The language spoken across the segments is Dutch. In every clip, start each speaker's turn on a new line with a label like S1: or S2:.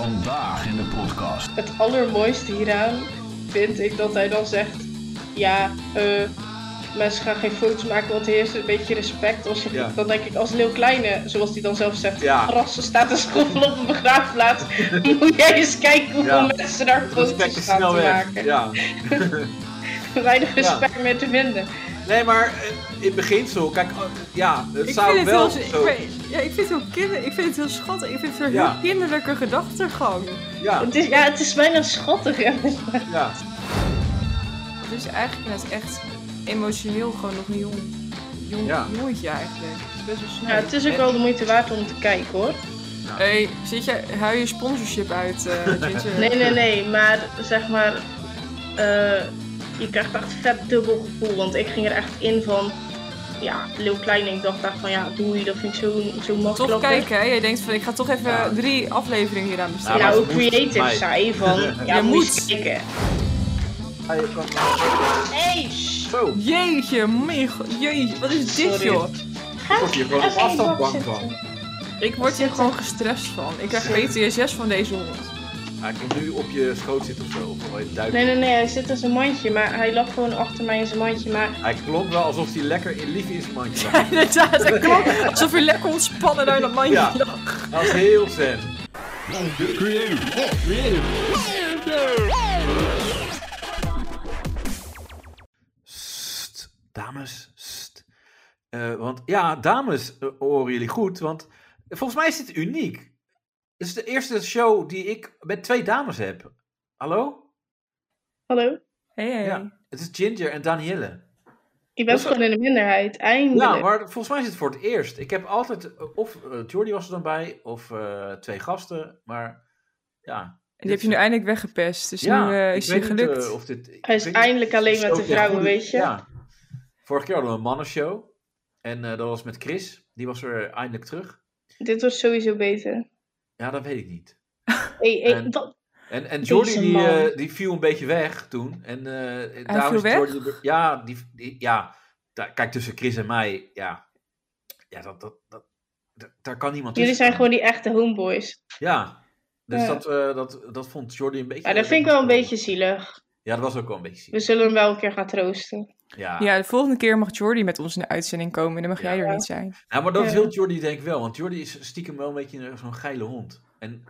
S1: Vandaag in de podcast.
S2: Het allermooiste hieraan vind ik dat hij dan zegt: Ja, eh, mensen gaan geen foto's maken, want heerst een beetje respect. Als je,
S3: Ja.
S2: Dan denk ik, als een heel kleine, zoals hij dan zelf zegt,
S3: Ja.
S2: rassen staat te schoffelen op een begraafplaats. Moet jij eens kijken hoeveel
S3: Ja.
S2: mensen daar foto's
S3: Respect is
S2: gaan
S3: snel
S2: te
S3: weg.
S2: maken.
S3: Ja.
S2: Weinig respect meer te vinden.
S3: Nee, maar eh, in beginsel, kijk, oh, ja, het
S4: Ik
S3: zou
S4: vind het,
S3: wel
S4: heel, ik,
S3: zo...
S4: vind- ja, ik vind het heel kinder, ik vind het heel schattig, ik vind het een
S3: Ja.
S4: heel kinderlijke gedachtegang.
S3: Ja,
S2: Het is, ja, het is bijna schattig. hè.
S3: ja.
S4: Het is eigenlijk net echt emotioneel gewoon nog een jong, jong
S3: Ja.
S4: jongetje eigenlijk. Het is best wel snel.
S2: Ja, het is ook wel de moeite waard om te kijken hoor.
S4: Hey, zit je, huil je sponsorship uit, eh Ginger?
S2: Nee, nee, nee, maar zeg maar, eh, je krijgt echt vet dubbel gevoel. Want ik ging er echt in van, ja, Leeuw Klein, ik dacht echt van, ja, doei, dat vind ik zo, zo makkelijk.
S4: Toch kijken, hè? Jij denkt van, ik ga toch even
S3: Ja.
S4: drie afleveringen hier aan besteden.
S3: Ja, maar
S2: nou,
S3: ze
S2: hoe
S3: moest
S2: creative
S3: mij.
S2: zij van, ja,
S4: Je
S2: moet je
S4: moet.
S2: eens kijken.
S3: Hij kan-
S2: Hey, shh,
S3: Zo,
S4: Jeetje, mijn god, jeetje, wat is dit
S2: Sorry.
S4: joh?
S3: alsof je gewoon op
S2: Even
S3: afstand
S2: in bak
S3: bang
S2: zitten.
S3: kwam.
S4: Ik word hier gewoon gestrest van. Ik krijg PTSS van deze hond.
S3: Hij komt nu op je schoot zitten of zo, of wel duik.
S2: Nee, nee, nee, hij zit in zijn mandje, maar hij lag gewoon achter mij in zijn mandje, maar
S3: Hij klonk wel alsof hij lekker in lief in zijn mandje zat.
S4: Ja, inderdaad, dat klopt. Alsof je lekker ontspannen naar dat mandje
S3: Ja.
S4: lag.
S3: Hij was heel zen. Sst, dames, sst. Eh, want ja, dames eh, horen jullie goed, want volgens mij is dit uniek. Dit is de eerste show die ik met twee dames heb. Hallo?
S2: hallo,
S4: Hey, hey.
S3: Ja. Het is Ginger en Danielle.
S2: ik ben
S3: Dat is-
S2: gewoon in de minderheid, eindelijk.
S3: Ja, maar volgens mij is het voor het eerst. Ik heb altijd, eh, of eh, Jordi was er dan bij, of eh, twee gasten, maar ja.
S4: Die heb je nu eindelijk weggepest, dus nu eh,
S3: ik
S4: is
S3: weet
S4: je
S3: niet,
S4: gelukt.
S3: eh, of dit, ik
S2: Hij is
S3: weet niet of
S2: eindelijk
S3: het
S2: alleen
S3: zo
S2: met de
S3: echt
S2: vrouwen,
S3: goed is.
S2: weet je.
S3: Ja. Vorige keer hadden we een mannenshow. En eh, dat was met Chris. Die was er eindelijk terug.
S2: Dit wordt sowieso beter.
S3: Ja, dat weet ik niet.
S2: Hey, hey,
S3: En-
S2: dat-
S3: En, en
S2: Deze
S3: Jordi die,
S2: man.
S3: eh, die viel een beetje weg toen. En, eh, daarom
S4: viel
S3: is
S4: weg?
S3: Jordi er- ja, die, die- ja Da- kijk, tussen Chris en mij, ja. Ja, dat, dat, dat, da- daar kan niemand
S2: jullie
S3: tussen
S2: zijn gewoon
S3: komen.
S2: die echte homeboys.
S3: Ja, dus
S2: Ja.
S3: Dat, eh, dat, dat vond Jordi een beetje...
S2: Maar dat vind ik wel een beetje Dus- zielig.
S3: Ja, dat was ook wel een beetje
S2: We
S3: ziek.
S2: zullen hem wel een keer gaan troosten.
S3: Ja.
S4: Ja, de volgende keer mag Jordi met ons in de uitzending komen en dan mag jij
S2: Ja.
S4: er niet zijn.
S3: Ja, maar dat
S2: Ja.
S3: wil Jordi denk ik wel, want Jordi is stiekem wel een beetje een- zo'n geile hond. En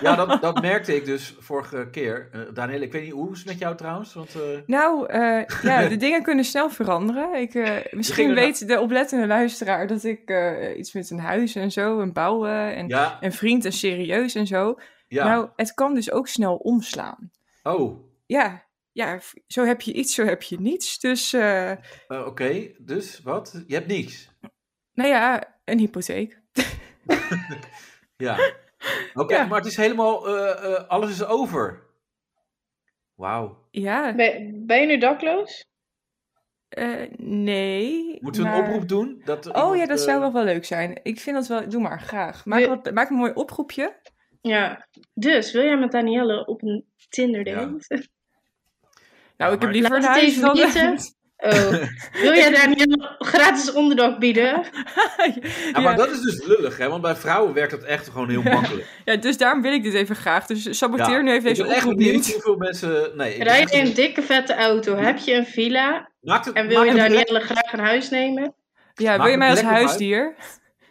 S3: ja, dat, dat merkte ik dus vorige keer. Eh Daniel, ik weet niet hoe is het met jou trouwens, want eh,
S4: Nou, eh, ja, de dingen kunnen snel veranderen. Ik, eh, misschien
S3: gingen naar-
S4: weet de oplettende luisteraar dat ik eh, iets met een huis en zo, en bouwen en
S3: ja,
S4: een vriend en serieus en zo.
S3: ja.
S4: Nou, het kan dus ook snel omslaan.
S3: oh,
S4: Ja, ja, f- zo heb je iets, zo heb je niets. Dus, eh,
S3: eh, oké, dus wat? Je hebt niks.
S4: nou ja, een hypotheek.
S3: Ja. Oké,
S4: Ja.
S3: maar het is helemaal, eh, eh, alles is over. Wauw.
S4: Ja,
S2: Ben, ben je nu dakloos?
S4: eh, nee.
S3: Moeten we een
S4: maar-
S3: oproep doen? Dat er
S4: Nou- Oh
S3: iemand,
S4: ja, dat
S3: eh,
S4: zou wel wel leuk zijn. Ik vind dat wel, doe maar graag. Maak,
S2: Nee.
S4: wat, maak een mooi oproepje. Nou,
S2: Ja. Dus, wil jij met Danielle op een Tinder date?
S4: Nou,
S3: Ja,
S4: ik heb
S3: maar-
S4: liever een
S2: Laat het
S4: huis
S2: even
S4: dan
S2: weten. Oh. Wil jij Danielle gratis onderdak bieden?
S3: Ja, maar dat is dus lullig, hè? Want bij vrouwen werkt dat echt gewoon heel makkelijk.
S4: Ja, dus daarom wil ik dit even graag. Dus saboteer
S3: Ja.
S4: nu even
S3: Ik
S4: deze
S3: ben echt
S4: oproep
S3: benieuwd
S4: niet.
S3: hoeveel mensen... Nee, ik ben
S2: Rij
S3: echt
S2: je in een
S3: benieuwd.
S2: dikke vette auto? Heb je een villa?
S3: Maakt het,
S2: En wil je
S3: maakt het
S2: Danielle graag een huis nemen?
S4: Ja,
S3: Maak
S4: wil je
S3: een
S4: mij als
S3: plek op uit.
S4: huisdier?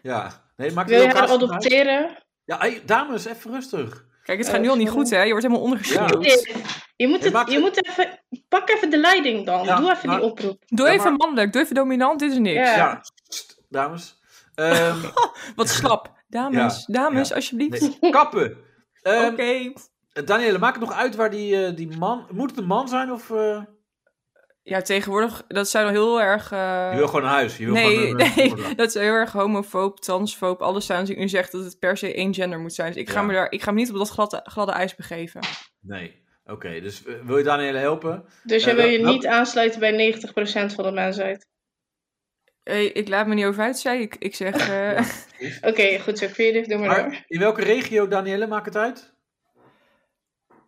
S3: Ja, nee, maakt
S2: Wil je
S3: het
S2: haar
S3: wel
S2: adopteren?
S3: Ja, hey, dames, even rustig.
S4: Kijk, het
S2: Eh,
S4: gaat nu al niet
S2: sorry.
S4: goed, hè? Je wordt helemaal ondergesneeuwd.
S2: Nee. Je moet,
S3: Je maakt
S2: het, je
S3: het-
S2: moet even... Pak even de leiding dan.
S3: Ja,
S2: Doe even
S3: maar-
S2: die oproep.
S4: Doe
S3: Ja,
S4: even
S3: maar-
S4: mannelijk, doe even dominant, dit is niks.
S2: Ja.
S3: Ja, sst, dames. Ehm,
S4: Wat slap. Dames, dames, alsjeblieft.
S3: nee, kappen. Ehm
S4: Oké.
S3: Danielle, maakt het nog uit waar die, eh, die man... Moet het een man zijn of... eh,
S4: Ja, tegenwoordig, dat zou dan heel erg... eh,
S3: je wil gewoon een huis. Je wil
S4: Nee,
S3: gewoon eh, een,
S4: nee, dat is heel erg homofoob, transfoob, alles staan. Dus ik nu zegt dat het per se één gender moet zijn. Dus ik ga,
S3: Ja.
S4: me, daar, ik ga me niet op dat gladde, gladde ijs begeven.
S3: Nee. Oké, dus eh, wil je Danielle helpen?
S2: Dus jij
S3: Eh,
S2: wil je
S3: dat- dat-
S2: niet aansluiten bij 90% van de mensheid?
S4: Hey, Eh, ik laat me niet over uit, zei ik. Ik zeg, eh,
S2: Oké, goed zo. Creative, doe maar, door.
S3: Maar in welke regio, Danielle, maakt het uit?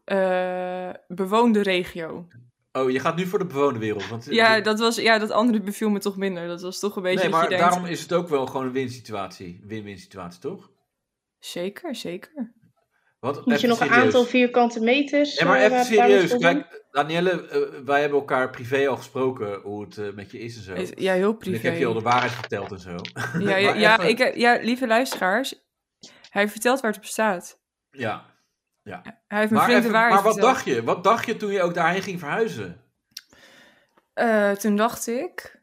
S4: eh, bewoonde regio.
S3: Oh, je gaat nu voor de bewoonde wereld. Want, eh,
S4: Ja dat, was, ja, dat andere beviel me toch minder. Dat was toch een beetje
S3: nee,
S4: dat
S3: maar
S4: je denkt...
S3: daarom is het ook wel gewoon een win-situatie. Win-win situatie, toch?
S4: Zeker, zeker.
S3: Wat,
S2: Moet je nog een aantal vierkante meters.
S3: Ja, maar
S2: eh,
S3: even
S2: waar trouwens
S3: serieus.
S2: voor doen?
S3: Kijk, Danielle, eh, wij hebben elkaar privé al gesproken hoe het eh, met je is en zo.
S4: Is- Ja, heel
S3: En
S4: privé.
S3: ik heb je al de waarheid verteld en zo.
S4: Ja, ja,
S3: Maar
S4: ja,
S3: even-
S4: ik, heb- ja, lieve luisteraars. Hij vertelt waar het op staat.
S3: Ja.
S4: Hij heeft
S3: Maar,
S4: mijn vriend de
S3: even-
S4: waarheid
S3: maar wat
S4: verteld.
S3: dacht je? Wat dacht je toen je ook daarheen ging verhuizen?
S4: Eh, toen dacht ik...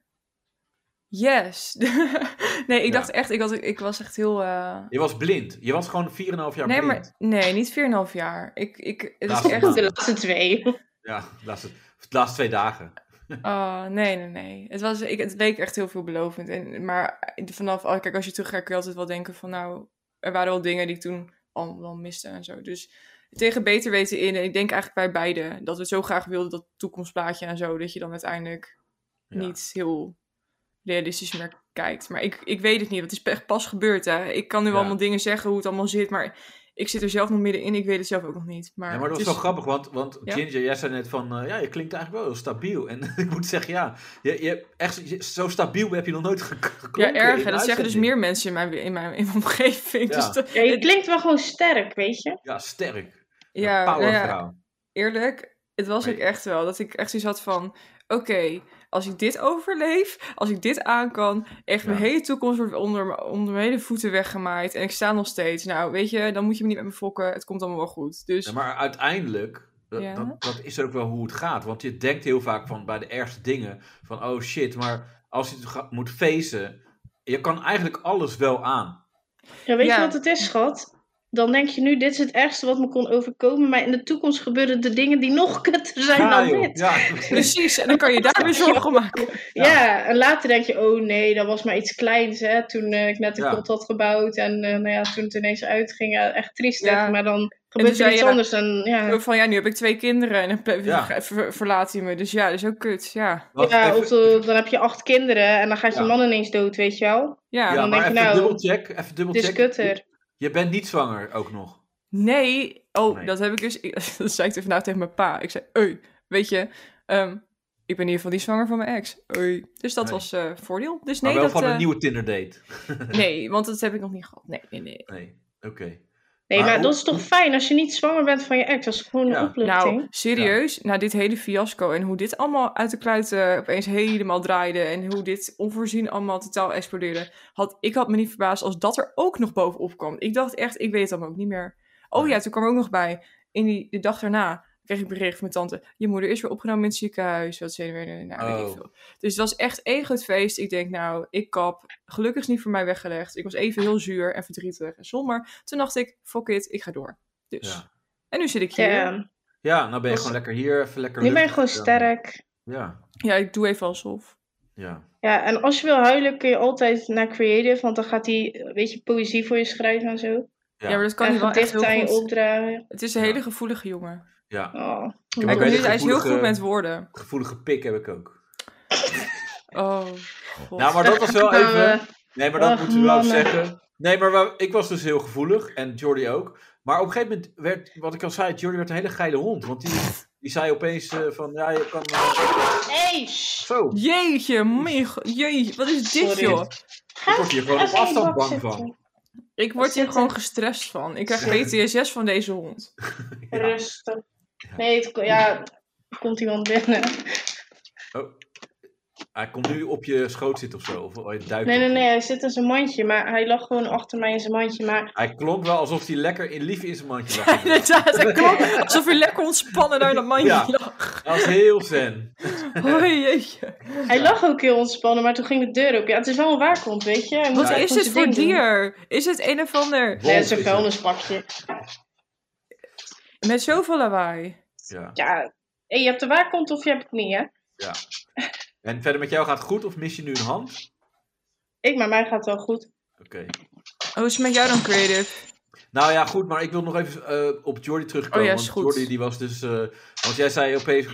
S4: Yes. nee, ik
S3: Ja.
S4: dacht echt... Ik, had, ik was echt heel... eh,
S3: Je was blind. Je was gewoon 4,5 jaar
S4: nee,
S3: blind.
S4: maar, nee, niet 4,5 jaar. Ik, ik, het is
S3: Laatste
S4: echt...
S3: maand.
S2: De laatste twee.
S3: Ja, de laatste, de laatste twee dagen.
S4: Oh, nee, nee, nee. Het, was, ik, het leek echt heel veelbelovend. En, maar vanaf... oh, kijk, als je teruggaat kun je altijd wel denken van... Nou, er waren wel dingen die ik toen al wel miste en zo. Dus tegen beter weten in. En ik denk eigenlijk bij beide. Dat we zo graag wilden dat toekomstplaatje en zo. Dat je dan uiteindelijk
S3: Ja.
S4: niet heel realistisch meer kijkt. Maar ik, ik weet het niet. want Het is echt pas gebeurd, hè. Ik kan nu
S3: Ja.
S4: allemaal dingen zeggen hoe het allemaal zit. Maar ik zit er zelf nog middenin. Ik weet het zelf ook nog niet. Maar,
S3: Ja, maar dat was
S4: het
S3: wel
S4: is-
S3: grappig, want, want
S4: Ja?
S3: Ginger, jij zei net van, eh, ja, je klinkt eigenlijk wel heel stabiel. En ik moet zeggen, ja, je, je, echt, zo- je- zo stabiel heb je nog nooit gek- geklonken.
S4: Ja, erg.
S3: in
S4: hè.
S3: een
S4: Dat zeggen dus
S3: uitzending.
S4: meer mensen in mijn, in mijn, in mijn omgeving.
S3: Ja.
S4: Dus dat-
S2: Ja, je klinkt wel gewoon sterk, weet je?
S3: Ja, sterk. Een
S4: ja, nou ja,
S3: powervrouw.
S4: eerlijk, het was
S3: Maar
S4: ook
S3: je-
S4: echt wel dat ik echt zoiets had van: oké, als ik dit overleef, als ik dit aan kan, echt mijn
S3: Ja.
S4: hele toekomst wordt onder, m- onder mijn hele voeten weggemaaid en ik sta nog steeds. Nou, weet je, dan moet je me niet met me fokken, het komt allemaal wel goed. Dus
S3: Ja, maar uiteindelijk, dat,
S4: Ja.
S3: dat, dat is ook wel hoe het gaat. Want je denkt heel vaak van bij de ergste dingen van oh shit, maar als je het ga- moet feesten, je kan eigenlijk alles wel aan.
S2: Ja, Nou, weet
S4: Ja.
S2: je wat het is, schat? Dan denk je nu, dit is het ergste wat me kon overkomen. Maar in de toekomst gebeuren de dingen die nog kutter zijn
S3: Ja,
S2: dan Dus
S3: joh,
S2: dit.
S3: Ja,
S4: precies, en dan kan je daar weer zorgen om maken.
S2: Ja. en later denk je, oh nee, dat was maar iets kleins. Hè? Toen eh, ik net de
S3: Ja.
S2: kot had gebouwd en eh, nou ja, toen het ineens uitging. ja, echt triest, hè?
S4: Ja.
S2: maar dan
S4: toen
S2: gebeurt er
S4: zei
S2: iets
S4: je-
S2: anders. En, ja.
S4: Ook van ja, nu heb ik twee kinderen en dan pe-
S3: Ja.
S4: ver- ver- verlaat hij me. Dus ja, dat is ook kut. Ja,
S3: Want
S2: Ja,
S3: even-
S2: of eh, dan heb je acht kinderen en dan gaat je
S3: Ja.
S2: man ineens dood, weet je wel.
S4: ja.
S3: ja,
S2: dan
S3: maar
S2: denk je,
S3: even
S2: nou,
S3: dubbelcheck, even
S2: Dit is
S3: dubbelcheck.
S2: Dus kutter.
S3: Je bent niet zwanger ook nog.
S4: Nee. Oh,
S3: Nee.
S4: dat heb ik dus. ik- dat zei ik toen vandaag tegen mijn pa. Ik zei: Oi, weet je, ehm, ik ben in ieder geval niet zwanger van mijn ex. Oi. Dus dat
S3: Nee.
S4: was eh, voordeel. Dus
S3: Maar
S4: nee,
S3: wel
S4: dat,
S3: van een
S4: eh,
S3: nieuwe Tinder date.
S4: nee, want dat heb ik nog niet gehad. Nee, nee, nee.
S3: Nee, oké.
S2: Nee,
S3: Maar
S2: maar,
S3: hoe-
S2: dat is toch fijn als je niet zwanger bent van je ex? Dat is gewoon een
S3: Ja.
S2: opluchting.
S4: Nou, serieus, na dit hele fiasco en hoe dit allemaal uit de kluiten opeens helemaal draaide en hoe dit onvoorzien allemaal totaal explodeerde, had ik had me niet verbaasd als dat er ook nog bovenop kwam. Ik dacht echt, ik weet het allemaal ook niet meer. Oh ja, toen kwam er ook nog bij, in die, de dag daarna kreeg ik bericht van mijn tante, je moeder is weer opgenomen in het ziekenhuis, wat zijn er weer, nou, weet
S3: Oh.
S4: ik veel. Dus het was echt één groot feest. Ik denk, nou, ik kap. Gelukkig is niet voor mij weggelegd. Ik was even heel zuur en verdrietig en somber. Toen dacht ik, fuck it, ik ga door. Dus.
S3: Ja.
S4: En nu zit ik hier.
S2: ja.
S3: Ja, nou ben je
S2: Was-
S3: gewoon lekker hier, even lekker
S2: Nu ben je
S3: lucht.
S2: gewoon
S3: Ja.
S2: sterk.
S3: Ja,
S4: Ja, ik doe even alsof.
S3: ja.
S2: Ja, en als je wil huilen kun je altijd naar creative, want dan gaat hij een beetje poëzie voor je schrijven en zo.
S4: Ja,
S3: Ja.
S4: maar dat kan hij
S2: en
S4: wel echt
S2: gedichten aan
S4: heel
S2: je
S4: goed.
S2: opdragen.
S4: Het is een
S3: Ja.
S4: hele gevoelige jongen.
S3: ja.
S2: Oh.
S3: Ja,
S4: Hij,
S3: maar
S4: kan
S3: bij de
S4: heel- hij is heel
S3: gevoelige-
S4: goed met woorden.
S3: Gevoelige pik heb ik ook.
S4: Oh, god.
S3: Nou, maar dat was wel
S2: Nou,
S3: even...
S2: eh,
S3: Nee, maar dat
S2: Ach,
S3: moeten we wel
S2: mannen.
S3: zeggen. Nee, maar wel- ik was dus heel gevoelig en Jordi ook. Maar op een gegeven moment werd, wat ik al zei, Jordi werd een hele geile hond. Want die, die zei opeens eh, van, ja, je kan... eh,
S2: hey, shh.
S3: zo,
S4: Jeetje, mijn god. Jeetje, wat is dit,
S2: Sorry.
S4: joh?
S3: ik word hier gewoon op
S2: Even in je
S3: afstand
S2: bak
S3: bang
S2: zitten.
S3: van.
S4: Ik word hier
S2: Zitten.
S4: gewoon gestrest van. Ik krijg PTSS van deze hond.
S3: Ja.
S2: Rustig. Nee, het, ko- ja, er komt iemand binnen.
S3: Hij komt nu op je schoot zitten of zo. Of hij duikt
S2: Nee,
S3: op
S2: nee,
S3: je.
S2: nee, hij zit in zijn mandje, maar hij lag gewoon achter mij in zijn mandje. Maar
S3: Hij klonk wel alsof hij lekker in, lief in zijn mandje lag. dat
S4: Inderdaad, hij klonk alsof hij lekker ontspannen naar dat mandje
S3: Ja.
S4: lag.
S3: was heel zen.
S4: Oh, jeetje.
S2: hij lag ook heel ontspannen, maar toen ging de deur open. Ja, het is wel een waakhond, weet je. Hij moet
S4: Wat
S2: echt
S4: is
S2: gewoon
S4: dit
S2: zijn ding
S4: voor
S2: doen.
S4: dier? Is het een of ander?
S2: Nee, het is een
S3: Wolf
S2: vuilnispakje.
S4: Met zoveel lawaai.
S3: Ja,
S2: Ja, hé, je hebt de waakhond of je hebt het niet, hè?
S3: ja. En verder met jou gaat het goed of mis je nu een hand?
S2: Ik, maar mij gaat wel goed.
S3: Oké.
S4: Oh, hoe is het met jou dan, Creative?
S3: Nou ja, goed, maar ik wil nog even eh, op Jordi terugkomen.
S4: Oh ja, is
S3: want
S4: goed.
S3: Jordi die was dus. eh, want jij zei opeens. eh,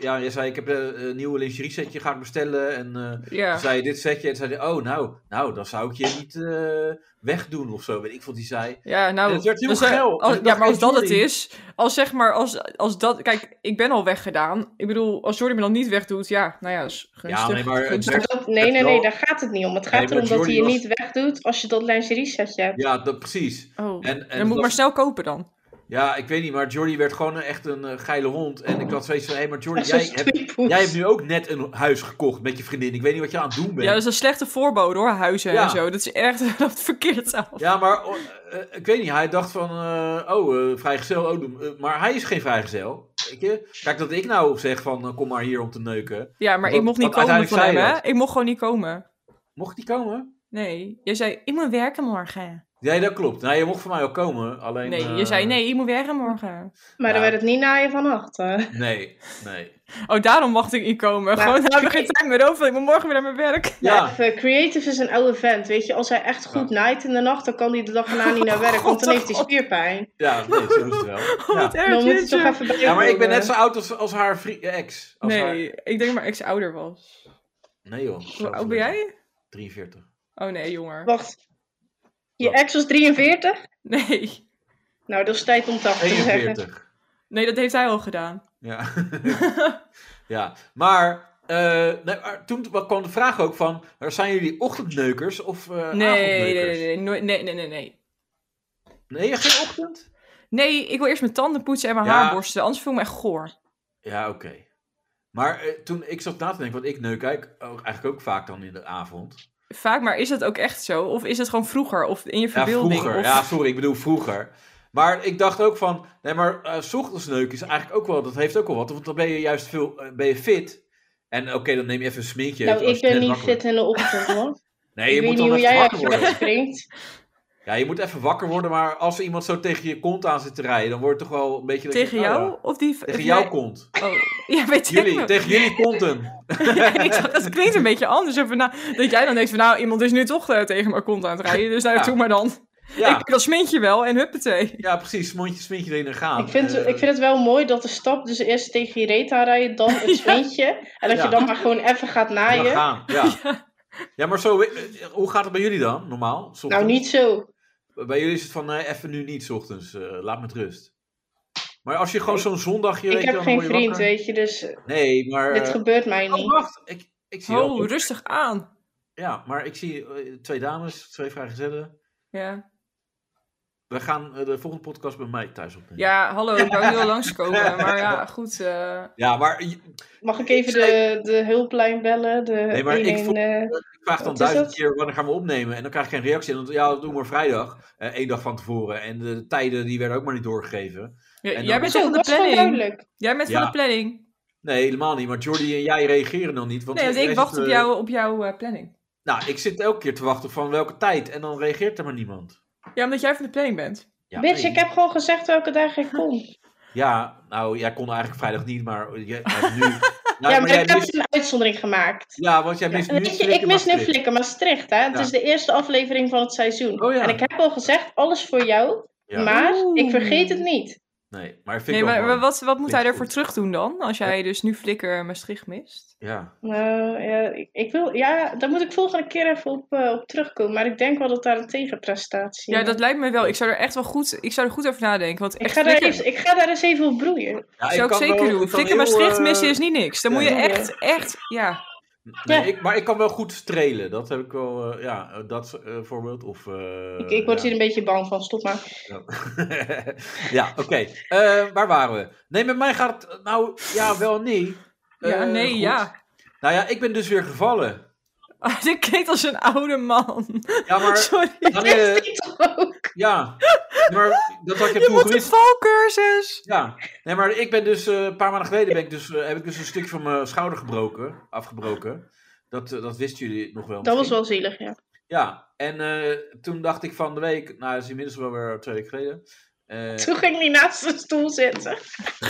S3: ja, jij zei: Ik heb eh, een nieuwe lingerie setje ga ik bestellen. En eh, toen
S4: Ja.
S3: zei je dit setje. En zei hij: Oh, nou, nou, dan zou ik je niet eh, wegdoen of zo. Weet ik vond die zei.
S4: Ja, nou,
S3: Het werd heel
S4: als er-
S3: geil.
S4: als-
S3: Ik
S4: ja,
S3: dacht,
S4: maar als
S3: hey,
S4: dat het
S3: Jordi.
S4: is, als zeg maar, als, als dat, kijk, ik ben al weggedaan. Ik bedoel, als Jordi me dan niet wegdoet, ja, nou ja, is gunstig.
S3: ja, nee, maar. Het
S4: gunstig.
S3: werd-
S2: Dat- nee, nee,
S3: wel-
S2: nee, daar gaat het niet om. Het gaat
S3: Nee,
S2: erom
S3: maar
S2: dat hij je
S3: Jordi
S2: niet wegdoet als je dat lingerie setje hebt.
S3: ja, dat, precies.
S4: Oh,
S3: En, en
S4: dan moet ik
S3: dat-
S4: maar snel kopen dan.
S3: Ja, ik weet niet, maar Jordy werd gewoon een- echt een eh, geile hond. En ik had zoiets van, hé, maar Jordy,
S2: Als
S3: jij
S2: een
S3: hebt,
S2: stoeipoes.
S3: jij hebt nu ook net een huis gekocht met je vriendin. Ik weet niet wat je aan het doen bent.
S4: Ja, dat is een slechte voorbode hoor, huizen
S3: Ja.
S4: en zo. Dat is echt dat loopt verkeerd af.
S3: Ja, maar oh, eh, ik weet niet. Hij dacht van, eh, oh, eh, vrijgezel. Oh, doe- eh, maar hij is geen vrijgezel. Weet je? Kijk, dat ik nou zeg van, eh, kom maar hier om te neuken.
S4: Ja, maar ik
S3: Wat-
S4: mocht niet
S3: wat
S4: komen van
S3: uiteindelijk
S4: hem,
S3: zei je
S4: hè? Ik mocht gewoon niet komen.
S3: Mocht die komen?
S4: Nee. Je zei, ik moet werken morgen.
S3: Nee, dat klopt. Nee, je mocht van mij ook komen. Alleen,
S4: Nee, je
S3: eh,
S4: zei, nee, ik moet werken morgen.
S2: Maar
S3: Ja.
S2: dan werd het niet naaien van achter.
S3: Nee, nee.
S4: Oh, daarom mocht ik niet komen.
S2: Maar-
S4: Gewoon, daar heb ik geen tijd meer over. Ik moet morgen weer naar mijn werk.
S2: Ja.
S3: Ja,
S2: even, creative is een oude vent, weet je. Als hij echt goed naait in de nacht, dan kan hij de dag erna niet naar werk, want dan heeft hij spierpijn.
S3: ja, nee, zo is het wel.
S4: Oh,
S3: Ja.
S4: wat erg,
S2: Dan moet hij
S4: jeetje.
S2: toch even bij
S3: Ja, maar ik ben
S2: komen.
S3: net zo oud als, als haar vri- ex. Als haar-
S4: eh, Nee, ik denk maar ik ze ouder was.
S3: Nee, joh.
S4: Hoe
S3: Zelfs
S4: oud ben jij?
S3: 43.
S4: Oh nee, jonger.
S2: Wacht. Je
S3: Wat?
S2: ex was 43?
S4: Nee.
S2: Nou, dat is tijd om 80 te zeggen.
S3: 41.
S4: Nee, dat heeft hij al gedaan.
S3: Ja. ja, maar, eh, nee, maar toen kwam de vraag ook van, zijn jullie ochtendneukers of eh
S4: Nee, nee,
S3: avondneukers?
S4: nee, nee, nooit- nee, nee, nee, nee.
S3: Nee, geen ochtend?
S4: Nee, ik wil eerst mijn tanden poetsen en mijn
S3: Ja.
S4: haar borsten. Anders voel ik me echt goor.
S3: Ja, oké. Maar eh, toen ik zat na te denken, want ik neuk eigenlijk ook, eigenlijk ook vaak dan in de avond.
S4: Vaak, maar is dat ook echt zo? Of is het gewoon vroeger? Of in je
S3: Ja,
S4: verbeelding?
S3: vroeger.
S4: Of...
S3: Ja, sorry, ik bedoel vroeger. Maar ik dacht ook van, nee, maar eh, 's ochtends neuken is eigenlijk ook wel, dat heeft ook wel wat. Want dan ben je juist veel, eh, ben je fit. En oké, dan neem je even een sminkje.
S2: Nou,
S3: weet
S2: ik
S3: je, als je
S2: ben
S3: net
S2: niet
S3: wakker
S2: fit in de ochtend, hoor.
S3: wordt. Nee, je
S2: ik weet
S3: moet
S2: niet
S3: dan
S2: hoe
S3: even
S2: jij
S3: wakker
S2: uit je bed
S3: worden.
S2: springt.
S3: Ja, je moet even wakker worden, maar als er iemand zo tegen je kont aan zit te rijden, dan wordt het toch wel een beetje... dat je
S4: Tegen
S3: denkt, oh
S4: jou?
S3: ja,
S4: Of die...
S3: tegen
S4: of
S3: jouw
S4: mij-
S3: kont.
S4: Oh, ja, weet ik
S3: Jullie,
S4: wel.
S3: tegen jullie konten.
S4: Ja, ik dacht, dat klinkt een beetje anders. Even na- dat jij dan denkt van, nou, iemand is nu toch eh, tegen mijn kont aan het rijden. Dus nou,
S3: Ja.
S4: doe maar dan.
S3: Ja,
S4: Ik, dat smint je wel en huppatee.
S3: ja precies. Mondje, smintje erin en gaan.
S2: Ik vind,
S3: Eh,
S2: ik vind het wel mooi dat de stap dus eerst tegen je reet aanrijden, dan het zwintje. En dat
S3: Ja.
S2: je dan maar gewoon even gaat
S3: en dan
S2: naaien.
S3: gaan, ja. Ja, maar zo, eh, hoe gaat het bij jullie dan, normaal? 's
S2: Nou,
S3: ochtends?
S2: niet zo.
S3: Bij jullie is het van, nee, even nu niet, 's ochtends. eh, laat me met rust. Maar als je gewoon zo'n zondagje... weet
S2: Ik
S3: je,
S2: heb
S3: dan
S2: geen
S3: word je
S2: vriend,
S3: wakker.
S2: weet je, dus
S3: Nee, maar...
S2: dit
S3: eh,
S2: gebeurt mij
S3: oh,
S2: niet.
S3: wacht. Ik, ik zie
S4: Oh,
S3: al-
S4: rustig aan.
S3: Ja, maar ik zie eh, twee dames, twee vrijgezellen.
S4: Ja,
S3: We gaan eh, de volgende podcast bij mij thuis opnemen.
S4: ja hallo, ik wou nu al langskomen. Maar ja, goed. eh,
S3: Ja, maar je-
S2: Mag ik even de, de hulplijn bellen? De
S3: Nee, maar ik
S2: 1-1,
S3: voel-
S2: eh,
S3: ik vraag dan
S2: Wat is
S3: duizend
S2: dat?
S3: keer wanneer gaan we opnemen. En dan krijg ik geen reactie. En dan, ja, dat doen we vrijdag. eh één dag van tevoren. En de tijden die werden ook maar niet doorgegeven.
S4: j-
S3: dan-
S4: jij bent
S2: Zo,
S4: van de
S2: dat is wel
S4: planning.
S2: duidelijk.
S4: Jij bent
S3: Ja.
S4: van de planning.
S3: Nee, helemaal niet. Maar Jordi en jij reageren dan niet. Want
S4: Nee, want
S3: iedereen
S4: ik wacht
S3: zit,
S4: op
S3: eh,
S4: jou, op jouw eh, planning.
S3: Nou, ik zit elke keer te wachten van welke tijd. En dan reageert er maar niemand.
S4: Ja, omdat jij van de planning bent.
S3: Ja,
S2: Bitch,
S3: nee.
S2: ik heb gewoon gezegd welke dag ik kon.
S3: Ja, nou, jij kon eigenlijk vrijdag niet. Maar jij, maar nu... Nou,
S2: ja,
S3: maar
S2: maar
S3: jij
S2: ik heb
S3: mist...
S2: dus een uitzondering gemaakt.
S3: Ja, want jij mist nu
S2: Weet je,
S3: Flikker
S2: ik mis nu
S3: Maastricht.
S2: Flikker Maastricht, hè. Het
S3: Ja.
S2: is de eerste aflevering van het seizoen.
S3: Oh, ja.
S2: En ik heb al gezegd, alles voor jou,
S3: Ja,
S2: maar
S4: Oeh.
S2: ik vergeet het niet.
S3: Nee, maar vind
S4: Nee,
S3: ik wel
S4: maar
S3: mooi.
S4: wat, wat moet
S3: Vind
S4: hij
S3: ik
S4: daarvoor
S3: goed.
S4: terug doen dan? Als jij dus nu Flikker en Maastricht mist?
S3: Ja.
S2: Nou, ja, ik, ik wil, ja, daar moet ik volgende keer even op, eh, op terugkomen. Maar ik denk wel dat daar een tegenprestatie
S4: Ja,
S2: is.
S4: dat lijkt me wel. Ik zou er echt wel goed, ik zou er goed over nadenken. Want
S2: ik,
S4: echt
S2: ga daar
S4: Flikker-
S2: eens, ik ga daar eens even op broeien.
S3: Ja,
S4: zou ik
S3: kan wel-
S4: zeker doen.
S3: ik kan
S4: Flikker
S3: heel,
S4: Maastricht
S3: eh,
S4: missen is niet niks. Dan moet je
S2: ja.
S4: echt, echt, ja.
S3: Nee,
S2: Ja.
S3: ik, maar ik kan wel goed strelen. Dat heb ik wel, eh, ja, eh, dat eh, voorbeeld. Of, eh,
S2: Ik, ik word
S3: ja.
S2: hier een beetje bang van, stop maar.
S3: ja, oké. Eh, waar waren we? Nee, met mij gaat het nou, ja, wel niet.
S4: Ja,
S3: Eh,
S4: nee,
S3: goed.
S4: ja.
S3: Nou ja, ik ben dus weer gevallen.
S4: Dit klinkt Oh, als een oude man.
S3: Ja, maar,
S4: Sorry.
S3: dan, eh,
S2: Ik toch ook.
S3: ja. maar dat had je,
S4: Je
S3: toen
S4: moet een
S3: gewist.
S4: valcursus.
S3: Ja, nee, maar ik ben dus, eh, een paar maanden geleden ben ik dus, eh, heb ik dus een stukje van mijn schouder gebroken, afgebroken. Dat, eh, dat wisten jullie nog wel.
S2: Dat was
S3: misschien.
S2: wel zielig, ja.
S3: Ja, en eh, toen dacht ik van de week, nou dat is inmiddels wel weer twee weken geleden. Eh,
S2: Toen ging hij naast de stoel zitten.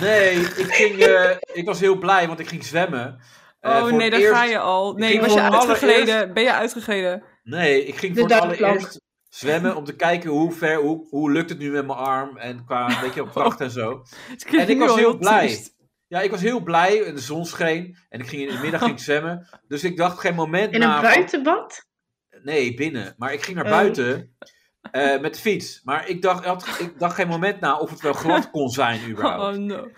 S3: nee, ik, ging, eh, ik was heel blij, want ik ging zwemmen. Eh,
S4: Oh
S3: voor
S4: nee,
S3: het
S4: daar
S3: eerst-
S4: ga je al. Nee,
S3: ging
S4: was je
S3: voor het
S4: uitgegleden? Ben je uitgegleden?
S3: Nee, ik ging
S2: De
S3: voor het
S2: duikplank.
S3: allereerst zwemmen om te kijken hoe ver, hoe, hoe lukt het nu met mijn arm en qua weet
S4: Oh.
S3: je, kracht en zo.
S4: Het klinkt
S3: En ik
S4: nu
S3: was
S4: al
S3: heel blij.
S4: triest.
S3: Ja, ik was heel blij en de zon scheen en ik ging in de middag ging ik zwemmen. Dus ik dacht geen moment
S2: In
S3: na
S2: een
S3: van-
S2: buitenbad?
S3: Nee, binnen. Maar ik ging naar
S2: Oh.
S3: buiten eh, met de fiets. Maar ik dacht, had- ik dacht geen moment na of het wel glad kon zijn überhaupt.
S4: Oh no.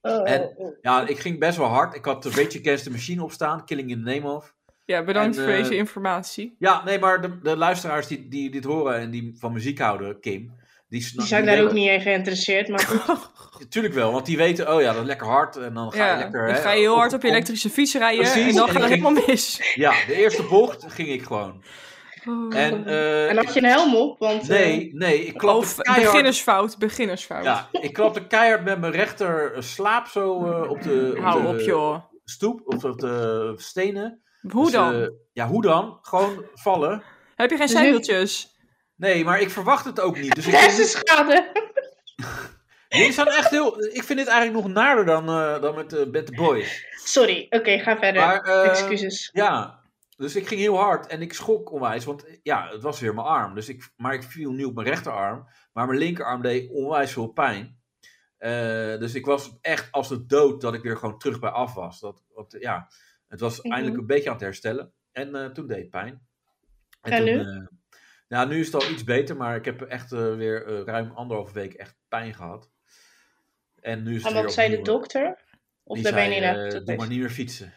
S2: Oh,
S3: En- Ja, ik ging best wel hard. Ik had Rage Against the Machine op staan, Killing in the Name of.
S4: Ja, bedankt
S3: En,
S4: voor
S3: eh,
S4: deze informatie.
S3: Ja, nee, maar de, de luisteraars die, die dit horen en die van muziek houden, Kim, Die, sna-
S2: Die zijn
S3: die
S2: daar ook
S3: weten-
S2: niet in geïnteresseerd, maar goed.
S3: Tuurlijk wel, want die weten, oh ja, dat is lekker hard. En dan ga je
S4: Ja,
S3: lekker...
S4: dan
S3: hè,
S4: ga je heel hard op je
S3: kom-
S4: elektrische fiets rijden
S3: Precies,
S4: en dan
S3: en
S4: gaat het
S3: ging-
S4: helemaal mis.
S3: Ja, de eerste bocht ging ik gewoon.
S4: Oh.
S3: En, eh,
S2: En had je een helm op, want... eh,
S3: Nee, nee, ik klapte
S4: Of
S3: keihard-
S4: beginnersfout, beginnersfout.
S3: Ja, ik klapte keihard met mijn rechter slaap zo eh, op de, op
S4: Hou
S3: de
S4: op joh.
S3: stoep, of op de stenen.
S4: Hoe
S3: Dus,
S4: dan?
S3: eh, ja, hoe dan? Gewoon vallen.
S4: Heb je geen
S2: dus nu-
S4: zijwieltjes? Nee,
S3: Nee, maar ik verwacht het ook
S2: eh,
S3: niet. Dus ik
S2: Hersenschade.
S3: Jullie zijn echt heel... Ik vind dit eigenlijk nog naarder dan, eh, dan met, eh met de boys.
S2: Sorry, oké, ga verder.
S3: Maar, eh,
S2: Excuses.
S3: Ja, dus ik ging heel hard en ik schrok onwijs. Want eh, ja, het was weer mijn arm. Dus ik, maar ik viel nu op mijn rechterarm. Maar mijn linkerarm deed onwijs veel pijn. Eh, dus ik was echt als de dood dat ik weer gewoon terug bij af was. Dat, want, eh, ja, het was
S2: Mhm.
S3: eindelijk een beetje aan het herstellen. En eh, toen deed het pijn.
S2: En
S3: toen,
S2: nu?
S3: eh, nou, nu is het al iets beter. Maar ik heb echt eh, weer eh, ruim anderhalve week echt pijn gehad. En nu is het
S2: En
S3: weer
S2: wat zei de
S3: opnieuw.
S2: dokter? Of
S3: Die
S2: daar ben je
S3: zei,
S2: niet
S3: eh,
S2: naar
S3: Doe maar
S2: geweest?
S3: niet meer fietsen.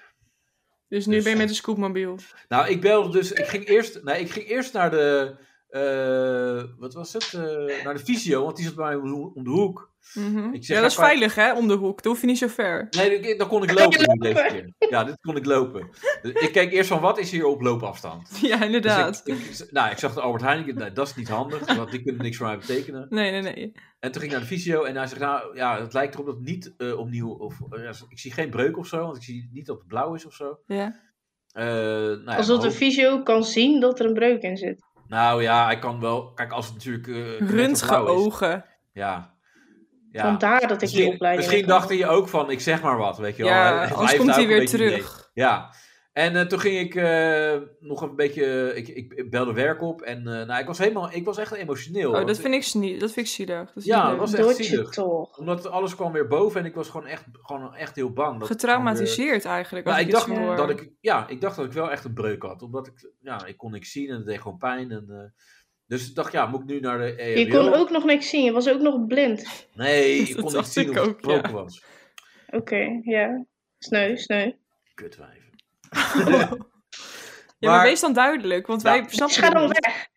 S4: Dus nu
S3: dus-
S4: ben je met een scootmobiel.
S3: Nou, ik belde dus. Ik ging eerst, nee, ik ging eerst naar de. eh, wat was het? Eh, naar de fysio, want die zat bij mij om de ho- om de hoek.
S4: Mhm.
S3: Ik zeg,
S4: Ja, dat is
S3: ga-
S4: veilig hè, om de hoek. Dan hoef je niet zo ver.
S3: Nee, dan- dan kon ik lopen
S2: Lopen.
S3: nu deze keer. Ja, dit kon ik lopen. Dus ik keek eerst van wat is hier op loopafstand.
S4: Ja,
S3: Dus ik-
S4: inderdaad.
S3: ik, nou, ik zag de Albert Heijn. ik dacht, Nee, dat is niet handig, want die kunnen niks voor mij betekenen.
S4: Nee, nee, nee.
S3: En toen ging ik naar de fysio en hij zegt, nou ja, het lijkt erop dat het niet eh, opnieuw. Of, eh, ja, ik zie geen breuk of zo, want ik zie niet dat het blauw is of zo.
S4: Ja.
S3: Eh, nou ja,
S2: Alsof de
S3: hoop-
S2: fysio kan zien dat er een breuk in zit.
S3: Nou ja, hij kan wel. Kijk, als het natuurlijk. Uh,
S4: Runtige ogen.
S3: Ja. ja.
S2: Vandaar dat ik die
S3: misschien
S2: opleiding
S3: misschien
S2: heb
S3: dacht hij ook van, ik zeg maar wat, weet je wel. Hij-
S4: Ja,
S3: hij
S4: anders
S3: heeft
S4: komt
S3: daar
S4: hij
S3: ook een
S4: weer
S3: beetje idee.
S4: terug.
S3: Ja. En eh, toen ging ik eh, nog een beetje, ik, ik, ik belde werk op en eh, nou, ik was helemaal, ik was echt emotioneel.
S4: Oh,
S3: want
S4: dat
S3: ik-
S4: vind ik, niet, dat vind ik zielig. Dat is
S3: Ja,
S4: niet
S3: dat
S4: leuk.
S3: was echt
S2: Doet je
S3: zielig.
S2: toch.
S3: Omdat alles kwam weer boven en ik was gewoon echt, gewoon echt heel bang. dat-
S4: Getraumatiseerd eigenlijk. als
S3: Nou, ik
S4: ik iets
S3: dacht
S4: hoor.
S3: dat ik, ja, ik dacht dat ik wel echt een breuk had. Omdat ik, ja, ik kon niks zien en het deed gewoon pijn. En, eh, dus ik dacht, ja, moet ik nu naar de E EHBO?
S2: Je kon ook nog niks zien. Je was ook nog blind.
S3: Nee, ik
S4: Dat
S3: kon niet
S4: dacht
S3: zien
S4: ik
S3: of het
S4: ook, ja.
S3: gebroken was.
S2: Oké, ja. Sneu, sneu.
S3: Kutwijven.
S4: Ja, maar
S3: maar-
S4: wees dan duidelijk, want
S3: Ja.
S4: wij snappen
S2: Dus ga
S4: het
S2: dan
S4: niet.
S2: weg.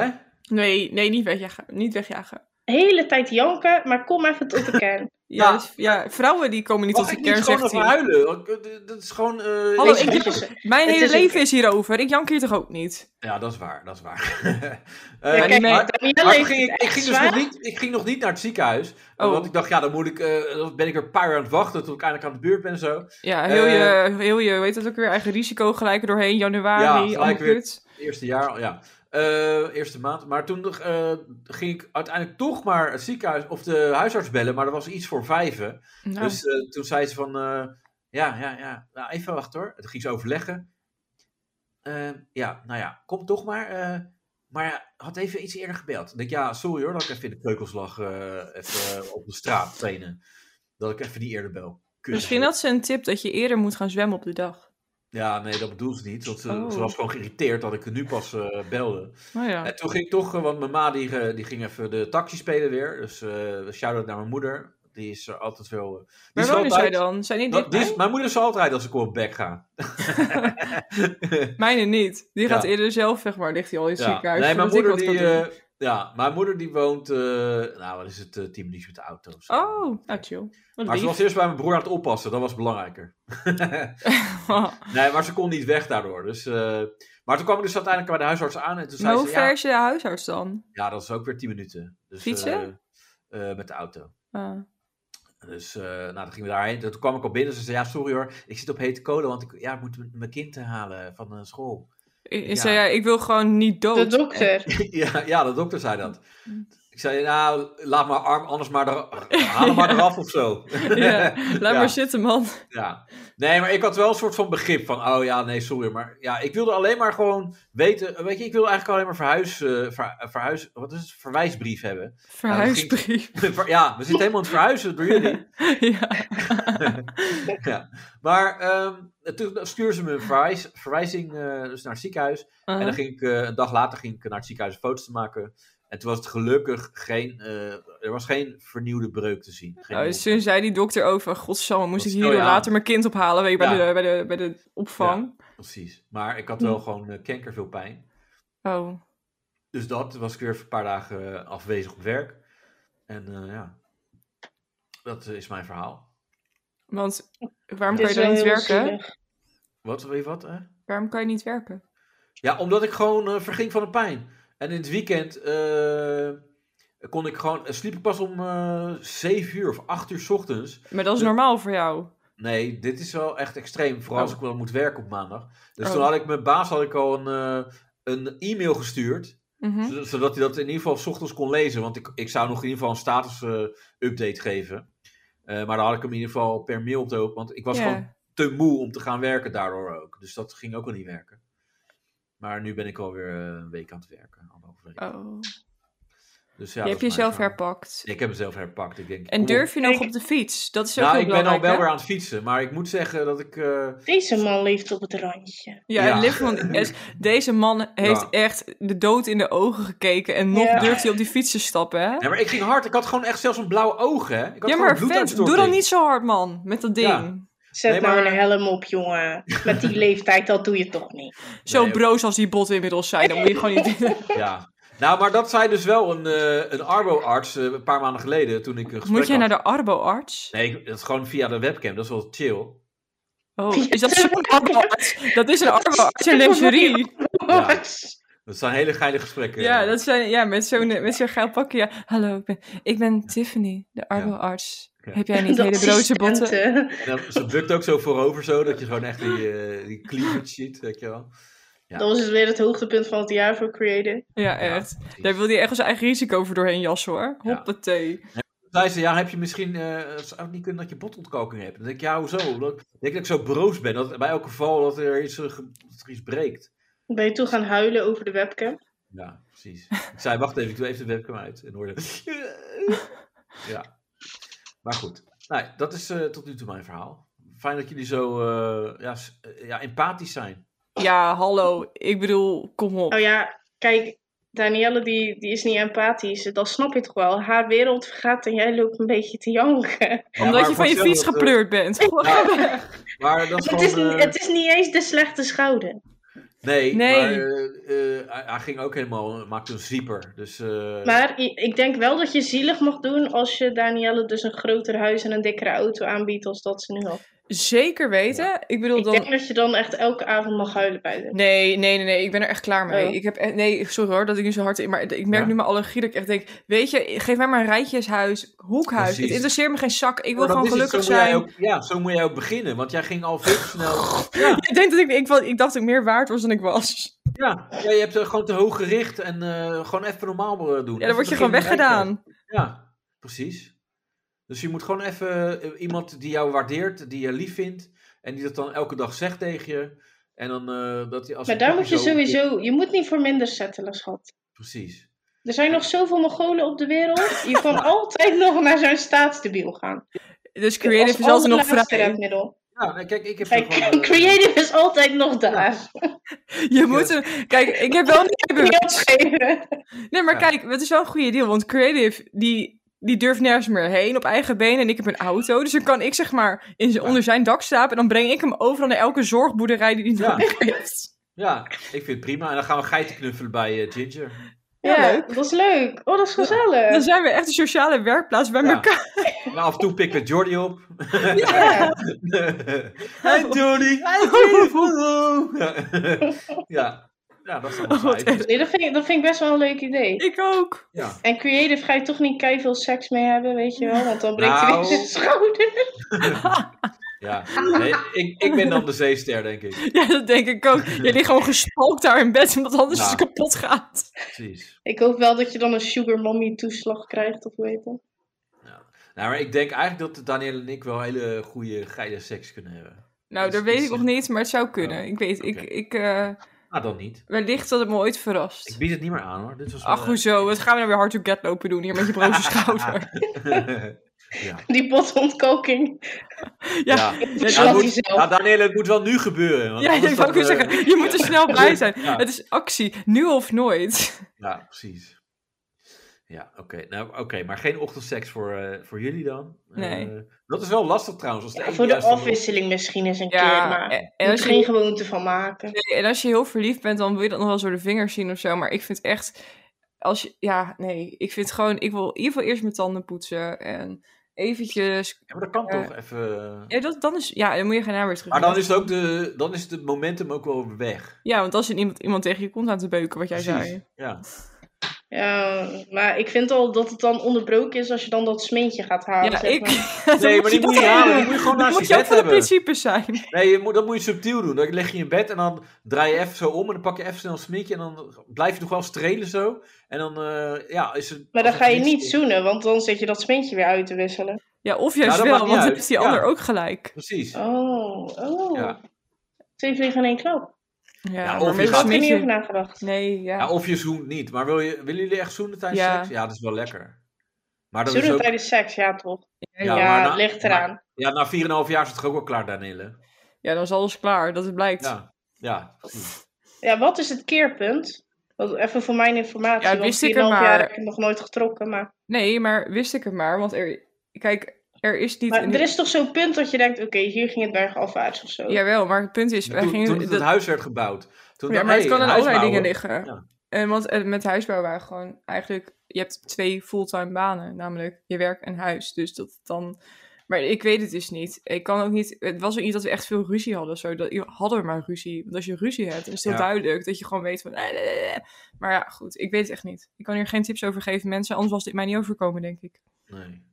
S3: Hè?
S4: Nee, nee, niet wegjagen. Niet wegjagen.
S2: Hele tijd janken, maar kom even tot de kern.
S4: Ja,
S3: Ja.
S4: dat is- ja, vrouwen die komen niet
S3: Mag
S4: tot de
S3: ik
S4: kern,
S3: niet gewoon
S4: zegt
S3: even
S4: hij.
S3: huilen? Want, eh, d- Dat is gewoon... eh,
S4: Hallo,
S3: weet je-
S4: Oh, ik
S2: Weet je,
S4: Mijn
S2: Het
S4: hele
S2: is een-
S4: leven is hierover. Ik jank hier toch ook niet?
S3: Ja, dat is waar, dat is waar.
S2: Ja,
S3: Eh,
S4: Ja,
S2: kijk,
S4: niet mee.
S3: maar
S2: Danielle
S3: maar toen
S2: heeft
S3: ging
S2: het
S3: ik, ik,
S2: echt
S3: ging dus
S2: zwaar.
S3: nog niet, ik ging nog niet naar het ziekenhuis.
S4: Oh.
S3: Want ik dacht, ja, dan, moet ik, eh, dan ben ik er een paar uur aan het wachten tot ik eindelijk aan de beurt ben en zo.
S4: Ja, heel je, heel je, weet dat ook weer, eigen risico gelijk er doorheen.
S3: eh, Ja,
S4: Januari,
S3: gelijk
S4: allemaal
S3: weer.
S4: kut.
S3: Het eerste jaar, al, ja. Eh, eerste maand. Maar toen eh, ging ik uiteindelijk toch maar het ziekenhuis of de huisarts bellen. Maar dat was iets voor vijven.
S4: Nou,
S3: Dus eh, toen zei ze van, eh, ja, ja, ja, nou, even wachten hoor. Toen ging ze overleggen. Eh, ja, nou ja, kom toch maar. eh, maar ja, had even iets eerder gebeld. Ik denk, ja, sorry hoor, dat ik even in de keukels lag, eh, even eh, op de straat trainen. Dat ik even niet eerder bel. Kut.
S4: misschien had ze een tip dat je eerder moet gaan zwemmen op de dag.
S3: Ja, nee, dat bedoelde ze niet. Want ze,
S4: Oh.
S3: ze was gewoon geïrriteerd dat ik er nu pas eh, belde.
S4: Nou ja.
S3: En toen ging ik toch, eh, want mijn ma die, eh, die ging even de taxi spelen weer. Dus eh shout-out naar mijn moeder. Die is er altijd wel... eh, die
S4: Waar
S3: is
S4: wonen zij
S3: altijd-
S4: dan? Zijn die
S3: dat, die
S4: dichtbij?
S3: is- mijn moeder zal altijd als ik op mijn bek ga.
S4: Mijne niet. Die
S3: Ja.
S4: gaat eerder zelf, zeg maar, ligt hij al in het
S3: Ja.
S4: ziekenhuis.
S3: Nee, mijn
S4: zodat ik
S3: moeder,
S4: wat
S3: die,
S4: kan doen.
S3: eh, ja, mijn moeder die woont, eh, nou wat is het, eh, 10 minuutjes met de auto. of zo.
S4: Oh, nou chill.
S3: Maar
S4: Wat
S3: ze
S4: lief.
S3: was eerst bij mijn broer aan het oppassen, dat was belangrijker. nee, maar ze kon niet weg daardoor. Dus, eh, maar toen kwam ik dus uiteindelijk bij de huisarts aan en toen
S4: Maar
S3: zei
S4: hoe
S3: ze,
S4: ver
S3: ja,
S4: is je huisarts dan?
S3: ja, dat is ook weer 10 minuten. Dus,
S4: Fietsen?
S3: eh, eh, met de auto.
S4: Ah.
S3: Dus eh, nou, dan gingen we daarheen. Toen kwam ik al binnen en ze zei, ja, sorry hoor, ik zit op hete kolen, want ik, ja, ik moet m- mijn kind halen van eh, school.
S4: Ik, ik
S3: Ja.
S4: zei, ja, ik wil gewoon niet
S2: De
S4: dood.
S2: dokter.
S3: Ja, ja, de dokter zei dat.
S4: Mm.
S3: Ik zei, nou, laat maar arm anders maar, er, haal hem maar
S4: Ja.
S3: eraf of zo.
S4: Ja, laat
S3: Ja.
S4: maar zitten, man.
S3: Ja. Nee, maar ik had wel een soort van begrip van, oh ja, nee, sorry. Maar ja, ik wilde alleen maar gewoon weten, weet je, ik wilde eigenlijk alleen maar verhuis, eh, ver- eh, verhuis, wat is het, verwijsbrief hebben.
S4: Verhuisbrief.
S3: Ver- ja, we zitten helemaal aan het verhuizen door jullie.
S4: ja.
S3: ja. Maar ehm, toen stuurde ze me een verwijs, verwijzing eh, dus naar het ziekenhuis. En dan
S4: Uh-huh.
S3: ging ik, eh, een dag later ging ik naar het ziekenhuis om foto's te maken. En toen was het gelukkig geen, eh, er was geen vernieuwde breuk te zien. Geen
S4: Nou,
S3: nieuwe-
S4: toen zei die dokter ook van, godsamme, moest
S3: Dat-
S4: ik hier
S3: oh ja.
S4: later mijn kind ophalen weet je, bij,
S3: Ja.
S4: de, bij, de, bij de opvang.
S3: Precies. Maar ik had wel gewoon eh, kankerveel pijn.
S4: Oh.
S3: Dus dat was ik weer een paar dagen eh, afwezig op werk. En eh, ja, dat eh, is mijn verhaal.
S4: Want waarom
S2: Het
S4: kan
S2: is
S4: je dan
S2: wel
S4: niet
S2: heel
S4: werken?
S2: zielig.
S3: Wat, weet je wat? Hè?
S4: Waarom kan je niet werken?
S3: Ja, omdat ik gewoon eh, verging van de pijn. En in het weekend eh, kon ik gewoon, eh, sliep ik pas om eh 7 uur of 8 uur 's ochtends.
S4: Maar dat is
S3: De-
S4: normaal voor jou.
S3: Nee, dit is wel echt extreem. Vooral
S4: Oh.
S3: als ik wel moet werken op maandag. Dus
S4: Oh.
S3: toen had ik mijn baas had ik al een, eh, een e-mail gestuurd.
S4: Mhm.
S3: Zodat- Zodat hij dat in ieder geval 's ochtends kon lezen. Want ik, ik zou nog in ieder geval een status eh, update geven. Eh, maar dan had ik hem in ieder geval per mail op de hoogte. Want ik was
S4: Ja.
S3: gewoon te moe om te gaan werken daardoor ook. Dus dat ging ook al niet werken. Maar nu ben ik alweer eh, een week aan het werken. Anderhalve week.
S4: Oh.
S3: Dus ja,
S4: je
S3: dat
S4: hebt
S3: is mijn
S4: jezelf
S3: verhaal.
S4: herpakt.
S3: Ik heb mezelf herpakt. Ik denk,
S4: En
S3: kom op.
S4: durf je nog
S2: Ik-
S4: op de fiets? Dat is ook
S3: Nou,
S4: heel
S3: ik ben al
S4: belangrijk.
S3: wel
S4: hè?
S3: weer aan het fietsen. Maar ik moet zeggen dat ik... eh,
S2: Deze man leeft op het randje.
S4: Ja,
S3: Ja.
S4: Liv, want es- deze man heeft echt de dood in de ogen gekeken. En nog
S2: Ja.
S4: durft hij op die fiets te stappen, hè?
S3: Ja, maar ik ging hard. Ik had gewoon echt zelfs een blauw oog, hè? Ik had
S4: Ja,
S3: gewoon
S4: maar
S3: een
S4: vent, doe dan
S3: bloeduitstorting.
S4: niet zo hard, man. Met dat ding.
S3: Ja.
S2: Zet
S3: Nee,
S2: nou
S3: maar-
S2: een helm op, jongen. Met die leeftijd, dat doe je toch niet.
S4: Zo
S3: Nee,
S4: broos als die botten inmiddels zijn, dan moet je gewoon niet...
S3: Ja. Nou, maar dat zei dus wel een, eh een arbo-arts eh, een paar maanden geleden toen ik een gesprek
S4: Moet jij
S3: had.
S4: naar de arboarts?
S3: Nee, ik- dat is gewoon via de webcam. Dat is wel chill.
S4: Oh, is dat zo'n arboarts? Dat is een arboarts in lingerie.
S3: Ja. Dat zijn hele geile gesprekken.
S4: Ja, dat zijn, ja met zo'n met zo'n geil pakje. Ja. Hallo, ik ben, ik ben Tiffany, de arboarts.
S3: Ja.
S4: Heb jij niet hele broze botten?
S2: botten.
S3: En dan- ze bukt ook zo voorover zo, dat je gewoon echt die, eh, die cleavage ziet, weet je wel. Ja.
S2: Dat was dus weer het hoogtepunt van het jaar voor Creative.
S4: Ja, echt.
S3: precies.
S4: Daar wil hij echt als eigen risico voor doorheen jassen, hoor.
S3: Ja.
S4: Hoppatee.
S3: Zei ze, ja, heb je misschien, eh, het zou ook niet kunnen dat je botontkalking hebt. Dan denk ik, ja, hoezo? Omdat ik denk dat ik zo broos ben, dat bij elk geval dat er iets, eh, ge- dat er iets breekt.
S2: Ben je toen gaan huilen over de webcam?
S3: Ja, precies. Ik zei, wacht even, ik doe even de webcam uit. En hoorde... Ja. Maar goed. Nou, dat is eh, tot nu toe mijn verhaal. Fijn dat jullie zo eh, ja, s- eh, ja, empathisch zijn.
S4: Ja, hallo. Ik bedoel, kom op.
S2: Oh ja, kijk, Danielle die, die is niet empathisch. Dat snap je toch wel? Haar wereld vergaat en jij loopt een beetje te janken.
S4: Omdat je van je
S3: gepleurd
S4: fiets gepleurd bent.
S3: eh, Maar dat is
S2: Het is,
S3: gewoon... eh,
S2: het is niet eens de slechte schouder.
S3: nee,
S4: Nee.
S3: maar eh, eh, hij, hij ging ook helemaal... maakte een zwieper. Dus eh,
S2: Maar i- ik denk wel dat je zielig mag doen als je Danielle dus een groter huis en een dikkere auto aanbiedt als dat ze nu had.
S4: Zeker weten. Ik bedoel
S2: Ik
S4: dan...
S2: denk dat je dan echt elke avond mag huilen bij haar.
S4: Nee, nee, nee, nee. Ik ben er echt klaar mee.
S2: Oh.
S4: Ik heb echt... Nee, sorry hoor dat ik nu zo hard... in- Maar ik merk
S3: Ja.
S4: nu mijn allergie dat ik echt denk... Weet je, geef mij maar een rijtjeshuis, hoekhuis.
S3: Precies.
S4: Het interesseert me geen zak. Ik wil
S3: maar Oh, dat
S4: gewoon
S3: is het,
S4: gelukkig
S3: zo moet jij
S4: zijn.
S3: ook- ja, zo moet jij ook beginnen. Want jij ging al veel te snel... Ja,
S4: Ik denk dat ik, ik... wel- Ik dacht dat ik meer waard was dan ik was.
S3: ja, ja, je hebt eh, gewoon te hoog gericht. En eh, gewoon even normaal eh, doen.
S4: Ja, dan word je
S3: Even
S4: gewoon
S3: beginnen met
S4: weggedaan.
S3: Ja, precies. Dus je moet gewoon even eh, iemand die jou waardeert, die je lief vindt. En die dat dan elke dag zegt tegen je. En dan eh, dat hij als
S2: Maar
S3: een
S2: daar moet
S3: poppy
S2: je
S3: zo-
S2: sowieso, je moet niet voor minder settelen, schat.
S3: Precies.
S2: Er zijn nog zoveel Mongolen op de wereld. Je kan altijd nog naar zo'n staatsdebiel gaan.
S4: Dus creative is altijd nog vrij.
S2: redmiddel.
S3: Ja, nee, kijk, ik heb
S2: Kijk,
S3: gewoon, eh,
S2: creative is altijd nog daar.
S4: Je moet hem... Kijk, ik heb wel een
S2: Niet
S4: bewijs.
S2: opgeven.
S4: Nee, maar
S3: Ja.
S4: kijk, het is wel een goede deal. Want Creative, die, die durft nergens meer heen op eigen benen. En ik heb een auto. Dus dan kan ik zeg maar in zijn,
S3: Ja.
S4: onder zijn dak slapen. En dan breng ik hem overal naar elke zorgboerderij die hij
S3: Ja.
S4: nodig heeft.
S3: eh, ja, ik vind het prima. En dan gaan we geiten knuffelen bij eh, Ginger.
S4: Ja,
S2: Ja,
S4: leuk.
S2: dat is leuk. Oh, dat is
S4: Dan
S2: gezellig.
S4: zijn we echt een sociale werkplaats bij
S3: Ja.
S4: elkaar.
S3: En af en toe pikken we Jordi op.
S2: Ja.
S3: Hey Jordi! Hey Jordi! ja. ja, dat is
S4: Oh,
S3: allemaal
S4: wat
S3: fijn.
S4: erg.
S2: Nee, dat, vind ik, dat vind ik best wel een leuk idee.
S4: Ik ook.
S3: Ja.
S2: En creative ga je toch niet kei veel seks mee hebben, weet je wel? Want dan breekt hij
S3: Nou.
S2: weer zijn schouder.
S3: ja. Nee, ik, ik ben dan de zeester, denk ik.
S4: Ja, dat denk ik ook. Je ligt gewoon gespalkt daar in bed. Omdat anders
S3: Ja.
S4: het kapot gaat.
S3: Precies.
S2: Ik hoop wel dat je dan een sugar mommy toeslag krijgt, of weet je.
S3: Nou, maar ik denk eigenlijk dat Daniel en ik wel hele goede geile seks kunnen hebben.
S4: Nou,
S3: Dus het
S4: dat weet
S3: is-
S4: ik nog niet. Maar het zou kunnen.
S3: Oh,
S4: Ik weet, ik,
S3: oké.
S4: ik, eh,
S3: Nou, dan niet.
S4: wellicht dat het me ooit verrast.
S3: Ik bied het niet meer aan hoor. Dit was wel,
S4: Ach, hoezo? Wat gaan we nou weer hard to get lopen doen hier met je broze schouder?
S3: eh, ja.
S2: Die botontkoking.
S4: Ja,
S3: Ja.
S4: dat-
S3: Ja, het
S2: Zoals
S3: moet-
S2: hij zelf.
S3: ja, Daniel, het moet wel nu gebeuren. want
S4: Ja,
S3: anders
S4: dat wou ik
S3: dan,
S4: weer
S3: eh,
S4: zeggen. Je moet dus- er snel bij zijn.
S3: Ja.
S4: Het is actie. Nu of nooit.
S3: Ja, precies. Ja, oké. Nou, oké, maar geen ochtendseks voor, eh, voor jullie dan.
S4: Nee.
S3: Eh, dat is wel lastig trouwens. Als de
S2: Ja,
S3: ene
S2: voor de
S3: juist dan-
S2: afwisseling misschien eens een keer,
S4: Ja,
S2: maar
S4: en,
S2: je
S4: en als
S2: moet er geen
S4: je,
S2: gewoonte van maken.
S4: en als je heel verliefd bent, dan wil je dat nog wel zo de vingers zien of zo. Maar ik vind echt... als je, ja, nee, ik vind gewoon, ik wil in ieder geval eerst mijn tanden poetsen en eventjes.
S3: Ja, maar dat kan
S4: Ja.
S3: toch even... eh.
S4: Ja, dat, dan is, ja, dan moet je geen haar weer terug.
S3: Maar dan is, het ook de, dan is het momentum ook wel weg.
S4: Ja, want als je iemand, iemand tegen je kont aan te beuken, wat jij
S3: Precies.
S4: zei.
S3: Ja.
S2: Ja, maar ik vind al dat het dan onderbroken is als je dan dat smeentje gaat halen.
S4: Ja,
S2: zeg
S4: ik.
S2: maar.
S3: Nee, maar die moet je halen. Die moet je gewoon
S4: Dan
S3: naast
S4: moet
S3: je
S4: je ook
S3: bed
S4: van de
S3: hebben.
S4: principes zijn.
S3: Nee, je moet, dat moet je subtiel doen. Dan leg je in bed en dan draai je even zo om. En dan pak je even snel een smikje. En dan blijf je nog wel strelen zo. En dan eh, ja, is het...
S2: Maar dan
S3: als
S2: ga
S3: het
S2: je niet
S3: is-
S2: zoenen, want dan zit je dat smeentje weer uit te wisselen.
S4: Ja, of juist
S3: dat
S4: wel,
S3: maakt niet
S4: want dan
S3: uit.
S4: heeft die
S3: Ja.
S4: ander ook gelijk.
S3: Precies.
S2: Oh, oh.
S3: Ja.
S2: Twee vliegen in één knop.
S3: Ja,
S4: Ja, maar
S3: of je
S4: met
S2: Ik had
S4: een
S2: er niet
S4: smetje-
S2: over nagedacht.
S4: Nee, ja.
S3: Ja, of je zoent niet. Maar wil je, willen jullie echt zoenen tijdens
S4: Ja.
S3: seks? Ja, dat is wel lekker. Maar dat
S2: Zoenen
S3: is ook...
S2: tijdens seks, ja toch? Ja,
S3: maar na-
S2: ligt eraan.
S3: Ja, na 4,5 jaar is het toch ook wel klaar, Danille.
S4: Ja, dan is alles klaar, dat het blijkt. Ja,
S3: Ja, ja. precies.
S2: Ja, wat is het keerpunt? Want even voor mijn informatie,
S4: Ja,
S2: want
S4: wist ik er
S2: 4,5 jaar
S4: maar.
S2: heb ik nog nooit getrokken. Maar,
S4: Nee, maar wist ik het maar, want er... Kijk, er is niet...
S2: maar
S4: een-
S2: er is toch zo'n punt dat je denkt, oké, hier ging het bergafwaarts of zo.
S4: Jawel, maar het punt is... wij
S3: Toen,
S4: gingen-
S3: toen het
S4: dat-
S3: huis werd gebouwd. Toen
S4: Ja,
S3: dacht,
S4: maar het
S3: hey,
S4: kan aan allerlei dingen
S3: huisbouwen.
S4: liggen.
S3: Ja.
S4: En want eh, met huisbouw waren gewoon eigenlijk... Je hebt twee fulltime banen, namelijk je werk en huis. Dus dat dan... Maar ik weet het dus niet. Ik kan ook niet... Het was ook niet dat we echt veel ruzie hadden. of Zo. Dat, hadden we maar ruzie. Want als je ruzie hebt, dan is het heel
S3: Ja.
S4: duidelijk dat je gewoon weet van... eh, eh, eh. Maar ja, goed. Ik weet het echt niet. Ik kan hier geen tips over geven, mensen. Anders was dit mij niet overkomen, denk ik.
S3: Nee.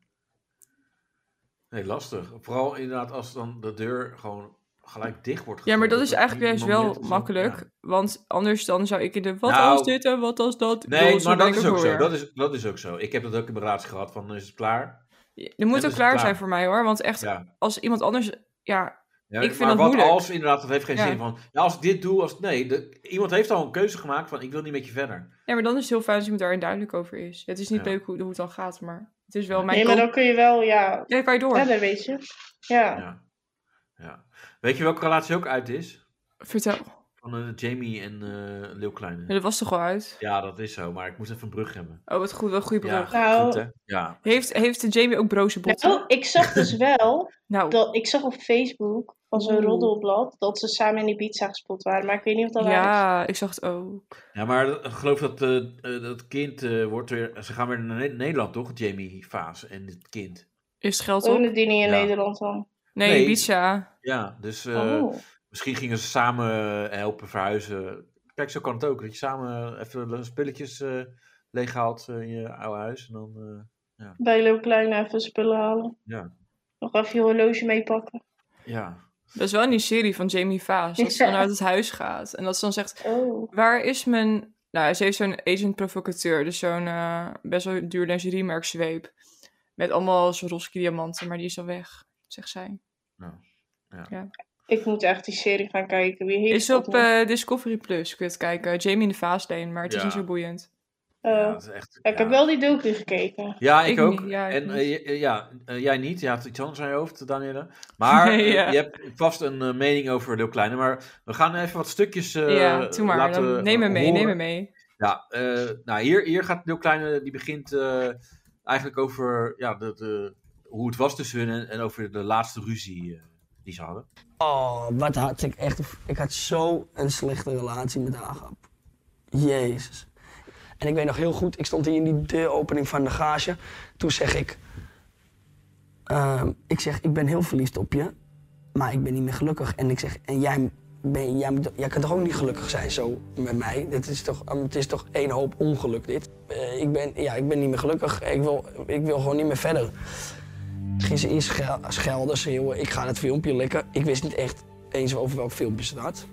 S3: Nee, lastig. Vooral inderdaad als dan de deur gewoon gelijk dicht wordt
S4: Ja, maar
S3: gegooid.
S4: dat is
S3: er
S4: eigenlijk
S3: niet
S4: juist
S3: een
S4: wel
S3: moment is om-
S4: makkelijk.
S3: ja.
S4: Want anders dan zou ik in de... Wat
S3: Nou.
S4: als dit en wat als dat?
S3: Nee,
S4: bedoel, zo
S3: maar
S4: ben
S3: dat
S4: ik
S3: is ook zo.
S4: weer.
S3: Dat is, dat is ook zo. Ik heb dat ook in mijn relatie gehad van is het klaar?
S4: Je
S3: dat
S4: moet ook
S3: is
S4: klaar
S3: dus klaar.
S4: zijn voor mij hoor. Want echt,
S3: Ja.
S4: als iemand anders. Ja,
S3: Ja,
S4: Ik vind
S3: maar
S4: dat
S3: wat
S4: moeilijk.
S3: als inderdaad, dat heeft geen
S4: Ja.
S3: zin van. Ja, als ik dit doe, als nee, de- iemand heeft al een keuze gemaakt van ik wil niet met je verder.
S4: ja, maar dan is het heel fijn als iemand daarin duidelijk over is. Het is niet
S3: Ja.
S4: leuk hoe, hoe het dan gaat, maar het is wel mijn.
S2: nee, maar
S4: kant-
S2: dan kun je wel, ja,
S4: Ja, dan kan je door.
S2: verder, weet je. Ja.
S3: Ja. ja. Weet je welke relatie ook uit is?
S4: Vertel.
S3: Van eh, Jamie en eh Leeuw Kleine.
S4: Ja, dat was toch wel uit?
S3: Ja, dat is zo, maar ik moest even een brug hebben.
S4: Oh, wat goed, wat een goede
S3: Ja,
S4: brug.
S2: Nou.
S3: goed, hè? Ja.
S4: Heeft, heeft de Jamie ook broze botten?
S2: Nou, ik zag dus wel,
S4: Nou,
S2: dat, ik zag op Facebook van zo'n
S4: Oeh.
S2: roddelblad dat ze samen in Ibiza gespot waren. Maar ik weet niet of dat waar is.
S4: ja, ik zag het ook.
S3: Ja, maar ik geloof dat eh, eh, dat kind eh, wordt weer. Ze gaan weer naar Ne- Nederland, toch? Jamie Faas en het kind.
S4: Is het geld op?
S2: Wonen die niet in
S3: Ja.
S2: Nederland dan?
S4: Nee,
S3: Nee.
S4: Ibiza.
S3: Ja, dus eh,
S2: Oh.
S3: misschien gingen ze samen eh, helpen verhuizen. Kijk, zo kan het ook. Dat je samen eh, even spulletjes eh leeghaalt eh, in je oude huis. En dan, eh,
S2: Bij Leo Klein even spullen halen.
S3: Ja.
S2: Nog even je horloge meepakken.
S3: ja.
S4: Dat is wel in die serie van Jamie Vaas. Dat ze dan uit het huis gaat. En dat ze dan zegt,
S2: Oh.
S4: Waar is mijn... Nou, ze heeft zo'n agent provocateur. Dus zo'n eh, best wel duur lingeriemerk zweep. Met allemaal Swarovski diamanten. Maar die is al weg, zegt zij.
S2: Ik moet echt die serie gaan kijken. Wie heeft
S4: is
S2: dat
S4: op
S2: nou?
S4: eh, Discovery Plus. Kun je het kijken. Jamie in de Vaasleen. Maar het is
S3: Ja.
S4: niet zo boeiend.
S2: Eh,
S3: ja, dat is echt,
S2: ja, ik heb
S3: ja.
S2: wel die docu gekeken.
S3: Ja, ik,
S4: Ik
S3: ook.
S4: niet, ja, ik
S3: en
S4: niet.
S3: eh, j- eh, ja, eh, jij niet. Je had iets anders aan je hoofd, Danielle. Maar eh,
S4: Ja.
S3: je hebt vast een eh, mening over Leeuw Kleine. Maar we gaan even wat stukjes eh
S4: ja, doe maar.
S3: laten
S4: Dan neem me mee, neem me
S3: horen.
S4: mee.
S3: Ja, eh, nou hier, hier gaat Leeuw Kleine, die begint eh, eigenlijk over ja, de, de, hoe het was tussen hun en, en over de laatste ruzie eh, die ze hadden.
S5: Oh, wat had ik echt. Ik had zo een slechte relatie met Agap. Jezus. En ik weet nog heel goed, ik stond hier in die deuropening van de garage. Toen zeg ik. ehm, ik zeg, ik ben heel verliefd op je, maar ik ben niet meer gelukkig. En ik zeg, en jij, ben, jij, moet- jij kan toch ook niet gelukkig zijn zo met mij? Het is toch, ehm, het is toch één hoop ongeluk dit? Eh, ik, ben, ja, ik ben niet meer gelukkig, ik wil, ik wil gewoon niet meer verder ging ze eerst schel- schelden, schreeuwen. Ik ga het filmpje likken. Ik wist niet echt eens over welk filmpje ze het had.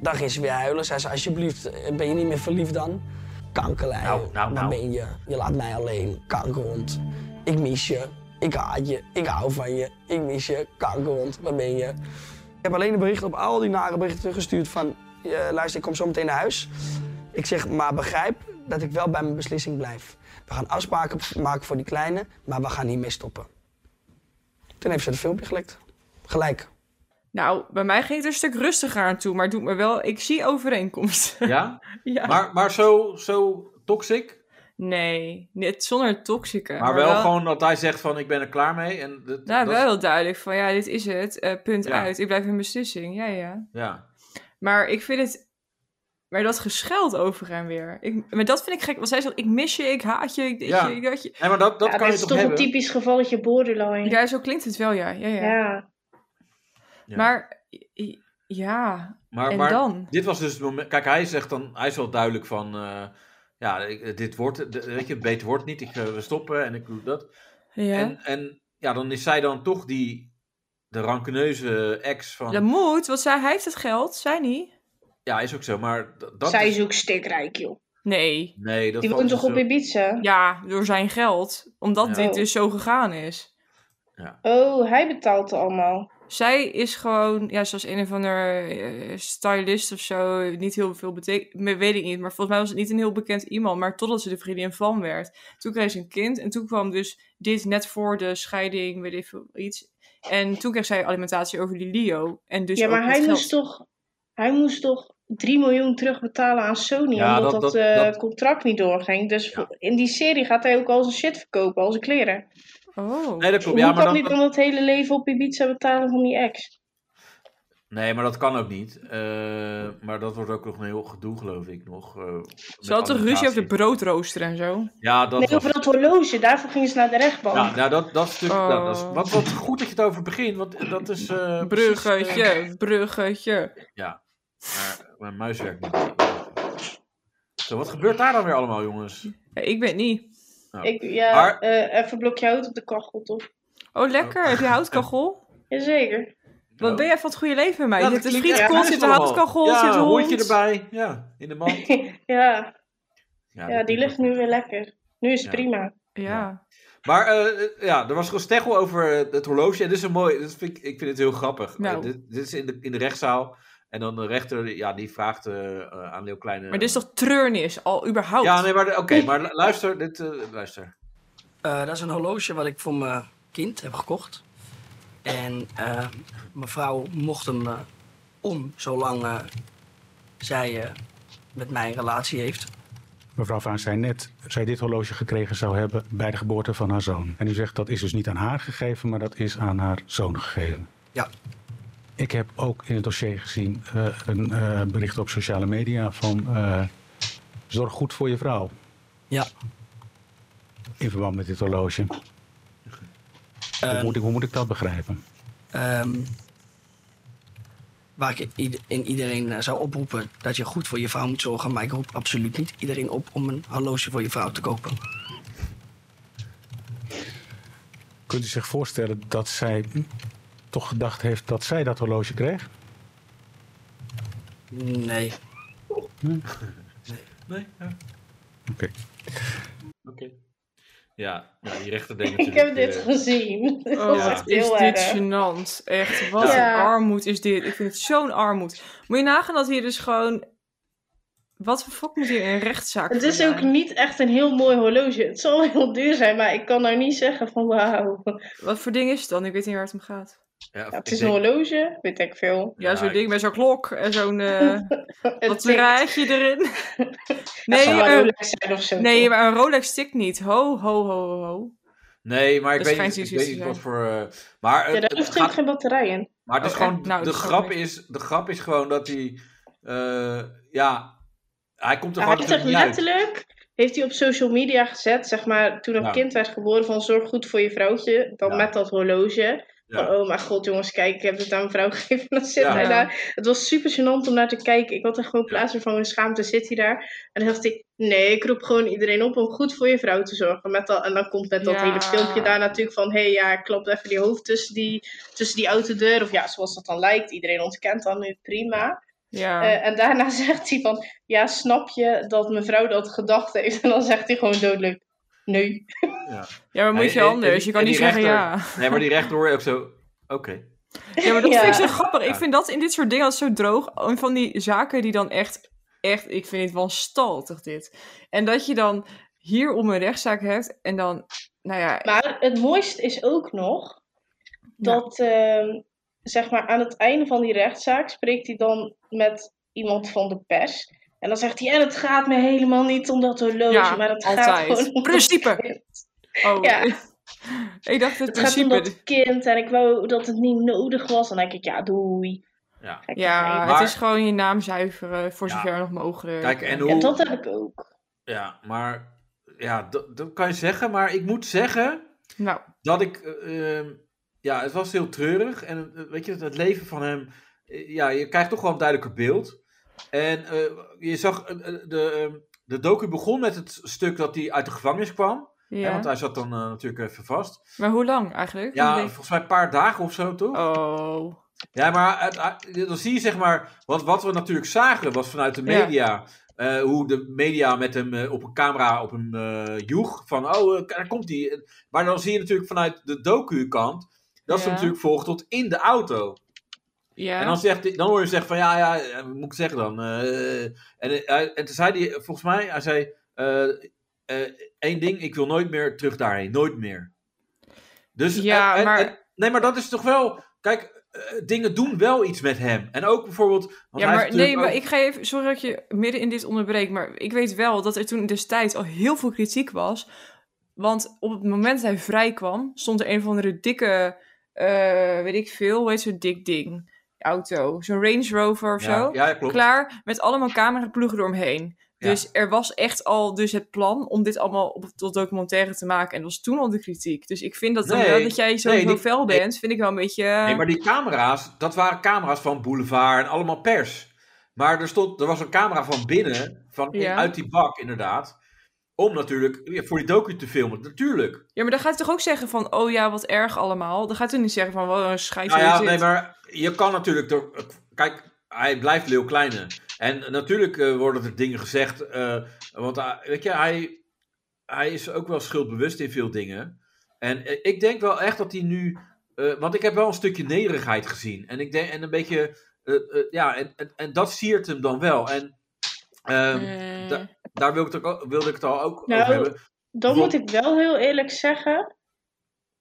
S5: Dan ging ze weer huilen. Zei ze, alsjeblieft, eh, ben je niet meer verliefd dan? Kankerlijn,
S3: Nou, nou,
S5: waar
S3: nou.
S5: ben je? Je laat mij alleen, kankerhond. Ik mis je, ik haat je, ik hou van je. Ik mis je, kankerhond, waar ben je? Ik heb alleen een bericht op al die nare berichten teruggestuurd van... eh, luister, ik kom zo meteen naar huis. Ik zeg, maar begrijp dat ik wel bij mijn beslissing blijf. We gaan afspraken maken voor die kleine, maar we gaan hiermee stoppen. Toen heeft ze het filmpje gelekt. Gelijk.
S4: Nou, bij mij ging het een stuk rustiger aan toe. Maar het doet me wel... Ik zie overeenkomsten.
S3: Ja?
S4: ja.
S3: Maar, maar zo, zo toxic.
S4: Nee, net zonder het toxische.
S3: Maar, wel, gewoon dat hij zegt van ik ben er klaar mee. En dat,
S4: Nou,
S3: dat-
S4: wel heel duidelijk van ja, dit is het. eh, punt
S3: Ja.
S4: uit. Ik blijf in beslissing. Ja, ja.
S3: Ja.
S4: Maar ik vind het. Maar dat gescheld over en weer. Ik, maar dat vind ik gek. Want zij zegt, ik mis je, ik haat je, ik dit
S3: Ja.
S4: je, ik dat je.
S3: Nee, maar dat, dat
S2: ja,
S3: kan
S2: dit
S3: je
S2: is
S3: toch
S2: toch
S3: hebben?
S2: een typisch gevalletje borderline.
S4: Ja, zo klinkt het wel, ja. ja, ja.
S2: ja.
S3: Ja.
S4: Maar, i- ja,
S3: maar,
S4: en
S3: maar
S4: dan?
S3: dit was dus het moment... Kijk, hij zegt dan... Hij is wel duidelijk van... eh, ja, ik- dit wordt... d- Weet je, beter wordt niet. Ik, eh, we stoppen en ik doe dat.
S4: Ja.
S3: En, en ja, dan is zij dan toch die... De rankeneuze ex van...
S4: Dat moet, want zij, hij heeft het geld, zij niet.
S3: Ja, is ook zo, maar... d- Dat
S2: Zij
S3: is-
S2: is ook stikrijk, joh.
S4: Nee.
S3: Nee, dat
S2: Die
S3: valt
S2: woont
S3: dus
S2: toch op
S3: wel-
S2: Ibiza?
S4: Ja, door zijn geld. Omdat
S3: Ja.
S4: dit dus zo gegaan is.
S2: Oh, hij betaalt het allemaal.
S4: Zij is gewoon, ja, zoals een of ander eh, stylist of zo, niet heel veel betekent, weet ik niet. Maar volgens mij was het niet een heel bekend iemand. Maar totdat ze de vriendin van werd. Toen kreeg ze een kind en toen kwam dus dit net voor de scheiding, weet ik veel, iets. En toen kreeg zij alimentatie over die Leo. En dus
S2: ja, maar
S4: ook het
S2: hij
S4: geld.
S2: moest, toch, hij moest toch 3 miljoen terugbetalen aan Sony.
S3: Ja,
S2: omdat
S3: dat-
S2: dat,
S3: dat-
S2: eh,
S3: dat-
S2: contract niet doorging. Dus voor- in die serie gaat hij ook al zijn shit verkopen, al zijn kleren.
S4: Oh.
S3: Nee, dat
S2: Hoe
S3: klopt. Ja,
S2: moet
S3: maar
S2: dat
S3: dan,
S2: niet om dat hele leven op Ibiza betalen van die ex?
S3: Nee, maar dat kan ook niet. Eh, maar dat wordt ook nog een heel gedoe, geloof ik, nog. eh, met
S4: Ze had toch ruzie over de
S3: administratie.
S4: broodrooster en zo?
S3: Ja, dat
S2: nee,
S3: was...
S2: over dat horloge. Daarvoor gingen ze naar de rechtbank.
S3: Ja, nou, dat, dat stuk...
S4: Oh.
S3: nou, dat is, wat, wat goed dat je het over het begin, want dat is... eh, precies, eh,
S4: Bruggetje, bruggetje.
S3: maar mijn muis werkt niet. Zo, wat gebeurt daar dan weer allemaal, jongens?
S4: Ja, ik weet niet.
S2: Ik, ja
S3: Maar-
S2: eh, even een blokje hout op de kachel, toch?
S4: Oh, lekker. Heb je houtkachel?
S2: Jazeker.
S4: Wat ben jij van het goede leven, meid?
S3: Ja,
S4: je hebt een
S3: klinkt echt
S4: frietkot,
S3: nice
S4: zit een
S3: allemaal.
S4: houtkachel,
S3: Oh. ja,
S4: zit een hond.
S3: hondje erbij. Ja, in de mand.
S2: ja, ja,
S3: dat
S2: die
S3: moet
S2: ligt nu weer lekker. Nu is het
S3: Ja.
S2: prima.
S4: Ja.
S3: Maar eh, eh, ja, er was gesteggel over eh, het horloge. En dit is een mooi. Dit vind ik, ik vind het heel grappig.
S4: Nou.
S3: Eh, dit, dit is in de, in de rechtszaal. En dan de rechter, ja, die vraagt eh, eh, aan Leeuw Kleine.
S4: Maar dit is toch treurnis, al überhaupt?
S3: Ja, nee, maar de- oké, maar lu- luister. Dit, eh, luister.
S5: Eh, dat is een horloge wat ik voor mijn kind heb gekocht. En eh, mijn vrouw mocht hem eh, om zolang eh, zij eh, met mij een relatie heeft.
S6: Mevrouw Vaan zei net, zij dit horloge gekregen zou hebben bij de geboorte van haar zoon. En u zegt dat is dus niet aan haar gegeven, maar dat is aan haar zoon gegeven.
S5: Ja.
S6: Ik heb ook in het dossier gezien eh, een eh, bericht op sociale media van eh, zorg goed voor je vrouw
S5: Ja.
S6: in verband met dit horloge. Hoe,
S5: Ehm,
S6: moet ik, hoe moet ik dat begrijpen?
S5: ehm, waar ik ied- in iedereen eh, zou oproepen dat je goed voor je vrouw moet zorgen. Maar ik roep absoluut niet iedereen op om een horloge voor je vrouw te kopen.
S6: Kunt u zich voorstellen dat zij toch gedacht heeft dat zij dat horloge kreeg?
S5: Nee.
S3: Nee, ja. Oké.
S6: Oké.
S3: Ja, ja, die rechter denkt
S2: Ik heb
S3: natuurlijk,
S2: dit
S3: eh,
S2: gezien.
S4: Oh,
S3: Ja.
S4: wat is
S2: Heel
S4: dit
S2: erg.
S4: gênant. Echt, wat
S2: Ja.
S4: een armoed is dit. Ik vind het zo'n armoed. Moet je nagaan dat hier dus gewoon... Wat voor fuck moet hier een rechtszaak
S2: Het
S4: voor
S2: is
S4: zijn?
S2: ook niet echt een heel mooi horloge. Het zal heel duur zijn, maar ik kan nou niet zeggen van wauw.
S4: Wat voor ding is het dan? Ik weet niet waar het om gaat.
S3: ja,
S2: Ja,
S3: ik
S2: het is een
S3: denk-
S2: horloge, weet ik veel.
S4: Ja,
S3: Ja,
S4: zo'n
S3: ik-
S4: ding met zo'n klok en zo'n... eh,
S2: Het
S4: Wat
S2: tikt.
S4: draadje erin? Nee,
S2: Het zou
S4: eh,
S2: een Rolex zijn of zo.
S4: nee, maar een Rolex stikt niet. Ho, ho, ho, ho, ho.
S3: Nee, maar ik
S4: Dat
S3: weet
S4: schijnt
S3: niet, ik weet
S4: iets te
S3: niet
S4: zijn.
S3: wat voor. eh, maar
S2: Ja,
S3: het-
S2: daar
S3: het
S2: hoeft
S3: gaat-
S2: ook geen batterij in.
S3: Maar het is
S4: Oh,
S3: gewoon,
S4: echt? Nou,
S3: de,
S4: dat snap
S3: grap
S4: ik.
S3: is, de grap is gewoon dat hij, eh, ja, hij komt er
S2: Hij
S3: gewoon
S2: heeft er
S3: natuurlijk niet uit.
S2: letterlijk, heeft hij op social media gezet, zeg maar, toen een
S3: Ja.
S2: kind werd geboren, van zorg goed voor je vrouwtje, dan
S3: Ja.
S2: met dat horloge.
S3: Ja.
S2: Van, oh mijn god jongens, kijk, ik heb het aan mijn vrouw gegeven, dan zit
S3: Ja.
S2: hij
S4: Ja.
S2: daar. Het was super gênant om naar te kijken. Ik had er gewoon
S3: Ja.
S2: plaatsen van geschaamd, dan zit hij daar. En dan dacht ik, nee, ik roep gewoon iedereen op om goed voor je vrouw te zorgen. Met dat, en dan komt net dat
S4: Ja.
S2: hele filmpje daar natuurlijk van, hé hey, ja, klopt even die hoofd tussen die, tussen die autodeur. Of ja, zoals dat dan lijkt, iedereen ontkent dan nu prima.
S4: Ja.
S2: Eh, en daarna zegt hij van, ja, snap je dat mevrouw dat gedacht heeft? En dan zegt hij gewoon dodelijk, nee.
S4: ja, maar
S3: en-
S4: moet je
S3: en-
S4: anders?
S3: en-
S4: Je kan
S3: en
S4: niet
S3: die
S4: zeggen ja.
S3: rechter- Nee, maar die rechter hoor je ook zo, oké.
S4: Ja, maar dat
S2: Ja.
S4: vind ik zo grappig.
S3: Ja.
S4: Ik vind dat in dit soort dingen altijd zo droog. Een van die zaken die dan echt, echt, ik vind het wanstaltig dit. En dat je dan hier om een rechtszaak hebt en dan, nou ja,
S2: Maar het mooiste is ook nog dat, ehm, zeg maar, aan het einde van die rechtszaak spreekt hij dan met iemand van de pers. En dan zegt hij, en het gaat me helemaal niet om dat horloge,
S4: ja,
S2: maar het gaat
S4: altijd.
S2: gewoon om
S4: Principe! Oh,
S2: Ja.
S4: ik dacht het
S2: Het gaat om
S4: principe.
S2: dat kind en ik wou dat het niet nodig was. En dan denk ik, ja, doei.
S3: Ja.
S2: Gekke
S4: Ja,
S2: geiten.
S3: Maar-
S4: het is gewoon je naam zuiveren voor
S3: Ja.
S4: zover nog mogelijk.
S3: Kijk, en
S2: Ja,
S3: hoe...
S2: dat heb ik ook.
S3: Ja, maar... Ja, dat, dat kan je zeggen. Maar ik moet zeggen
S4: Nou,
S3: dat ik... eh, ehm, ja, het was heel treurig. En eh, weet je, het leven van hem... eh, ja, je krijgt toch wel een duidelijker beeld. En eh, je zag... eh, eh, de, ehm, de docu begon met het stuk dat hij uit de gevangenis kwam. Hè,
S4: ja.
S3: want hij zat dan eh, natuurlijk even vast.
S4: Maar hoe lang eigenlijk?
S3: Ja,
S4: Een week?
S3: volgens mij een paar dagen of zo, toch?
S4: Oh.
S3: Ja, maar het- eh, dan zie je zeg maar, wat, wat we natuurlijk zagen was vanuit de media. eh, hoe de media met hem eh, op een camera op hem eh, joeg. Van, oh, eh, daar komt hij. Maar dan zie je natuurlijk vanuit de docu-kant. Dat ze
S4: Ja.
S3: hem natuurlijk volgen tot in de auto.
S4: Ja.
S3: En dan, zegt, hij- dan hoor je hem zeggen van, ja, ja, eh, wat moet ik zeggen dan? Eh, en, hij- en toen zei hij, volgens mij, hij zei... eh, eh, één ding, ik wil nooit meer terug daarheen. Nooit meer. Dus,
S4: Ja,
S3: en- en-
S4: maar-
S3: en- nee, maar dat is toch wel... Kijk, eh, dingen doen wel iets met hem. En ook bijvoorbeeld... Want
S4: ja,
S3: hij
S4: maar
S3: heeft
S4: nee,
S3: natuurlijk
S4: maar
S3: ook-
S4: ik ga even. Sorry dat ik je midden in dit onderbreek. Maar ik weet wel dat er toen destijds al heel veel kritiek was. Want op het moment dat hij vrij kwam, stond er een van de dikke. eh, weet ik veel, hoe heet zo'n dik ding? Auto. Zo'n Range Rover of zo.
S3: Ja, ja, klopt.
S4: Klaar met allemaal cameraploegen eromheen.
S3: Ja.
S4: Dus er was echt al dus het plan om dit allemaal op, tot documentaire te maken. En dat was toen al de kritiek. Dus ik vind dat dan
S3: Nee,
S4: wel dat jij zo
S3: nee, die-
S4: fel
S3: nee.
S4: bent, vind ik wel een beetje... eh,
S3: Nee, maar die camera's, dat waren camera's van Boulevard en allemaal pers. Maar er, stond, er was een camera van binnen, van,
S4: Ja.
S3: uit die bak inderdaad. Om natuurlijk ja, voor die docu te filmen, natuurlijk.
S4: Ja, maar dan gaat hij toch ook zeggen van, oh ja, wat erg allemaal. Dan gaat hij niet zeggen van, wat een schijf
S3: Nou
S4: hoe
S3: ja,
S4: je
S3: nee,
S4: zit.
S3: maar je kan natuurlijk. Door, kijk, hij blijft Leeuw Kleine. En natuurlijk eh, worden er dingen gezegd. eh, want hij- weet je, hij, hij is ook wel schuldbewust in veel dingen. En eh, ik denk wel echt dat hij nu. eh, want ik heb wel een stukje nederigheid gezien. En ik denk. En een beetje. eh, eh, ja, en, en, en dat siert hem dan wel. En. ehm,
S4: Mm.
S3: da- daar wil ik het ook- wilde ik het al ook
S2: Nou,
S3: over hebben.
S2: Dan
S3: Wat-
S2: moet ik wel heel eerlijk zeggen.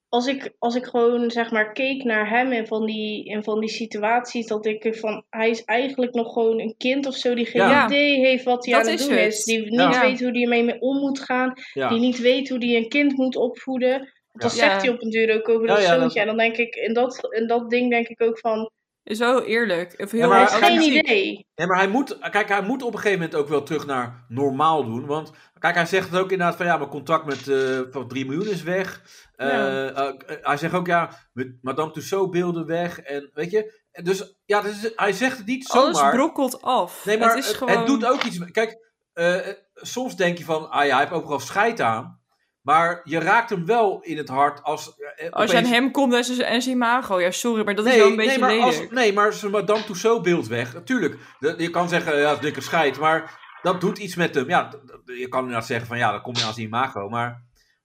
S2: Als ik, als ik gewoon zeg maar keek naar hem en van die, en van die situaties, dat ik van hij is eigenlijk nog gewoon een kind of zo die geen
S4: Ja.
S2: idee heeft wat hij
S4: Dat
S2: aan het
S4: is
S2: doen
S4: het.
S2: is. Die niet
S4: Ja.
S2: weet hoe hij ermee mee om moet gaan.
S3: Ja.
S2: Die niet weet hoe hij een kind moet opvoeden. Want dat
S4: Ja.
S2: zegt hij op een duur ook over
S3: Ja,
S2: dat
S3: ja, dat-
S2: zoontje. En dan denk ik, in dat, in dat ding denk ik ook van
S4: Is wel eerlijk. Of heel
S3: Ja, maar
S2: hij
S4: erg
S2: heeft
S3: kijk,
S2: geen
S4: authentiek.
S2: idee.
S3: Nee, maar hij moet, kijk, hij moet op een gegeven moment ook wel terug naar normaal doen. Want kijk, hij zegt het ook inderdaad van ja, mijn contract met eh, van 3 miljoen is weg. Eh,
S2: Ja.
S3: eh, eh, hij zegt ook ja, met Madame Tussaud beelden weg. En weet je, En dus ja, dus hij zegt het niet zomaar.
S4: Alles brokkelt af.
S3: nee, maar
S4: het, is gewoon...
S3: doet ook iets. met- Kijk, eh, eh, soms denk je van ah ja, hij heeft overal scheid aan. Maar je raakt hem wel in het hart als. eh,
S4: Als je
S3: opeens-
S4: aan hem komt, dan is het een imago. Ja, sorry, maar dat
S3: Nee,
S4: is wel een beetje
S3: nee, maar als,
S4: lelijk.
S3: nee, maar zijn Madame Tussaud beeld weg. Natuurlijk, de- je kan zeggen, ja, het is dikke scheid. Maar dat doet iets met hem. Ja, d- d- je kan inderdaad zeggen van, ja, dan kom je als die imago. Maar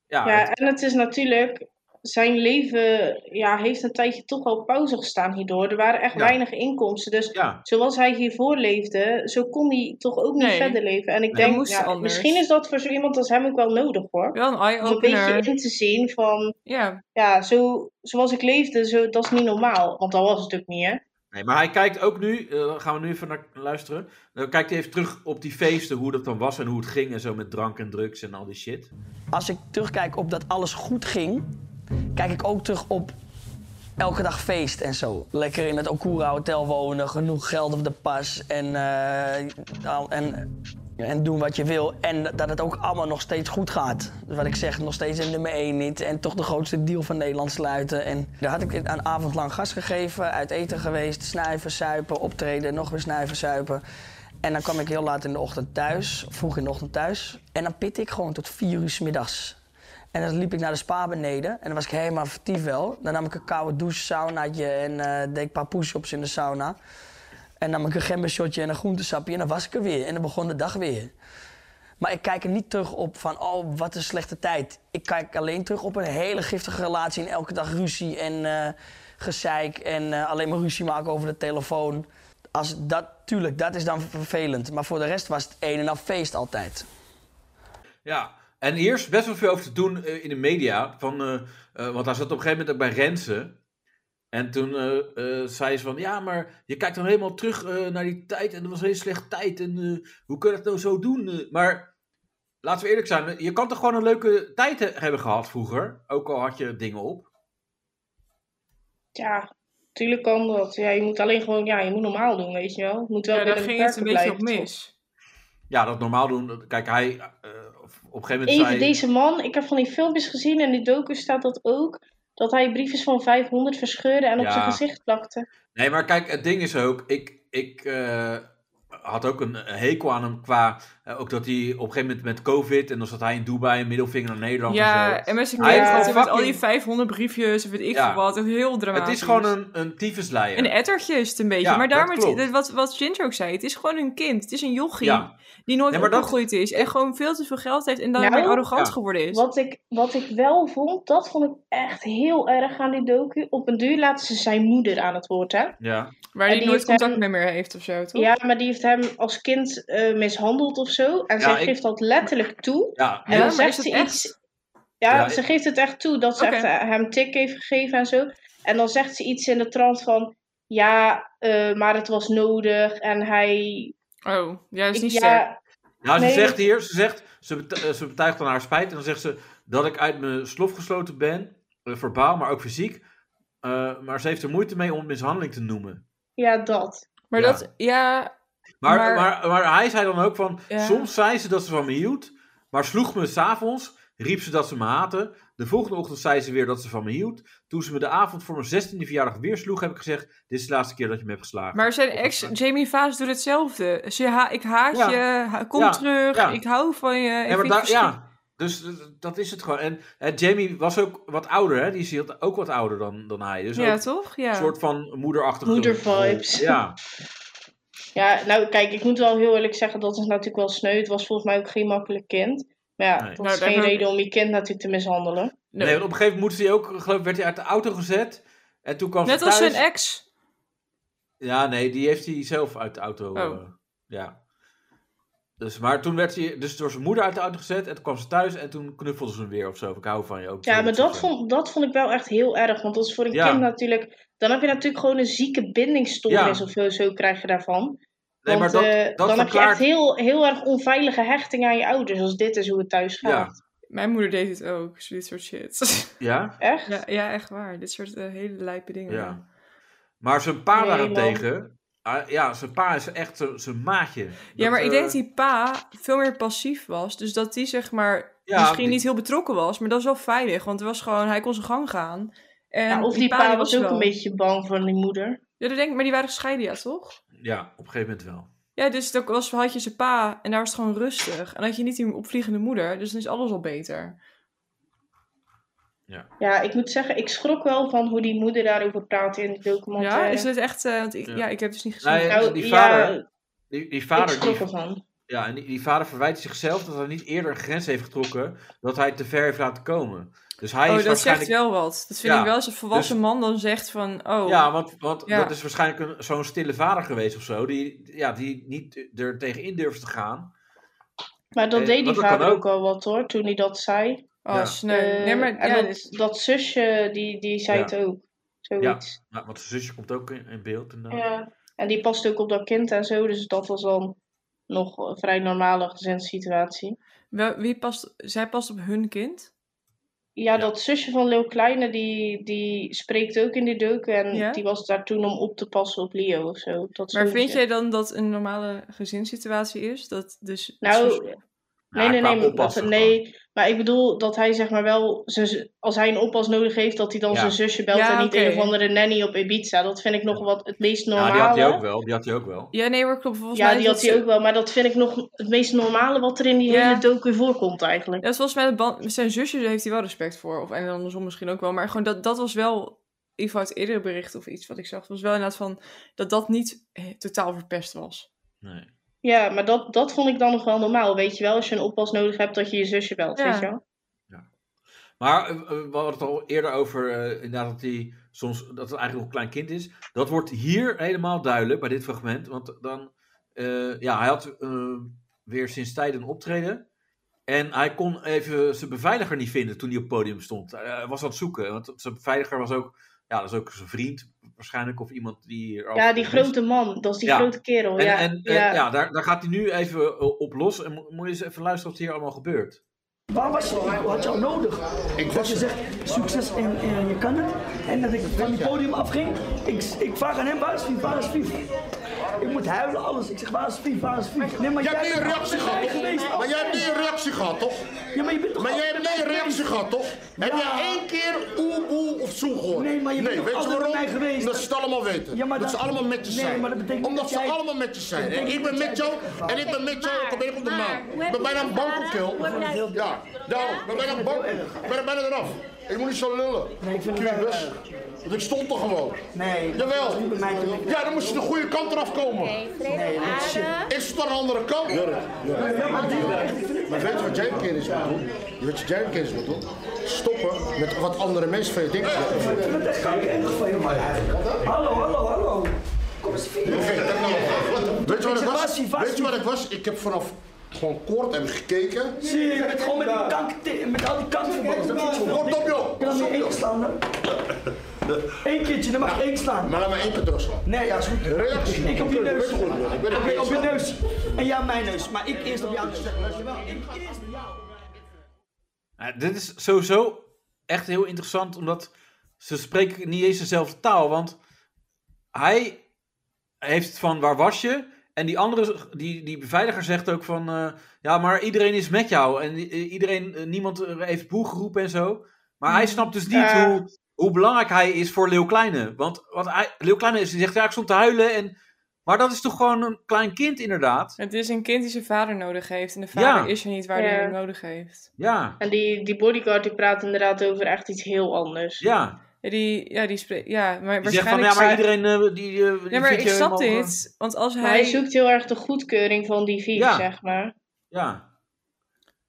S3: ja,
S2: Ja,
S3: het-
S2: en het is natuurlijk, zijn leven ja, heeft een tijdje toch al pauze gestaan hierdoor. Er waren echt
S3: Ja.
S2: weinig inkomsten. Dus
S3: ja.
S2: zoals hij hiervoor leefde, zo kon hij toch ook niet
S4: Nee.
S2: verder leven. En ik
S3: Nee.
S4: Hij
S2: denk,
S4: moest
S2: ja,
S4: anders.
S2: misschien is dat voor zo iemand als hem ook wel nodig hoor.
S4: Wel een
S2: Om een beetje
S4: eye-opener.
S2: in te zien van,
S4: Ja.
S2: ja, zo, zoals ik leefde, zo, dat is niet normaal. Want dat was het natuurlijk niet, hè?
S3: Nee, maar hij kijkt ook nu, eh, daar gaan we nu even naar luisteren. Dan kijkt hij even terug op die feesten, hoe dat dan was en hoe het ging. En zo met drank en drugs en al die shit.
S5: Als ik terugkijk op dat alles goed ging, kijk ik ook terug op elke dag feest en zo. Lekker in het Okura Hotel wonen, genoeg geld op de pas en, eh, al- en, en doen wat je wil. En dat het ook allemaal nog steeds goed gaat. Dus wat ik zeg, nog steeds in nummer 1 niet en toch de grootste deal van Nederland sluiten. En daar had ik een avond lang gas gegeven, uit eten geweest, snuiven, suipen, optreden, nog weer snuiven, suipen. En dan kwam ik heel laat in de ochtend thuis, vroeg in de ochtend thuis. En dan pitte ik gewoon tot vier uur 's middags. En dan liep ik naar de spa beneden en dan was ik helemaal vertief wel. Dan nam ik een koude douche, saunaatje en eh, deed ik een paar push-ups in de sauna. En nam ik een gembershotje en een groentesapje en dan was ik er weer. En dan begon de dag weer. Maar ik kijk er niet terug op van, oh, wat een slechte tijd. Ik kijk alleen terug op een hele giftige relatie en elke dag ruzie en eh, gezeik. En eh, alleen maar ruzie maken over de telefoon. Als dat, tuurlijk, dat is dan vervelend. Maar voor de rest was het een en al feest altijd.
S3: Ja, en hier is best wel veel over te doen eh, in de media. Van, eh, eh, want hij zat op een gegeven moment ook bij Rensen. En toen eh, eh, zei ze van, ja, maar je kijkt dan helemaal terug eh, naar die tijd. En dat was een hele slechte tijd. En eh, hoe kun je dat nou zo doen? Eh, maar laten we eerlijk zijn, eh, je kan toch gewoon een leuke tijd he- hebben gehad vroeger? Ook al had je dingen op.
S2: Ja, Tuurlijk kan dat. Ja, je moet alleen gewoon, ja, je moet normaal doen, weet je wel. Het moet wel
S4: Ja, daar
S2: binnen
S4: ging het
S2: beperkte
S4: een beetje op
S2: blijven, toch?
S4: mis.
S3: Ja, dat normaal doen. dat- Kijk, hij. eh, of- op een gegeven moment
S2: Even
S3: zei.
S2: deze man, ik heb van die filmpjes gezien en in de docu staat dat ook. Dat hij briefjes van 500 verscheurde en op
S3: Ja.
S2: zijn gezicht plakte.
S3: Nee, maar kijk, het ding is ook. Ik, ik eh, had ook een hekel aan hem qua. eh, ook dat hij op een gegeven moment met COVID. En dan zat hij in Dubai een middelvinger naar Nederland. en zo.
S4: Ja, en mensen
S3: Hij
S4: kregen
S2: heeft
S4: altijd met
S3: fucking-
S4: al die 500 briefjes en weet ik
S3: Ja.
S4: veel wat. Heel dramatisch.
S3: Het is gewoon een, een tyfusleier.
S4: Een ettertje is het een beetje.
S3: Ja,
S4: maar
S3: dat
S4: daarom, het-
S3: klopt.
S4: wat, wat Ginger ook zei, het is gewoon een kind. Het is een jochie
S3: Ja.
S4: die nooit
S3: Nee, maar dat-
S4: opgegroeid is. En gewoon veel te veel geld heeft en
S2: Nou,
S4: daarmee arrogant
S3: ja.
S4: geworden is.
S2: Wat ik, wat ik wel vond, dat vond ik echt heel erg aan die docu. Op een duur laten ze zijn moeder aan het woord, hè?
S3: Ja.
S4: Waar
S2: En
S4: hij
S2: die
S4: nooit
S2: heeft hem-
S4: contact mee meer heeft of zo, toch?
S2: Ja, maar die heeft hem als kind eh, mishandeld of zo. En
S3: Ja,
S2: zij
S3: ik-
S2: geeft dat letterlijk toe.
S3: ja.
S2: En dan
S4: maar
S2: zegt
S4: is dat
S2: ze
S4: echt?
S2: iets. Ja,
S3: Ja,
S2: ze geeft het echt toe dat ze
S4: Oké.
S2: echt eh, hem tik heeft gegeven en zo. En dan zegt ze iets in de trant van. Ja, eh, maar het was nodig. En hij.
S4: Oh, ja, dat is
S2: ik-
S4: niet sterk.
S2: ja,
S3: Nou, ze
S2: Nee.
S3: zegt hier, ze zegt, ze, bet- eh, ze betuigt dan haar spijt en dan zegt ze dat ik uit mijn slof gesloten ben, eh, verbaal, maar ook fysiek. Eh, maar ze heeft er moeite mee om het mishandeling te noemen.
S2: ja, dat.
S4: Maar
S3: Ja.
S4: dat, ja,
S3: Maar, maar...
S4: Maar-
S3: Maar, hij zei dan ook van,
S4: Ja.
S3: soms zei ze dat ze van me hield, maar sloeg me s'avonds, riep ze dat ze me haatte. De volgende ochtend zei ze weer dat ze van me hield. Toen ze me de avond voor mijn 16e verjaardag weer sloeg, heb ik gezegd, dit is de laatste keer dat je me hebt geslagen.
S4: maar zijn ex, Jamie Vaas, doet hetzelfde. Ze ha ik haat
S3: Ja.
S4: je, ha- kom
S3: Ja.
S4: terug,
S3: Ja.
S4: ik hou van je. ik
S3: Ja, maar
S4: vind je
S3: daar- ja, dus eh, dat is het gewoon. En, eh, Jamie was ook wat ouder, hè? Die is heel- ook wat ouder dan, dan hij. Dus
S4: verschrikkelijk. Ja,
S3: ook
S4: toch?
S3: een
S4: Ja.
S3: soort van moederachtige...
S2: Moedervibes.
S3: Ja,
S2: Ja, nou kijk, ik moet wel heel eerlijk zeggen, dat is natuurlijk wel sneu. Het was volgens mij ook geen makkelijk kind. Maar ja,
S3: Nee.
S2: dat
S4: Nou,
S2: is
S4: daar
S2: geen
S4: hebben we-
S2: reden om je kind natuurlijk te mishandelen.
S3: nee.
S4: Nee.
S3: want op een gegeven moment moest hij ook, geloof ik, werd hij uit de auto gezet. En toen kwam
S4: Net
S3: ze
S4: als
S3: thuis.
S4: zijn ex.
S3: Ja, nee, die heeft hij zelf uit de auto...
S4: Oh.
S3: eh, ja. Dus, maar toen werd hij dus door zijn moeder uit de auto gezet. En toen kwam ze thuis en toen knuffelde ze hem weer of zo. Of ik hou van je ook.
S2: Ja, maar
S3: zoiets
S2: dat
S3: of zo.
S2: vond, dat vond ik wel echt heel erg. Want dat is voor een
S3: Ja.
S2: kind natuurlijk. Dan heb je natuurlijk gewoon een zieke bindingsstoornis
S3: Ja.
S2: of zo, zo krijg je daarvan.
S3: Nee, maar
S2: Want,
S3: dat,
S2: eh, dan
S3: dat
S2: heb je
S3: verklaart-
S2: echt heel, heel erg onveilige hechting aan je ouders. Als dit is hoe het thuis
S3: Ja.
S2: gaat.
S4: Mijn moeder deed het ook, zo dit soort shit.
S3: Ja,
S2: Echt?
S4: ja, ja, echt waar. Dit soort eh, hele lijpe dingen.
S3: ja. Maar zijn pa
S2: Nee, man.
S3: daarentegen... ah, ja, zijn pa is echt zijn- zijn maatje.
S4: Ja, maar
S3: Dat,
S4: ik denk
S3: eh,
S4: dat die pa veel meer passief was. Dus dat die zeg maar
S3: Ja,
S4: misschien
S3: die-
S4: niet heel betrokken was. Maar dat was wel veilig. Want er was gewoon, hij kon zijn gang gaan. En
S2: Ja, of die
S4: die
S2: pa was ook
S4: wel-
S2: een beetje bang van die moeder.
S4: Ja, dat denk ik, maar die waren gescheiden, ja, toch?
S3: Ja, op een gegeven moment wel.
S4: Ja, dus dat was, had je zijn pa en daar was het gewoon rustig. En had je niet die opvliegende moeder, dus dan is alles al beter.
S2: Ja, ik moet zeggen, ik schrok wel van hoe die moeder daarover praatte in de documentaire.
S4: Ja, is dit echt... eh, want ik,
S3: Ja.
S4: ja. ik heb het dus niet gezien.
S3: Nou, ja,
S2: Nou,
S3: die
S2: ja,
S3: vader, die, die
S2: ik
S3: vader,
S2: schrok
S3: die,
S2: ervan.
S3: ja, en die, die vader verwijt zichzelf dat hij niet eerder een grens heeft getrokken, dat hij het te ver heeft laten komen. Dus hij
S4: oh,
S3: is
S4: dat
S3: waarschijnlijk...
S4: zegt wel wat. Dat vind
S3: Ja,
S4: ik wel als een volwassen
S3: dus-
S4: man dan zegt van... Oh,
S3: Ja, want, want
S4: Ja.
S3: dat is waarschijnlijk een- zo'n stille vader geweest of zo, die, ja, die niet er tegenin durft te gaan.
S2: Maar dat
S3: Eh,
S2: deed
S3: dat
S2: die
S3: kan
S2: vader
S3: ook.
S2: ook al wat hoor, toen hij dat zei.
S4: oh
S3: ja.
S4: sneu. Nee,
S2: Eh,
S4: maar
S2: en
S4: ja, dus-
S2: dat, dat zusje, die, die zei
S3: Ja.
S2: het ook. Zoiets.
S3: Ja, Nou, want zijn zusje komt ook in, in beeld. En,
S2: Ja.
S3: eh,
S2: En die past ook op dat kind en zo. Dus dat was dan nog een vrij normale gezinssituatie.
S4: Wel- wie past, zij past op hun kind?
S2: Ja, dat zusje van Leeuw Kleine, die, die spreekt ook in die docu. En
S4: Ja?
S2: die was daar toen om op te passen op Leo of zo. Dat
S4: Maar
S2: zoontje.
S4: vind jij dan dat een normale gezinssituatie is? Dat dus,
S2: Nou,
S4: dus-
S2: nee,
S3: ja,
S2: nee,
S3: Ah, qua
S2: nee,
S3: oppassen
S2: dat- nee. Maar ik bedoel dat hij zeg maar wel, zijn z- als hij een oppas nodig heeft, dat hij dan
S3: Ja.
S2: zijn zusje belt
S4: Ja,
S2: en niet
S4: oké.
S2: een of andere nanny op Ibiza. Dat vind ik nog wat het meest
S3: gewoon. Ja,
S2: normale.
S3: die had hij ook wel, die had hij ook wel.
S4: ja, nee hoor, klopt. Volgens
S2: Ja,
S4: mij is
S2: die had
S4: dat
S2: hij
S4: ze-
S2: ook wel. Maar dat vind ik nog het meest normale wat er in die
S4: Ja.
S2: hele docu voorkomt eigenlijk.
S4: Ja, volgens mij de band, met zijn zusje daar heeft hij wel respect voor. Of en andersom misschien ook wel. Maar gewoon dat, dat was wel, in ieder geval uit eerdere bericht of iets wat ik zag, was wel inderdaad van dat dat niet eh, totaal verpest was.
S3: Nee.
S2: Ja, maar dat, dat vond ik dan nog wel normaal. Weet je wel, als je een oppas nodig hebt, dat je je zusje belt,
S4: Ja.
S2: weet je wel?
S3: Maar eh, eh, we hadden het al eerder over eh, inderdaad dat hij soms dat het eigenlijk nog een klein kind is. Dat wordt hier helemaal duidelijk bij dit fragment. Want dan, eh, ja, hij had eh, weer sinds tijden een optreden. En hij kon even zijn beveiliger niet vinden toen hij op het podium stond. Eh, Hij was aan het zoeken. Want zijn beveiliger was ook, ja, dat is ook zijn vriend waarschijnlijk. Of iemand die... er al-
S2: Ja, die grote man. Dat is die
S3: Ja.
S2: grote kerel.
S3: En,
S2: ja.
S3: en, en ja,
S2: ja.
S3: daar, daar gaat hij nu even eh, op los. En mo- moet je eens even luisteren wat hier allemaal gebeurt.
S7: Waar was je? Waar had je jou nodig? Ik was je zegt succes en, en je kan het.
S5: En dat ik van het podium afging, ik, ik vraag aan hem, waar is Fief, waar is Fief? Ik moet huilen, alles. Ik zeg, waar is Fief, waar is Fief? Nee, maar
S7: Jij hebt
S5: bent
S7: niet een reactie
S5: altijd
S7: gehad,
S5: bij geweest,
S7: toch? Maar jij hebt niet een reactie gehad, toch?
S5: Ja, maar je bent toch
S7: Maar jij
S5: altijd
S7: hebt
S5: bij
S7: niet een
S5: mij
S7: reactie
S5: geweest?
S7: gehad, toch? Heb
S5: Ja.
S7: jij één keer oe, oe of zo gehoord?
S5: Nee, maar je bent toch
S7: weet je
S5: altijd
S7: waarom?
S5: bij mij geweest?
S7: Omdat ze het allemaal weten.
S5: Ja, maar
S7: dat ze
S5: dan-
S7: allemaal met je
S5: Nee,
S7: zijn.
S5: maar dat betekent
S7: Omdat
S5: dat
S7: ze
S5: jij-
S7: allemaal met je zijn.
S5: betekent
S7: ik ben
S5: dat
S7: met
S5: jij
S7: jou
S5: weggevallen
S7: en ik ben met jou.
S8: Maar-
S7: Ik ben op de
S8: maar,
S7: maan.
S8: hoe heb
S7: Ik ben
S8: je
S7: bijna
S8: het
S7: een bankenkill.
S8: ervaren? Hoe heb je het-
S7: Ja, daarom. Ik ben bijna een bank. Ik ben er bijna eraf. Ik moet niet zo lullen.
S5: Nee, ik vind het wel
S7: Kubus. Want ik stond er gewoon.
S5: Nee, dat
S7: Jawel.
S5: was niet bij mij toen ik-
S7: Ja, dan moest je de goede kant eraf komen.
S8: Oké, vrede op aarde.
S7: Is het aan de andere kant? Maar weet je wat jij een keer eens moet doen? Je weet je wat jij een keer eens moet doen? Stoppen met wat andere mensen van je denken.
S5: Maar dat kan ik echt van je maken. Hallo, hallo, hallo. Kom eens
S7: Oké,
S5: Fief.
S7: dat nou. Weet je wat ik was?
S5: Vassie, Vassie.
S7: Weet je wat ik was? Ik heb vanaf gewoon kort heb ik gekeken.
S5: Zie je, je bent gewoon met, die kank, met al die kanten verbonden. Dat vind ik zo
S7: Kort op joh!
S5: Ik kan er één slaan dan. Eén keertje, dan mag je één slaan.
S7: Maar laat maar één keer terugslaan.
S5: Nee, ja, is goed.
S7: Reactie.
S5: Ik op je neus.
S7: Weet je goed, man. Ik ben er
S5: Oké,
S7: mee
S5: op je
S7: eens.
S5: neus. En ja, mijn neus. Maar ik eerst op jou. Dankjewel. Ik eerst op jou.
S3: Nou, dit is sowieso echt heel interessant, omdat ze spreken niet eens dezelfde taal. Want hij heeft van waar was je? En die andere, die, die beveiliger zegt ook van, eh, ja, maar iedereen is met jou. En i- iedereen, eh, niemand eh, heeft boe geroepen en zo. Maar
S4: Mm.
S3: hij snapt dus niet
S2: Ja.
S3: hoe, hoe belangrijk hij is voor Leeuw Kleine. Want wat hij, Leeuw Kleine is, die zegt, ja, ik stond te huilen. En, maar dat is toch gewoon een klein kind inderdaad.
S4: Het is een kind die zijn vader nodig heeft. En de vader
S3: Ja.
S4: is er niet waar
S2: Ja.
S4: hij hem nodig heeft.
S3: Ja,
S2: En die, die bodyguard die praat inderdaad over echt iets heel anders.
S3: ja.
S4: Ja, die, ja, die spreekt. Ja, maar
S3: Die zegt van,
S4: waarschijnlijk.
S3: ja, maar
S4: zou-
S3: iedereen eh, die, eh, die
S4: Ja, maar
S3: vindt
S4: ik
S3: je
S4: snap
S3: helemaal, eh,
S4: dit. Want als hij.
S2: Maar hij zoekt heel erg de goedkeuring van die vier,
S3: Ja.
S2: zeg maar.
S3: Ja.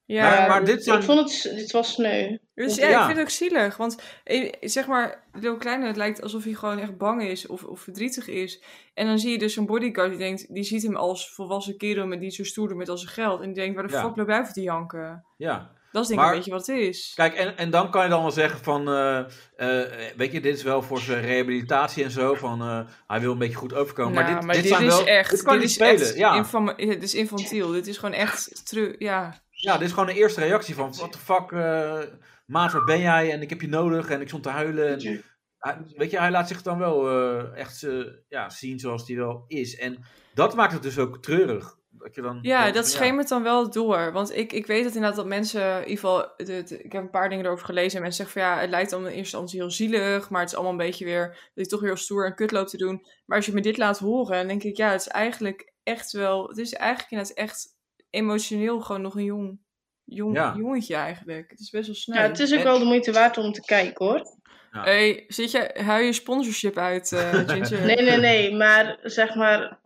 S4: ja,
S3: Maar- maar dit zijn-
S2: Ehm, Ik vond het, s- het was sneu.
S4: Dus ja,
S3: Ja.
S4: ik vind het ook zielig. Want eh, zeg maar, Lil Kleine, het lijkt alsof hij gewoon echt bang is of, of verdrietig is. En dan zie je dus een bodyguard die denkt, die ziet hem als volwassen kerel met die zo stoer doet met al zijn geld. En die denkt, waar de
S3: Ja.
S4: fuck blijft hij te janken?
S3: Ja,
S4: Dat is denk ik
S3: Maar-
S4: een beetje wat het is.
S3: kijk, en, en dan kan je dan wel zeggen van, eh, eh, weet je, dit is wel voor zijn rehabilitatie en zo, van eh, hij wil een beetje goed overkomen.
S4: Nou,
S3: maar dit, dit, zijn
S4: is
S3: wel,
S4: echt,
S3: dit kan
S4: dit
S3: niet
S4: is
S3: spelen.
S4: echt
S3: ja.
S4: infam- het is infantiel. Dit is gewoon echt, tru- ja.
S3: ja, dit is gewoon een eerste reactie van, what the fuck, eh, maat, waar ben jij en ik heb je nodig en ik stond te huilen. En, Hij- weet je, hij laat zich dan wel eh, echt eh, ja, zien zoals hij wel is. En dat maakt het dus ook treurig. Dat je dan,
S4: Ja,
S3: denkt
S4: dat
S3: van, ja.
S4: schemert dan wel door. Want ik, ik weet dat inderdaad dat mensen, in ieder geval, het- het- ik heb een paar dingen erover gelezen. En mensen zeggen van ja, het lijkt dan in eerste instantie heel zielig. Maar het is allemaal een beetje weer, dat je toch weer heel stoer en kut loopt te doen. Maar als je me dit laat horen, dan denk ik ja, het is eigenlijk echt wel, het is eigenlijk inderdaad echt emotioneel gewoon nog een jong, jong
S3: Ja.
S4: jongetje eigenlijk. Het is best wel snel.
S2: Ja, het is ook wel de moeite waard om te kijken hoor.
S4: hey, zit je, huil je sponsorship uit, eh Ginger?
S2: Nee, nee, nee, maar zeg maar,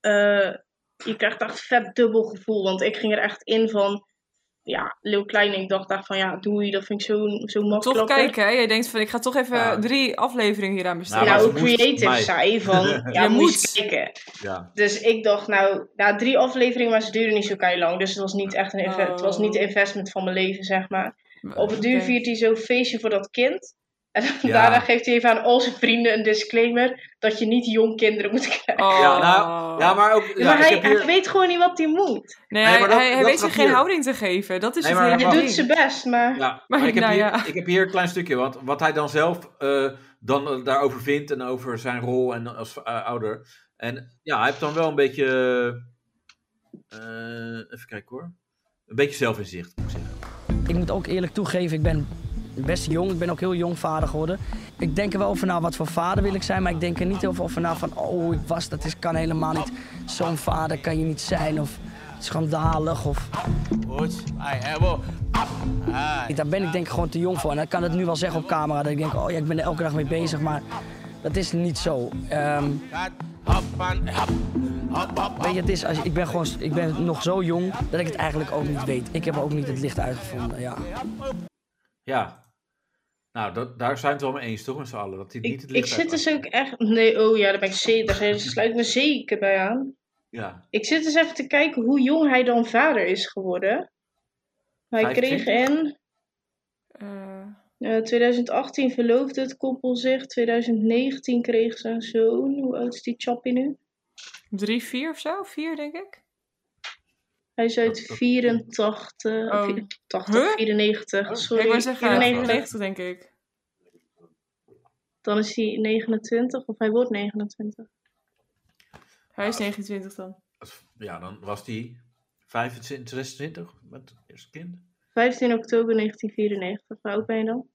S2: eh, je krijgt echt vet dubbel gevoel. Want ik ging er echt in van, ja, Leeuw Kleine, ik dacht echt van, ja, doei, dat vind ik zo'n zo
S4: Toch
S2: makkelijk.
S4: kijken, hè? Jij denkt van, ik ga toch even
S3: Ja.
S4: drie afleveringen hieraan besteden.
S3: Ja,
S2: Ja,
S3: maar
S2: hoe
S3: ze moest
S2: Nou, creative
S3: mij.
S2: zij van, ja,
S4: Je
S2: moet je
S4: moet.
S2: eens kijken.
S3: Ja.
S2: Dus ik dacht, nou, na drie afleveringen, maar ze duurden niet zo kei lang. Dus het was niet echt een, inve- het was
S4: Oh.
S2: niet de investment van mijn leven, zeg maar. Op het duur
S4: Oké.
S2: viert hij zo'n feestje voor dat kind. En
S3: Ja.
S2: daarna geeft hij even aan al zijn vrienden een disclaimer dat je niet jong kinderen moet krijgen.
S4: Oh.
S3: Ja, nou, ja, maar ook... ja,
S2: maar
S3: ik
S2: hij,
S3: heb hier-
S2: hij weet gewoon niet wat hij moet.
S4: Nee,
S3: Nee,
S4: hij,
S3: maar dat-
S4: hij, hij
S3: dat
S4: weet
S3: gaat
S4: zich geen
S3: hier.
S4: houding te geven. Dat is
S3: Nee,
S4: het
S3: maar
S4: hele
S2: Hij
S3: wacht.
S2: doet
S4: ding.
S2: zijn best, maar...
S3: Ja, maar
S4: Maar
S3: ik, heb
S4: nou
S3: hier,
S4: ja.
S3: ik heb hier een klein stukje wat, wat hij dan zelf eh, dan eh, daarover vindt en over zijn rol en als eh, ouder. En ja, hij heeft dan wel een beetje. eh, even kijken hoor. Een beetje zelfinzicht, moet ik zeggen.
S5: Ik moet ook eerlijk toegeven, ik ben best jong. Ik ben ook heel jong vader geworden. Ik denk er wel over na wat voor vader wil ik zijn, maar ik denk er niet heel veel over na van oh ik was dat is kan helemaal niet. Zo'n vader kan je niet zijn of schandalig of daar ben ik denk ik gewoon te jong voor en ik kan het nu wel zeggen op camera dat ik denk oh ja ik ben er elke dag mee bezig, maar dat is niet zo. Ehm, Weet je, het is, als, ik, ben gewoon, ik ben nog zo jong dat ik het eigenlijk ook niet weet. Ik heb ook niet het licht uitgevonden, ja.
S3: Ja. Nou, dat, daar zijn we het wel mee eens, toch, met z'n allen? Dat hij niet
S2: Ik,
S3: het
S2: ik
S3: licht
S2: zit
S3: uit-
S2: dus ook echt... Nee, oh ja, daar ben ik zeker... Daar sluit ik me zeker bij aan.
S3: Ja.
S2: Ik zit dus even te kijken hoe jong hij dan vader is geworden. Hij kreeg
S3: 25?
S2: in
S4: Eh,
S2: eh, 2018 verloofde het koppel zich. 2019 kreeg ze een zoon. Hoe oud is die chappie nu?
S4: drie, vier of zo? Vier, denk ik.
S2: Hij is
S3: Oh,
S2: uit 84,
S4: Oh.
S2: 84
S4: Huh? Oh,
S2: 94,
S4: Ja,
S2: sorry.
S4: ik wou zeggen,
S2: 94.
S4: 94, denk ik.
S2: Dan is hij 29 of hij wordt 29.
S4: Hij is 29 dan.
S3: Ja, dan was hij 25, 26 met het eerste kind.
S2: 15 oktober 1994. Hoe oud ben je dan?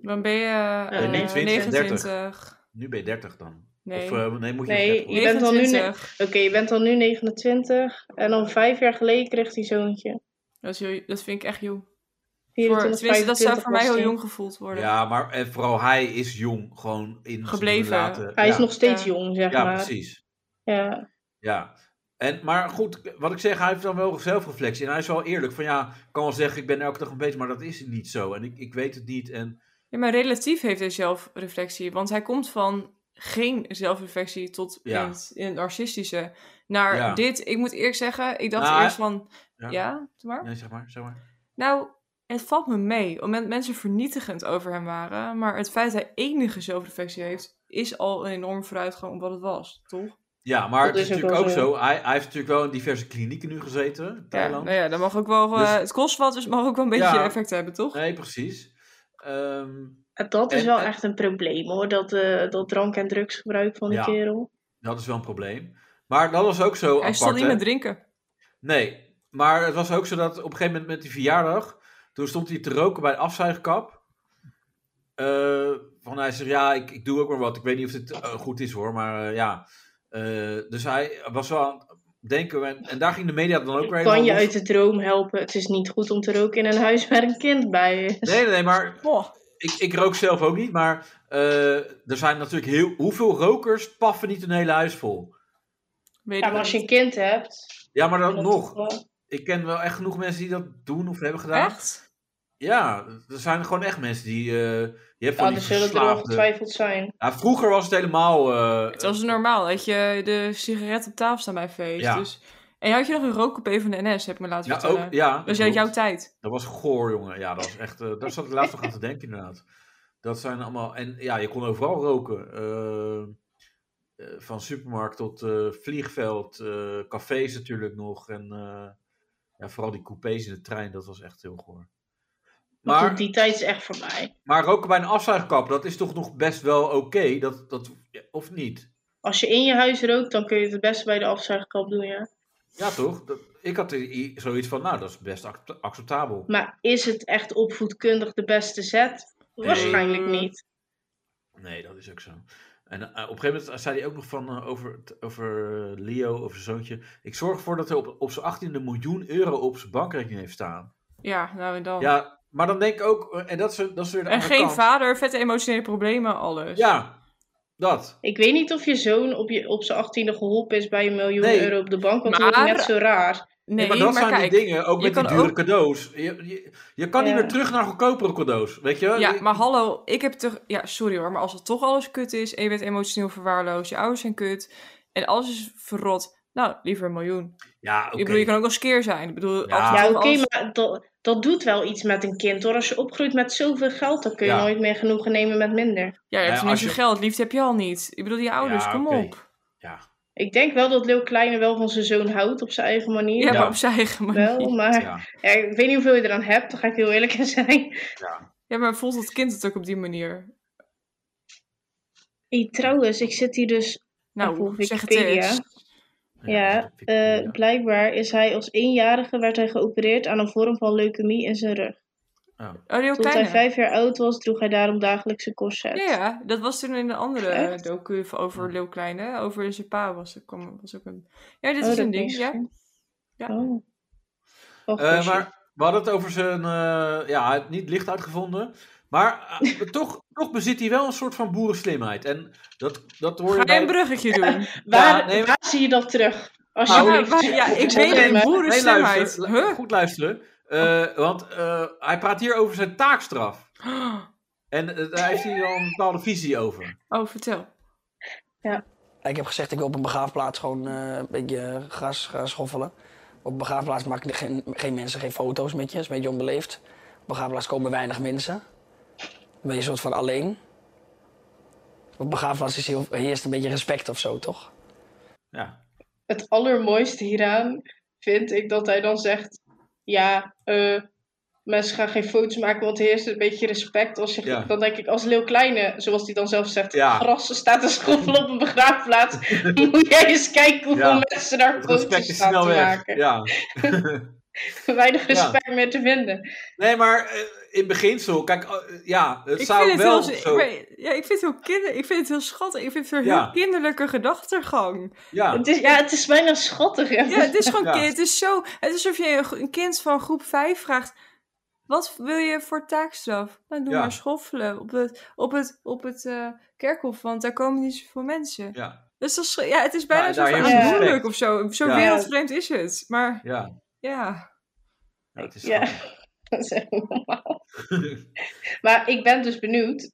S4: Dan ben je eh,
S2: Eh, nee,
S3: 20,
S4: 29.
S3: Nu ben je 30 dan.
S4: Nee.
S3: Of eh, nee, moet je
S2: Nee,
S3: nog 30
S2: je
S3: worden.
S2: bent dan nu
S4: 29.
S2: Oké, je bent dan nu 29. En dan vijf jaar geleden kreeg hij zoontje.
S4: Dat, is heel- dat vind ik echt jong. Voor,
S2: 24,
S4: tenminste, dat zou
S2: 25
S4: voor mij
S2: was
S4: heel
S2: hij.
S4: jong gevoeld worden.
S3: Ja, maar eh, vooral hij is jong. Gewoon in
S4: Gebleven.
S3: Laten,
S2: Hij
S3: ja.
S2: is nog steeds
S4: Ja.
S2: jong, zeg
S3: Ja,
S2: maar.
S3: precies.
S2: Ja.
S3: Ja. En, maar goed, wat ik zeg, hij heeft dan wel zelfreflectie. En hij is wel eerlijk. Van ja, ik kan wel zeggen, ik ben elke dag een beetje, maar dat is niet zo. En ik, ik weet het niet. En
S4: Ja, maar relatief heeft hij zelfreflectie. Want hij komt van geen zelfreflectie tot
S3: Ja.
S4: in, het, in het narcistische naar
S3: Ja.
S4: dit. Ik moet eerlijk zeggen, ik dacht
S3: Nou,
S4: eerst van,
S3: ja.
S4: ja, doe maar.
S3: Nee, zeg maar, zeg maar.
S4: Nou, het valt me mee. Omdat mensen vernietigend over hem waren. Maar het feit dat hij enige zelfreflectie heeft, is al een enorme vooruitgang op wat het was, toch?
S3: Ja, maar
S2: Dat
S3: het is
S2: is ook
S3: natuurlijk ook
S2: wel zo.
S3: zo. Hij, hij heeft natuurlijk wel in diverse klinieken nu gezeten. in
S4: Ja,
S3: Thailand.
S4: nou ja, dan mag ook wel, eh,
S3: Dus-
S4: het kost wat, dus het mag ook wel een beetje
S3: Ja.
S4: effect hebben, toch?
S3: Nee, precies. Ehm,
S2: En Dat is
S3: En-
S2: wel
S3: en-
S2: echt een probleem hoor, dat, eh, dat drank- en drugsgebruik van die
S3: Ja.
S2: kerel.
S3: dat is wel een probleem. Maar dat was ook zo
S4: hij
S3: apart.
S4: stond niet
S3: hè.
S4: met drinken.
S3: Nee, maar het was ook zo dat op een gegeven moment met die verjaardag, toen stond hij te roken bij de afzuigkap. Eh, van hij zegt, ja, ik, ik doe ook maar wat. Ik weet niet of dit eh, goed is hoor, maar eh, ja. Eh, dus hij was wel aan het denken. En, en daar ging de media dan ook weer
S2: Kan je
S3: helemaal
S2: uit de
S3: los.
S2: droom helpen? Het is niet goed om te roken in een huis waar een kind bij is.
S3: Nee, nee, nee, maar
S4: Oh,
S3: ik, ik rook zelf ook niet. Maar eh, er zijn natuurlijk heel... Hoeveel rokers paffen niet een hele huis vol?
S4: weet
S2: Ja,
S4: ik
S2: maar als je
S4: niet.
S2: een kind hebt.
S3: Ja, maar dan
S2: dan
S3: nog.
S2: toch wel.
S3: Ik ken wel echt genoeg mensen die dat doen of hebben gedaan.
S4: Echt?
S3: Ja, er zijn gewoon echt mensen die. eh je hebt van
S2: Ja,
S3: die
S2: er zullen er
S3: verslaafde-
S2: ongetwijfeld zijn.
S3: Ja, vroeger was het helemaal. eh,
S4: Het was normaal dat je de sigaret op tafel staan bij feest.
S3: Ja.
S4: Dus... En had je nog een rookcoupé van de NS, heb ik me laten
S3: ja,
S4: vertellen.
S3: ook, ja,
S4: dus uit jouw
S3: klopt.
S4: tijd.
S3: Dat was goor, jongen. Ja, dat was echt. eh, daar zat ik laatst nog aan te denken, inderdaad. Dat zijn allemaal. En ja, je kon overal roken. Eh, eh, van supermarkt tot eh, vliegveld, eh, cafés natuurlijk nog. En eh, ja, vooral die coupés in de trein, dat was echt heel goor.
S2: Maar goed, die tijd is echt voorbij.
S3: Maar roken bij een afzuigkap, dat is toch nog best wel oké? dat, dat, of niet?
S2: Als je in je huis rookt, dan kun je het het beste bij de afzuigkap doen, ja.
S3: Ja, toch? Dat, ik had i- zoiets van, nou, dat is best act- acceptabel.
S2: Maar is het echt opvoedkundig de beste zet?
S3: Nee.
S2: Waarschijnlijk niet.
S3: Nee, dat is ook zo. En eh, op een gegeven moment zei hij ook nog van, eh, over, het- over eh, Leo, over zijn zoontje. Ik zorg ervoor dat hij op, op zijn 18e miljoen euro op zijn bankrekening heeft staan.
S4: Ja, nou en dan.
S3: Ja, maar dan denk ik ook, eh, en dat is, dat is weer de
S4: en
S3: andere
S4: geen
S3: kant.
S4: vader, vette emotionele problemen, alles.
S3: Ja, dat.
S2: Ik weet niet of je zoon op, je, op zijn achttiende geholpen is bij een miljoen
S3: Nee.
S2: euro op de bank, want
S4: Maar-
S2: dat is net zo raar.
S4: Nee,
S3: maar dat zijn
S4: kijk.
S3: die dingen, ook
S4: je
S3: met die
S4: kan
S3: dure
S4: ook-
S3: cadeaus. Je, je, je kan niet
S2: Ja.
S3: meer terug naar goedkopere cadeaus, weet je?
S4: Ja,
S3: Je-
S4: maar hallo, ik heb toch... Ja, sorry hoor, maar als het toch alles kut is en je bent emotioneel verwaarloosd, je ouders zijn kut en alles is verrot, nou, liever een miljoen.
S3: ja oké.
S4: Ik bedoel, je kan ook wel skeer zijn. Ik bedoel,
S3: Ja.
S4: af en toe
S2: Ja, oké,
S4: alles-
S2: maar dat, dat doet wel iets met een kind hoor. Als je opgroeit met zoveel geld, dan kun je
S3: Ja.
S2: nooit meer genoegen nemen met minder.
S4: Ja, je
S3: Ja,
S4: hebt
S3: als
S4: ineens je
S3: je-
S4: geld, liefde heb je al niet. Ik bedoel, die ouders,
S3: Ja,
S4: kom
S3: oké.
S4: op.
S3: Ja,
S2: Ik denk wel dat Leo Kleine wel van zijn zoon houdt op zijn eigen manier.
S4: Ja,
S3: Ja.
S4: maar op zijn eigen manier.
S2: wel, maar
S3: ja.
S2: ja, ik weet niet hoeveel je eraan hebt, daar ga ik heel eerlijk in zijn.
S4: Ja, maar voelt het kind het ook op die manier?
S2: Hey, trouwens, ik zit hier dus
S4: Nou,
S2: Op
S4: zeg het
S2: Wikipedia.
S4: eens.
S2: Ja, eh, blijkbaar is hij als eenjarige werd hij geopereerd aan een vorm van leukemie in zijn rug.
S4: Oh, die ook
S2: Tot hij
S4: kleine.
S2: vijf jaar oud was, droeg hij daarom dagelijks een korset.
S4: Ja, ja, dat was toen in de andere
S2: Echt?
S4: docu over Leeuw Kleine. Over zijn pa was, er kwam, was ook een... Ja, dit
S2: Oh,
S4: is
S2: dat
S4: een ding,
S2: is-
S4: ja. Ja.
S2: Oh. Wacht,
S3: Eh,
S2: korset.
S3: maar we hadden het over zijn. eh, ja, hij had niet licht uitgevonden. Maar eh, toch, toch bezit hij wel een soort van boerenslimheid. En dat, dat hoor je.
S4: Ga je een
S3: bij-
S4: bruggetje doen?
S2: waar,
S3: nee, maar-
S2: waar zie je dat terug?
S3: Nou,
S4: Ja,
S2: Alsjeblieft.
S4: maar- ja, ik weet het,
S2: maar-
S3: Nee,
S4: boerenslimheid.
S3: luister, lu-
S4: Huh?
S3: Goed luisteren. Eh, want eh, hij praat hier over zijn taakstraf. En eh, daar heeft hij al een bepaalde visie over.
S4: Oh, vertel.
S5: Ik heb gezegd, ik wil op een begraafplaats gewoon eh, een beetje eh, gas, gas schoffelen. Op een begraafplaats maak ik geen, geen mensen, geen foto's met je. Dat is een beetje onbeleefd. Op een begraafplaats komen weinig mensen. Dan ben je een soort van alleen. Op een begraafplaats is heel, heerst een beetje respect of zo, toch?
S3: Ja.
S2: Het allermooiste hieraan vind ik dat hij dan zegt: Ja, eh, mensen gaan geen foto's maken, want er heerst een beetje respect. Als je,
S3: Ja.
S2: Dan denk ik, als Leeuw Kleine, zoals hij dan zelf zegt,
S3: Ja.
S2: gras staat te schoffelen op een begraafplaats. moet jij eens kijken hoeveel
S3: Ja.
S2: mensen daar
S3: Het
S2: foto's
S3: respect is
S2: staan te
S3: snel weg.
S2: maken.
S3: Ja.
S2: Weinig respect meer te vinden.
S3: Nee, maar eh, in beginsel, kijk, eh, ja, het
S4: Ik
S3: zou
S4: vind het,
S3: wel
S4: heel,
S3: zo...
S4: ik, weet- ja, ik vind het heel kinder, ik vind het heel schattig. Ik vind het een
S3: Ja.
S4: heel kinderlijke gedachtegang.
S3: Ja,
S2: Het is, ja, het is bijna schattig. hè.
S4: Ja, het is gewoon
S3: Ja.
S4: kind. Het is zo. Het is alsof je een gro- een kind van groep 5 vraagt: wat wil je voor taakstraf? Nou, doe
S3: Ja.
S4: maar schoffelen op het, op het, op het eh, kerkhof, want daar komen niet zoveel mensen.
S3: ja,
S4: Dus dat is, ja, het is bijna
S3: Ja,
S4: zo
S3: daar heeft
S2: het
S4: aandoenlijk
S3: respect.
S4: of zo. Zo
S3: Ja.
S4: wereldvreemd is het. Maar
S3: ja.
S4: ja.
S3: ja, het is
S2: Ja.
S3: schattig.
S2: Dat is echt normaal. maar ik ben dus benieuwd.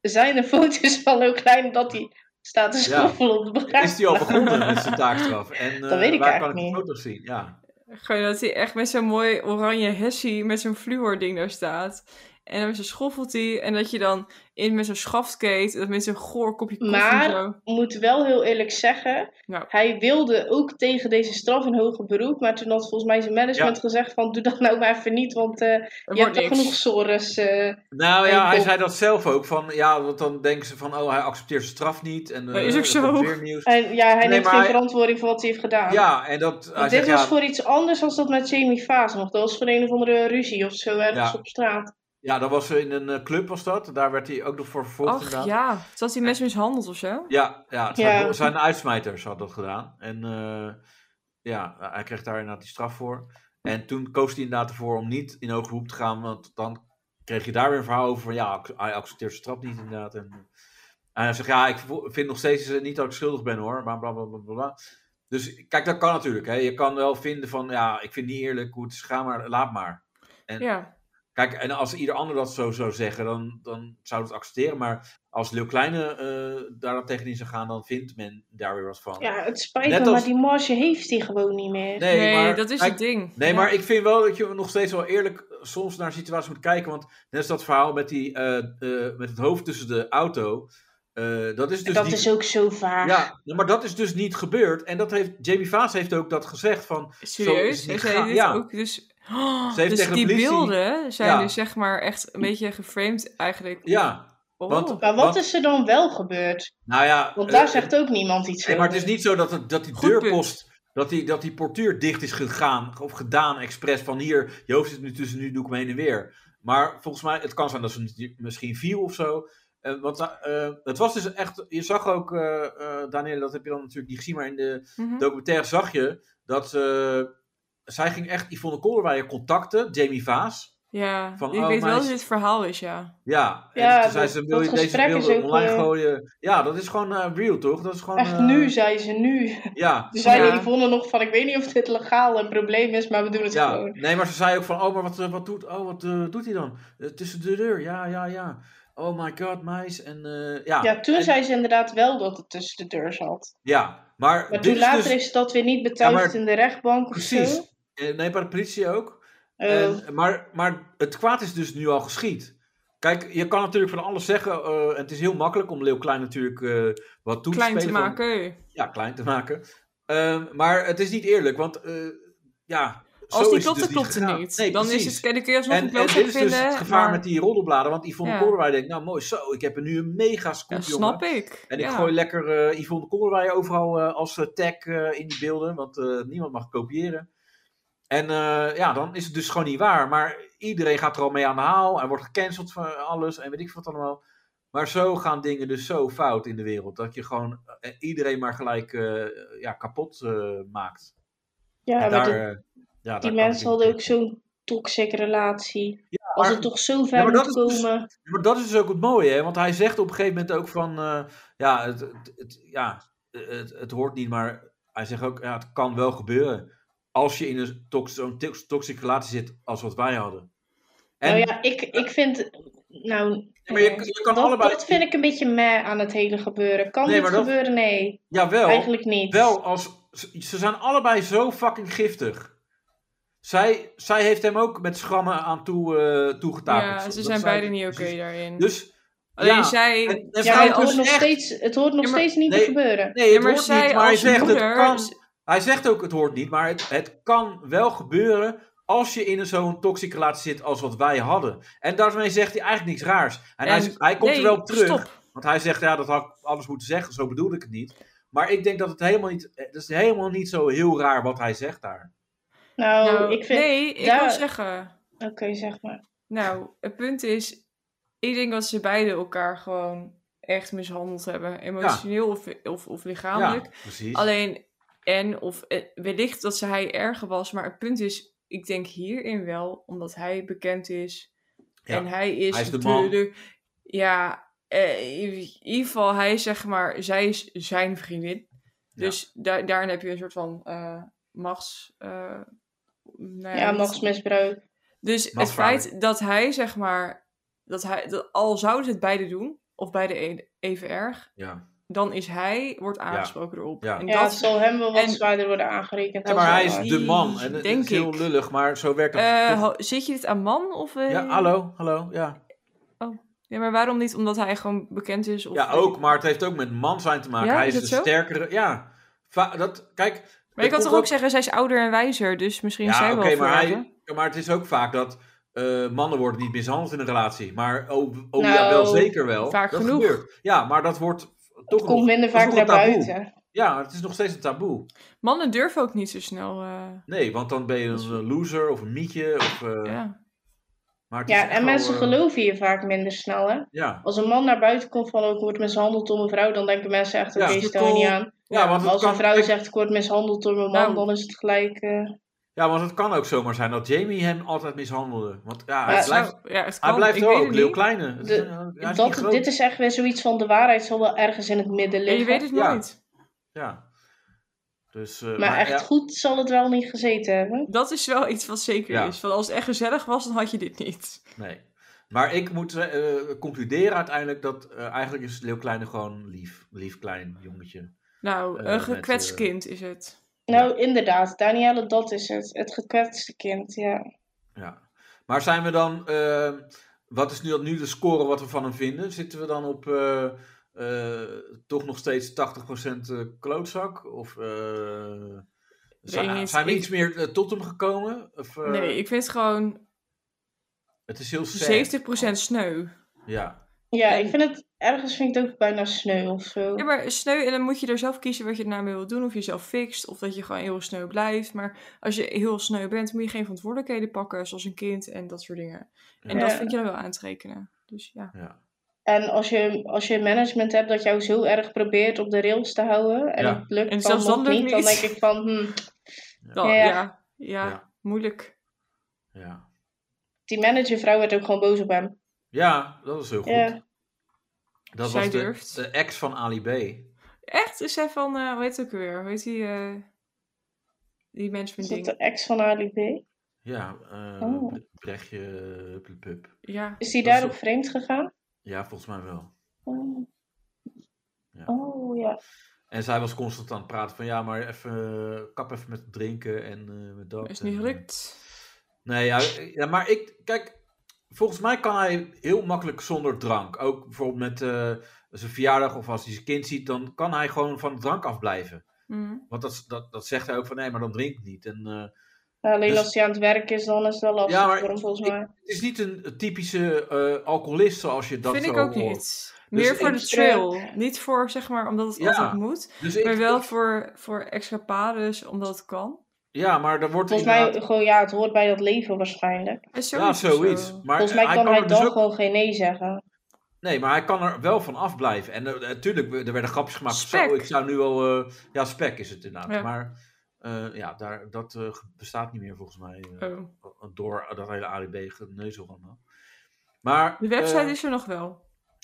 S2: Zijn er foto's van Leeuw Kleine dat hij staat te
S3: Ja.
S2: schoffelen op de begraafplaats?
S3: Is die al begonnen met zijn taakstraf? En eh,
S2: Dat weet ik
S3: waar kan ik
S2: eigenlijk
S3: de
S2: niet.
S3: foto's zien? Ja,
S4: Gewoon dat hij echt met zo'n mooi oranje hessie met zo'n fluoording daar staat. En dan schoffelt hij. En dat je dan in met zo'n schaftkeet, dat met zo'n goor kopje koffie
S2: Maar-
S4: en zo.
S2: moet wel heel eerlijk zeggen.
S4: Nou.
S2: Hij wilde ook tegen deze straf in hoger beroep. Maar toen had volgens mij zijn management gezegd van... Doe dat nou maar even niet, want eh,
S4: Er
S2: je
S4: wordt
S2: hebt toch
S4: niks.
S2: genoeg sores. eh.
S3: Nou
S2: En
S3: ja, hij
S2: Bob.
S3: zei dat zelf ook. Van, ja, want dan denken ze van, oh, hij accepteert zijn straf niet. En, eh,
S4: Maar is ook
S3: er
S4: zo.
S3: komt Weer nieuws.
S2: en ja, hij
S3: Nee,
S2: neemt
S3: maar
S2: geen
S3: hij-
S2: verantwoording voor wat hij heeft gedaan.
S3: Ja, en dat... Hij
S2: Want dit
S3: zegt,
S2: was
S3: ja,
S2: voor iets anders dan dat met Jamie Vaas nog. Dat was voor een of andere ruzie of zo ergens
S3: Ja.
S2: op straat.
S3: ja, dat was in een eh, club was dat. Daar werd hij ook nog voor vervolgd
S4: Ach
S3: inderdaad.
S4: ja, dat hij mensen mishandeld of zo.
S3: Ja, ja, het zijn,
S2: Ja.
S3: zijn uitsmijters had dat gedaan. En eh, ja, hij kreeg daar inderdaad die straf voor. En toen koos hij inderdaad ervoor om niet in hoger beroep te gaan, want dan kreeg je daar weer een verhaal over van ja, ac- hij accepteert zijn straf niet inderdaad. En, en hij zegt ja, ik vo- vind nog steeds eh, niet dat ik schuldig ben hoor, maar bla bla bla bla, bla. Dus kijk, dat kan natuurlijk. Hè. Je kan wel vinden van ja, ik vind het niet eerlijk hoe het is gegaan, maar laat maar. En-
S4: Ja.
S3: Kijk, en als ieder ander dat zo zou zeggen, dan, dan zou het accepteren. Maar als Leeuw Kleine eh, daar dan tegenin zou gaan, dan vindt men daar weer wat van.
S2: Ja, het spijt me,
S3: Net als-
S2: maar die marge heeft hij gewoon niet meer.
S3: Nee,
S4: Nee,
S3: maar,
S4: dat is
S3: kijk,
S4: het ding.
S3: Nee,
S4: Ja.
S3: maar ik vind wel dat je nog steeds wel eerlijk eh, soms naar situaties moet kijken. Want net als dat verhaal met, die, eh, eh, met het hoofd tussen de auto. eh, dat is dus
S2: dat
S3: niet...
S2: is ook zo vaag.
S3: Ja, maar dat is dus niet gebeurd. En dat heeft, Jamie Vaas heeft ook dat gezegd van...
S4: Serieus?
S3: Zo is het
S4: Ze heeft
S3: gegaan,
S4: dit
S3: ja.
S4: ook dus... Oh,
S3: Ze heeft
S4: dus
S3: tegen de
S4: die
S3: politie-
S4: beelden zijn
S3: Ja.
S4: dus zeg maar echt een beetje geframed eigenlijk.
S3: Ja,
S4: Oh.
S3: want-
S2: Maar wat,
S3: Wat?
S2: is er dan wel gebeurd?
S3: nou ja...
S2: Want daar
S3: eh,
S2: zegt ook niemand iets
S3: Nee,
S2: over.
S3: maar het is niet zo dat, het- dat die
S4: Goed
S3: deurpost, dat die, dat die portuur dicht is gegaan of gedaan expres van hier, je hoofd zit nu tussen, nu doe ik hem heen en weer. Maar volgens mij, het kan zijn dat ze het misschien viel of zo. Eh, want eh, eh, het was dus echt, je zag ook, eh eh, Danielle, dat heb je dan natuurlijk niet gezien, maar in de
S4: Mhm.
S3: documentaire zag je dat eh, zij ging echt Yvonne Kolderweijer contacten, Jamie Vaas.
S4: Ja,
S3: Van,
S4: ik
S3: oh,
S4: weet wel dat
S3: meisje.
S4: dit het verhaal is, ja.
S3: Ja, en
S2: Ja,
S3: toen zei
S2: dat-
S3: ze, wil
S2: dat
S3: je deze
S2: gesprek is
S3: beelden
S2: ook,
S3: online
S2: eh,
S3: gooien? Ja, dat is gewoon eh, real, toch? Dat is gewoon...
S2: Echt
S3: eh,
S2: nu, zei ze nu.
S3: Ja,
S2: Toen zei
S4: Ja.
S2: Yvonne nog van, ik weet niet of dit legaal een probleem is, maar we doen het
S3: Ja,
S2: gewoon.
S3: nee, maar ze zei ook van, oh, maar wat, eh, wat, doet, oh, wat eh, doet hij dan? Eh, tussen de deur, ja, ja, ja. Oh my god, meis. En, eh, ja.
S2: Ja, toen
S3: En-
S2: zei ze inderdaad wel dat het tussen de deur zat.
S3: Ja, maar,
S2: Maar
S3: dit
S2: toen
S3: is
S2: later
S3: dus-
S2: is dat weer niet betuigd
S3: Ja, maar-
S2: in de rechtbank of
S3: Precies.
S2: zo.
S3: Eh, nee, bij de politie ook.
S2: Eh,
S3: En- maar, maar het kwaad is dus nu al geschied. Kijk, je kan natuurlijk van alles zeggen. eh, en het is heel makkelijk om Leeuw Klein natuurlijk eh, wat toe
S4: Klein
S3: te
S4: te
S3: spelen. van-
S4: maken.
S3: ja, klein te maken. Ehm, maar het is niet eerlijk, want eh, ja...
S4: Als
S3: zo
S4: die
S3: is het
S4: klopt,
S3: dus
S4: dan klopt het
S3: gegaan.
S4: niet.
S3: Nee,
S4: dan is
S3: precies.
S4: het, kijk, dan kun je alsnog
S3: En,
S4: een
S3: en
S4: klootzak
S3: dit is
S4: vinden.
S3: dus het gevaar
S4: maar-
S3: met die roddelbladen. Want Yvonne
S4: Ja.
S3: Kolderweijer denkt, nou mooi zo, ik heb er nu een mega scoop,
S4: Ja,
S3: jongen.
S4: snap ik.
S3: En ik
S4: ja.
S3: gooi lekker eh, Yvonne Kolderweijer overal eh, als eh, tag eh, in die beelden. Want eh, niemand mag kopiëren. En eh, ja, dan is het dus gewoon niet waar. Maar iedereen gaat er al mee aan de haal. En wordt gecanceld van alles en weet ik wat allemaal. Maar zo gaan dingen dus zo fout in de wereld. Dat je gewoon eh, iedereen maar gelijk eh, ja, kapot eh, maakt.
S2: ja,
S3: En
S2: maar
S3: daar,
S2: die-
S3: eh, ja, daar
S2: die mensen
S3: kan natuurlijk
S2: hadden ook
S3: niet.
S2: zo'n toxic relatie. Als
S3: maar-
S2: het toch zo
S3: Ja,
S2: ver
S3: maar
S2: moet
S3: dat is dus-
S2: komen.
S3: Ja, maar dat is dus ook het mooie, hè? Want hij zegt op een gegeven moment ook van, eh, ja, het, het, het- ja het, het hoort niet, maar hij zegt ook, ja, het kan wel gebeuren als je in een tox- zo'n tox- toxische relatie zit als wat wij hadden. En,
S2: Nou ja, ik, ik vind... Nou,
S3: Ja, maar je,
S2: eh,
S3: je kan
S2: dat,
S3: allebei.
S2: dat vind ik een beetje meh aan het hele gebeuren. Kan
S3: Nee,
S2: dit
S3: maar dat-
S2: gebeuren? Nee,
S3: Jawel,
S2: eigenlijk niet.
S3: wel als ze- ze zijn allebei zo fucking giftig. Zij, zij heeft hem ook met schrammen aan toe eh, toegetakeld.
S4: Ja, ze
S3: Dat
S4: zijn
S3: zij-
S4: beide niet oké
S3: precies.
S4: daarin.
S3: Dus
S4: Alleen
S3: ja,
S4: zij,
S3: en- en
S2: Ja, maar
S3: zij
S4: zij
S2: het hoort
S3: als
S2: nog
S3: dus echt-
S2: steeds, het hoort nog
S4: Ja, maar-
S2: steeds niet
S3: nee.
S2: te gebeuren.
S3: Nee, het
S4: Ja, maar
S3: hoort
S4: zij
S3: niet, maar hij
S4: als
S3: zegt het
S4: moeder-
S3: kan. Hij zegt ook het hoort niet, maar het, het kan wel gebeuren Als je in een zo'n toxic relatie zit als wat wij hadden. En daarmee zegt hij eigenlijk niks raars. En, hij,
S4: En-
S3: hij komt
S4: nee,
S3: er wel op terug. Nou,
S4: stop.
S3: Want hij zegt, ja, dat had ik anders moeten zeggen. Zo bedoelde ik het niet. Maar ik denk dat het helemaal niet... Het is helemaal niet zo heel raar wat hij zegt daar.
S2: Nou,
S4: Nou,
S2: ik vind...
S4: nee, ik
S2: daar-
S4: wil zeggen.
S2: Oké, zeg maar.
S4: Nou, het punt is, ik denk dat ze beiden elkaar gewoon echt mishandeld hebben. Emotioneel of, of, of
S3: Ja,
S4: lichamelijk.
S3: precies.
S4: Alleen, en of eh, wellicht dat ze hij erger was, maar het punt is, ik denk hierin wel, omdat hij bekend is.
S3: Ja,
S4: En hij is,
S3: hij is de man.
S4: ja, eh, in ieder geval, hij is zeg maar, zij is zijn vriendin. Dus daar, daarin heb je een soort van eh machts. eh, nou
S2: ja,
S4: niet-
S2: machtsmisbruik.
S4: dus het
S3: Machtsverhouding.
S4: feit dat hij, zeg maar, dat hij, dat al zouden ze het beide doen, of beide e- even erg,
S3: Ja.
S4: dan is hij, wordt aangesproken erop.
S3: Ja.
S4: En
S2: Ja, het
S4: dat,
S2: zal hem wel wat
S4: en-
S2: zwaarder worden aangerekend. dat
S3: Ja, maar hij
S2: wel
S3: is dus
S2: waar.
S3: de man. En het
S4: Denk
S3: is heel
S4: ik.
S3: lullig, maar zo werkt het.
S4: eh,
S3: toch.
S4: ho- zit je dit aan man? Of, eh,
S3: ja, hallo, hallo, ja.
S4: Ja, maar waarom niet? Omdat hij gewoon bekend is? Of,
S3: Ja, ook, maar het heeft ook met man zijn te maken.
S4: Ja,
S3: hij
S4: is
S3: is,
S4: dat
S3: de
S4: zo?
S3: sterkere. Ja, Va- dat, kijk.
S4: Maar
S3: dat
S4: je kan toch
S3: komt
S4: ook zeggen, zij is ouder en wijzer, dus misschien is
S3: Ja,
S4: zij
S3: oké,
S4: wel voor
S3: maar,
S4: haar.
S3: hij- ja, maar het is ook vaak dat eh, mannen worden niet mishandeld in een relatie. Maar oh, oh ja,
S2: Nou,
S3: wel zeker wel.
S4: vaak
S3: dat
S4: genoeg.
S3: Gebeurt. Ja, maar dat wordt toch nog,
S2: Komt minder
S3: dat is
S2: vaak
S3: nog
S2: naar
S3: een taboe.
S2: buiten.
S3: Ja, het is nog steeds een taboe.
S4: Mannen durven ook niet zo snel. eh,
S3: Nee, want dan ben je een eh, loser of een mietje. Of, eh,
S4: ja.
S3: maar het is
S2: Ja,
S3: echt
S2: en
S3: wel,
S2: mensen
S3: eh,
S2: geloven je vaak minder snel, hè?
S3: Ja.
S2: Als een man naar buiten komt van, oh, ik word mishandeld door mijn vrouw, dan denken mensen echt,
S3: Ja,
S2: oké,
S3: het is
S2: stel je niet
S3: cool.
S2: aan.
S3: Ja, want
S2: Maar
S3: het
S2: als een
S3: kan-
S2: vrouw
S3: kijk,
S2: zegt, ik word mishandeld door mijn man,
S4: Nou.
S2: dan is het gelijk... eh,
S3: Ja, want het kan ook zomaar zijn dat Jamie hem altijd mishandelde. Want ja,
S2: Ja,
S3: hij
S2: het
S3: blijft,
S4: Nou, ja, het kan.
S3: hij blijft
S4: ik
S3: wel
S4: weet
S3: ook
S4: het
S3: heel
S4: niet.
S3: kleine. Het is,
S2: De-
S3: eh, hij is niet
S2: dat,
S3: groot.
S2: dit is echt weer zoiets van, de waarheid zal wel ergens in het midden
S4: Ja,
S2: liggen.
S4: je weet het
S3: Ja.
S4: nooit.
S3: Ja. Dus, eh,
S2: maar, echt
S3: ja,
S2: goed zal het wel niet gezeten hebben.
S4: Dat is wel iets wat zeker
S3: Ja.
S4: is. Want als het echt gezellig was, dan had je dit niet.
S3: nee. Maar ik moet eh, concluderen uiteindelijk dat eh, eigenlijk is Leeuw Kleine gewoon lief. Lief klein jongetje.
S4: Nou,
S3: Eh,
S4: een
S3: met,
S4: gekwetst
S3: eh,
S4: kind is het.
S2: Nou, inderdaad, Danielle, dat is het. Het gekwetste kind, ja.
S3: Ja. Maar zijn we dan, eh, wat is nu, nu de score wat we van hem vinden? Zitten we dan op eh, eh, toch nog steeds 80% klootzak? Of eh, zijn,
S4: niet.
S3: zijn we
S4: Ik-
S3: iets meer eh, tot hem gekomen? Of, eh,
S4: nee, ik vind het gewoon
S3: Het is heel sad.
S4: 70% sneu.
S3: Ja.
S2: Ja, ik vind het... Ergens vind ik het ook bijna sneu of zo.
S4: Ja, maar sneu, en dan moet je er zelf kiezen wat je daarmee wil doen. Of je zelf fixt, of dat je gewoon heel sneu blijft. Maar als je heel sneu bent, moet je geen verantwoordelijkheden pakken. Zoals een kind en dat soort dingen. En
S2: Ja.
S4: dat vind je dan wel aan te rekenen. Dus ja.
S3: ja.
S2: En als je, als je een management hebt dat jou zo erg probeert op de rails te houden en
S3: Ja.
S2: het lukt dan
S4: En zelfs
S2: nog
S4: dat lukt
S2: niet, dan denk
S4: niet.
S2: ik van, hm,
S4: Dan-
S2: Ja.
S4: ja. Ja,
S3: Ja.
S4: moeilijk.
S3: ja.
S2: die managervrouw werd ook gewoon boos op hem.
S3: Ja, dat is heel goed.
S2: Ja.
S3: Dat
S4: Zij
S3: was de,
S4: durft.
S3: de ex van Ali B.
S4: Echt, is zij van, eh hoe heet het ook weer? Hoe heet die, eh, die
S2: Is
S4: management
S2: dat
S4: ding?
S2: de ex van Ali B?
S3: Ja, eh
S2: Oh.
S3: Brechtje, hup, hup, hup.
S4: Ja.
S2: Is die
S3: Dat is
S2: daar ook vreemd gegaan?
S3: Ja, volgens mij wel.
S2: Oh.
S3: Ja.
S2: Oh ja.
S3: En zij was constant aan het praten van ja, maar even eh, kap even met drinken en eh, met dat.
S4: Is niet
S3: en,
S4: gelukt.
S3: eh, nee, ja, ja, maar ik, kijk, volgens mij kan hij heel makkelijk zonder drank. Ook bijvoorbeeld met eh, zijn verjaardag of als hij zijn kind ziet, dan kan hij gewoon van de drank afblijven.
S4: Mhm.
S3: Want dat, dat, dat zegt hij ook van nee, maar dan drink ik niet. En eh,
S2: Nou, alleen
S3: Dus-
S2: als hij aan het werk is, dan is het wel lastig
S3: Ja, maar
S2: voor hem volgens
S3: ik-
S2: mij.
S3: het is niet een typische eh, alcoholist zoals je dat
S4: Vind
S3: zo
S4: ik ook
S3: hoort.
S4: niet. Meer
S3: Dus ik-
S4: voor de trail. Niet voor, zeg maar, omdat het
S3: Ja.
S4: altijd moet.
S3: Dus ik,
S4: Maar wel voor, voor escapades, omdat het kan.
S3: Ja, maar er wordt
S2: Volgens mij
S3: inderdaad...
S2: gewoon, ja, het hoort bij dat leven waarschijnlijk.
S4: En zo
S3: Ja,
S4: is het zo.
S3: zoiets. Maar
S2: Volgens mij
S3: hij
S2: kan hij
S3: er dus
S2: dan
S3: ook-
S2: gewoon geen nee zeggen.
S3: Nee, maar hij kan er wel van afblijven. En eh, natuurlijk, er werden grapjes gemaakt.
S4: Spek.
S3: Zo, ik zou nu al... eh, ja, spek is het inderdaad.
S4: Ja.
S3: Maar eh, ja, daar, dat eh, ge- bestaat niet meer volgens mij. eh,
S4: Oh.
S3: Door dat hele ADB geneuzel allemaal. Maar,
S4: De website
S3: eh,
S4: is er nog wel.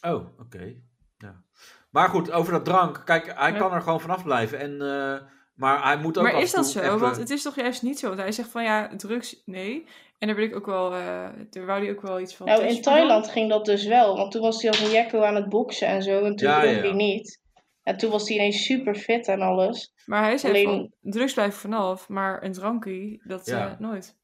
S3: Oh, oké. Ja. Maar goed, over dat drank. Kijk, hij
S4: Ja.
S3: kan er gewoon vanaf blijven. En, eh, maar hij moet ook
S4: Maar
S3: af
S4: is
S3: en toe
S4: dat zo?
S3: even-
S4: Want het is toch juist niet zo. Want hij zegt van ja, drugs, nee. En daar wil ik ook wel, eh, daar wou hij ook wel iets van.
S2: Nou,
S4: thuis
S2: in
S4: voor
S2: Thailand
S4: doen.
S2: ging dat dus wel, want toen was hij als een jekko aan het boksen en zo, en toen
S3: Ja,
S2: dronk
S3: ja.
S2: hij niet. En toen was hij ineens super fit en alles.
S4: Maar hij zei
S2: Alleen-
S4: van drugs blijven vanaf, maar een drankie, dat
S3: Ja.
S4: eh, nooit.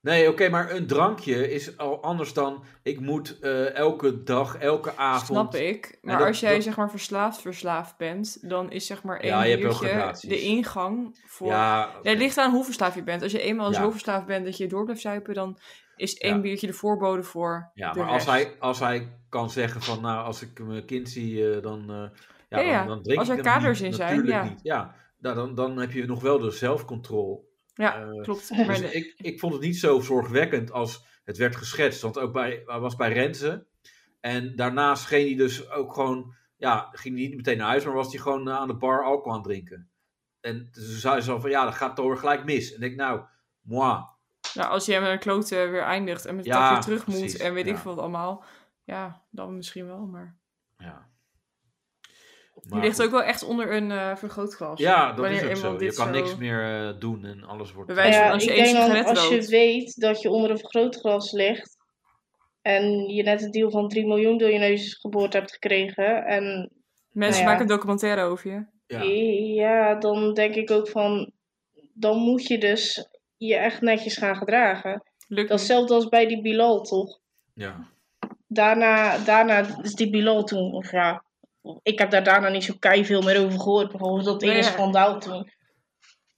S3: Nee, oké, maar een drankje is al anders dan ik moet eh, elke dag, elke avond.
S4: Snap ik. Maar
S3: dat-
S4: als jij
S3: dat-
S4: zeg maar verslaafd verslaafd bent, dan is zeg maar één
S3: Ja, je hebt wel
S4: biertje
S3: gradaties.
S4: de ingang voor...
S3: Ja,
S4: Nee,
S3: oké.
S4: het ligt aan hoe verslaafd je bent. Als je eenmaal
S3: Ja.
S4: zo verslaafd bent dat je door blijft zuipen, dan is één
S3: Ja.
S4: biertje de voorbode voor
S3: Ja,
S4: de
S3: maar als
S4: rest.
S3: hij, als hij kan zeggen van, nou, als ik mijn kind zie, eh, dan, eh, ja,
S4: Ja, ja.
S3: dan, dan drink
S4: Als
S3: ik
S4: er
S3: hem
S4: kaders
S3: niet,
S4: in zijn,
S3: natuurlijk
S4: ja.
S3: Niet. ja nou, dan, dan heb je nog wel de zelfcontrole.
S4: Ja,
S3: eh,
S4: klopt.
S2: dus
S4: Maar
S3: Dus
S4: de-
S3: ik, ik vond het niet zo zorgwekkend als het werd geschetst. Want ook bij, hij was bij Renze. En daarna scheen hij dus ook gewoon... Ja, ging hij niet meteen naar huis, maar was hij gewoon eh, aan de bar alcohol aan het drinken. En toen zei ze al van, ja, dat gaat toch weer gelijk mis. En ik denk, nou, moi.
S4: nou, als jij met een klote weer eindigt en met een
S3: Ja,
S4: takje terug moet
S3: precies,
S4: en weet
S3: ja.
S4: ik veel wat allemaal, ja, dan misschien wel. Maar,
S3: Ja.
S4: je ligt ook wel echt onder een eh, vergrootglas.
S3: Ja, dat
S4: Wanneer
S3: is ook
S4: iemand
S3: zo. Je
S4: dit
S3: kan
S4: zo-
S3: niks meer eh, doen en alles wordt...
S4: Bij wijze
S2: ja,
S4: van als je
S2: ik
S4: één
S2: denk dan,
S4: sigaret
S2: als je
S4: rookt.
S2: weet dat je onder een vergrootglas ligt en je net een deal van 3 miljoen door je neus geboord hebt gekregen en Nou
S4: Mensen
S2: Ja.
S4: maken een documentaire over je.
S3: Ja.
S2: Ja, dan denk ik ook van, dan moet je dus je echt netjes gaan gedragen.
S4: Lukt
S2: Dat is
S4: niet.
S2: hetzelfde als bij die Bilal, toch?
S3: ja.
S2: Daarna, daarna is die Bilal toen, of ja, ik heb daar daarna niet zo kei veel meer over gehoord. Bijvoorbeeld dat
S4: Nee,
S2: ene
S4: ja.
S2: schandaal toen.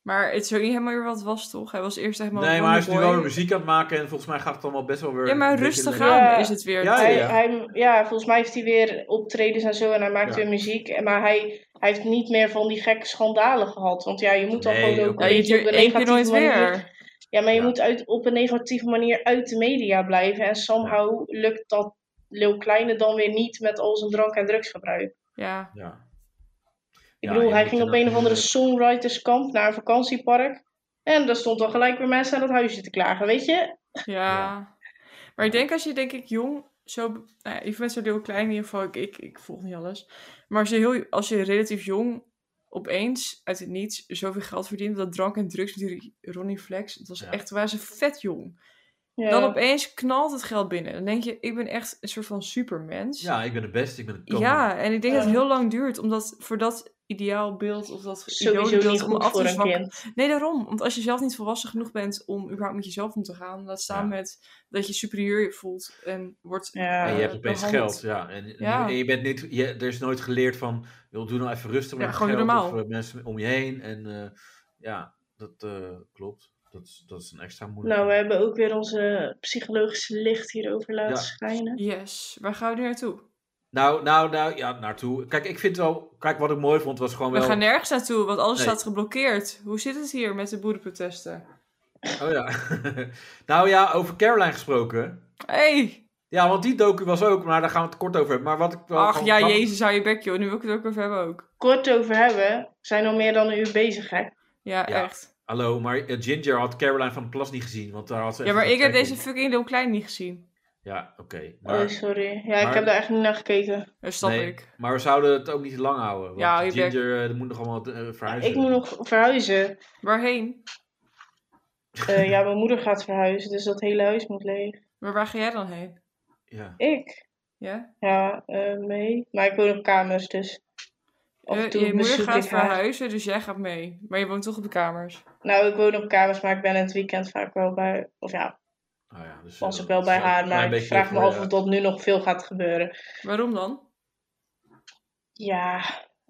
S4: Maar het is ook niet helemaal weer wat het was, toch? Hij was eerst helemaal
S3: Nee, maar hij is nu wel
S4: Wonderboy.
S3: weer muziek aan het maken en volgens mij gaat het allemaal best wel weer...
S4: Ja, maar
S3: een beetje
S4: rustig
S3: lekker.
S4: aan
S2: Ja.
S4: is het weer.
S3: Ja,
S2: hij,
S3: ja.
S2: Hij, ja, volgens mij heeft hij weer optredens en zo en hij maakt
S3: Ja.
S2: weer muziek. En- Maar hij, hij heeft niet meer van die gekke schandalen gehad. Want ja, je moet dan
S3: Nee,
S2: gewoon ook
S3: ook
S2: een
S4: Ja, je
S2: beetje op
S4: duurt
S2: een
S4: één keer
S2: negatieve
S4: nooit
S2: manier
S4: weer.
S2: Ja, maar je
S3: Ja.
S2: moet uit, op een negatieve manier uit de media blijven. En somehow lukt dat Lil Kleine dan weer niet met al zijn drank- en drugsgebruik.
S4: Ja,
S3: Ja.
S2: Ik
S3: Ja,
S2: bedoel,
S3: je
S2: hij
S3: moet
S2: ging
S3: er
S2: op een of andere
S3: natuurlijk-
S2: songwriterskamp naar een vakantiepark. En daar stond al gelijk weer mensen aan het huisje te klagen, weet je?
S4: ja. Maar ik denk als je, denk ik, jong, zo, nou ja, je bent zo heel klein in ieder geval, ik, ik, ik volg niet alles. Maar als je, heel, als je relatief jong opeens uit het niets zoveel geld verdient, dat drank en drugs natuurlijk, Ronnie Flex, dat was
S3: Ja.
S4: echt, waren ze vet jong.
S2: Ja.
S4: Dan opeens knalt het geld binnen. Dan denk je, ik ben echt een soort van supermens.
S3: ja, ik ben de beste, ik ben de koning.
S4: Ja, en ik denk dat het
S2: Ja.
S4: heel lang duurt, omdat voor dat ideaalbeeld of dat
S2: Sowieso niet
S4: idolenbeeld om
S2: goed
S4: af dus te
S2: voor een
S4: zwakken.
S2: kind.
S4: Nee, daarom. Want als je zelf niet volwassen genoeg bent om überhaupt met jezelf om te gaan, laat staan
S3: Ja.
S4: met dat je superieur je voelt en wordt.
S2: Ja.
S3: En je hebt
S4: eh,
S3: opeens
S4: behandeld.
S3: geld, ja. En,
S4: Ja.
S3: en je bent niet, je, er is nooit geleerd van, joh, doe nou even rustig met
S4: Ja,
S3: het
S4: gewoon doe
S3: geld
S4: normaal.
S3: of eh, mensen om je heen. En eh, ja, dat eh, klopt. Dat, is- dat is een extra moeilijk.
S2: Nou, we hebben ook weer onze psychologische licht hierover laten
S3: Ja.
S2: schijnen.
S4: Yes. Waar gaan we nu naartoe?
S3: nou, nou, nou, ja, naartoe. Kijk, ik vind wel, kijk, wat ik mooi vond was gewoon
S4: We
S3: wel...
S4: gaan nergens naartoe, want alles
S3: Nee.
S4: staat geblokkeerd. Hoe zit het hier met de boerenprotesten?
S3: Oh ja. nou ja, over Caroline gesproken.
S4: Hey!
S3: Ja, want die docu was ook, maar daar gaan we het kort over hebben. Maar wat ik wel...
S4: Ach
S3: gewoon
S4: ja,
S3: knap-
S4: jezus, hou je bek, joh. Nu wil ik het ook over hebben ook.
S2: Kort over hebben, we zijn al meer dan een uur bezig, hè?
S4: Ja,
S3: Ja.
S4: echt.
S3: Hallo, maar eh, Ginger had Caroline van de Plas niet gezien, want daar had ze...
S4: Ja,
S3: echt
S4: maar
S3: geen
S4: ik heb
S3: trek in.
S4: deze fucking Lil Klein niet gezien.
S3: Ja, oké. maar-
S2: Oh, sorry. Ja, ik
S3: maar-
S2: heb daar echt niet naar gekeken.
S4: Dat snap
S3: Nee,
S4: ik.
S3: Maar we zouden het ook niet te lang houden. Want
S4: Ja, je
S3: Ginger eh, moet nog allemaal eh, verhuizen.
S2: Ik moet nog verhuizen.
S4: Waarheen?
S2: Eh, ja, mijn moeder gaat verhuizen, dus dat hele huis moet leeg.
S4: Maar waar ga jij dan heen?
S3: Ja.
S2: Ik?
S4: Ja?
S2: Ja, eh, mee. Maar ik woon op kamers, dus. Af en
S4: Eh,
S2: toe
S4: je moeder
S2: bezoek
S4: gaat
S2: ik haar.
S4: verhuizen, dus jij gaat mee. Maar je woont toch op de kamers?
S2: Nou, ik woon op kamers, maar ik ben in het weekend vaak wel bij. Of ja,
S3: Oh ja, dus,
S2: was
S3: eh,
S2: ik wel
S3: dat
S2: bij
S3: is een
S2: haar,
S3: klein
S2: maar ik
S3: beetje
S2: vraag me
S3: voor,
S2: af
S3: eh,
S2: of dat nu nog veel gaat gebeuren.
S4: Waarom dan?
S2: Ja,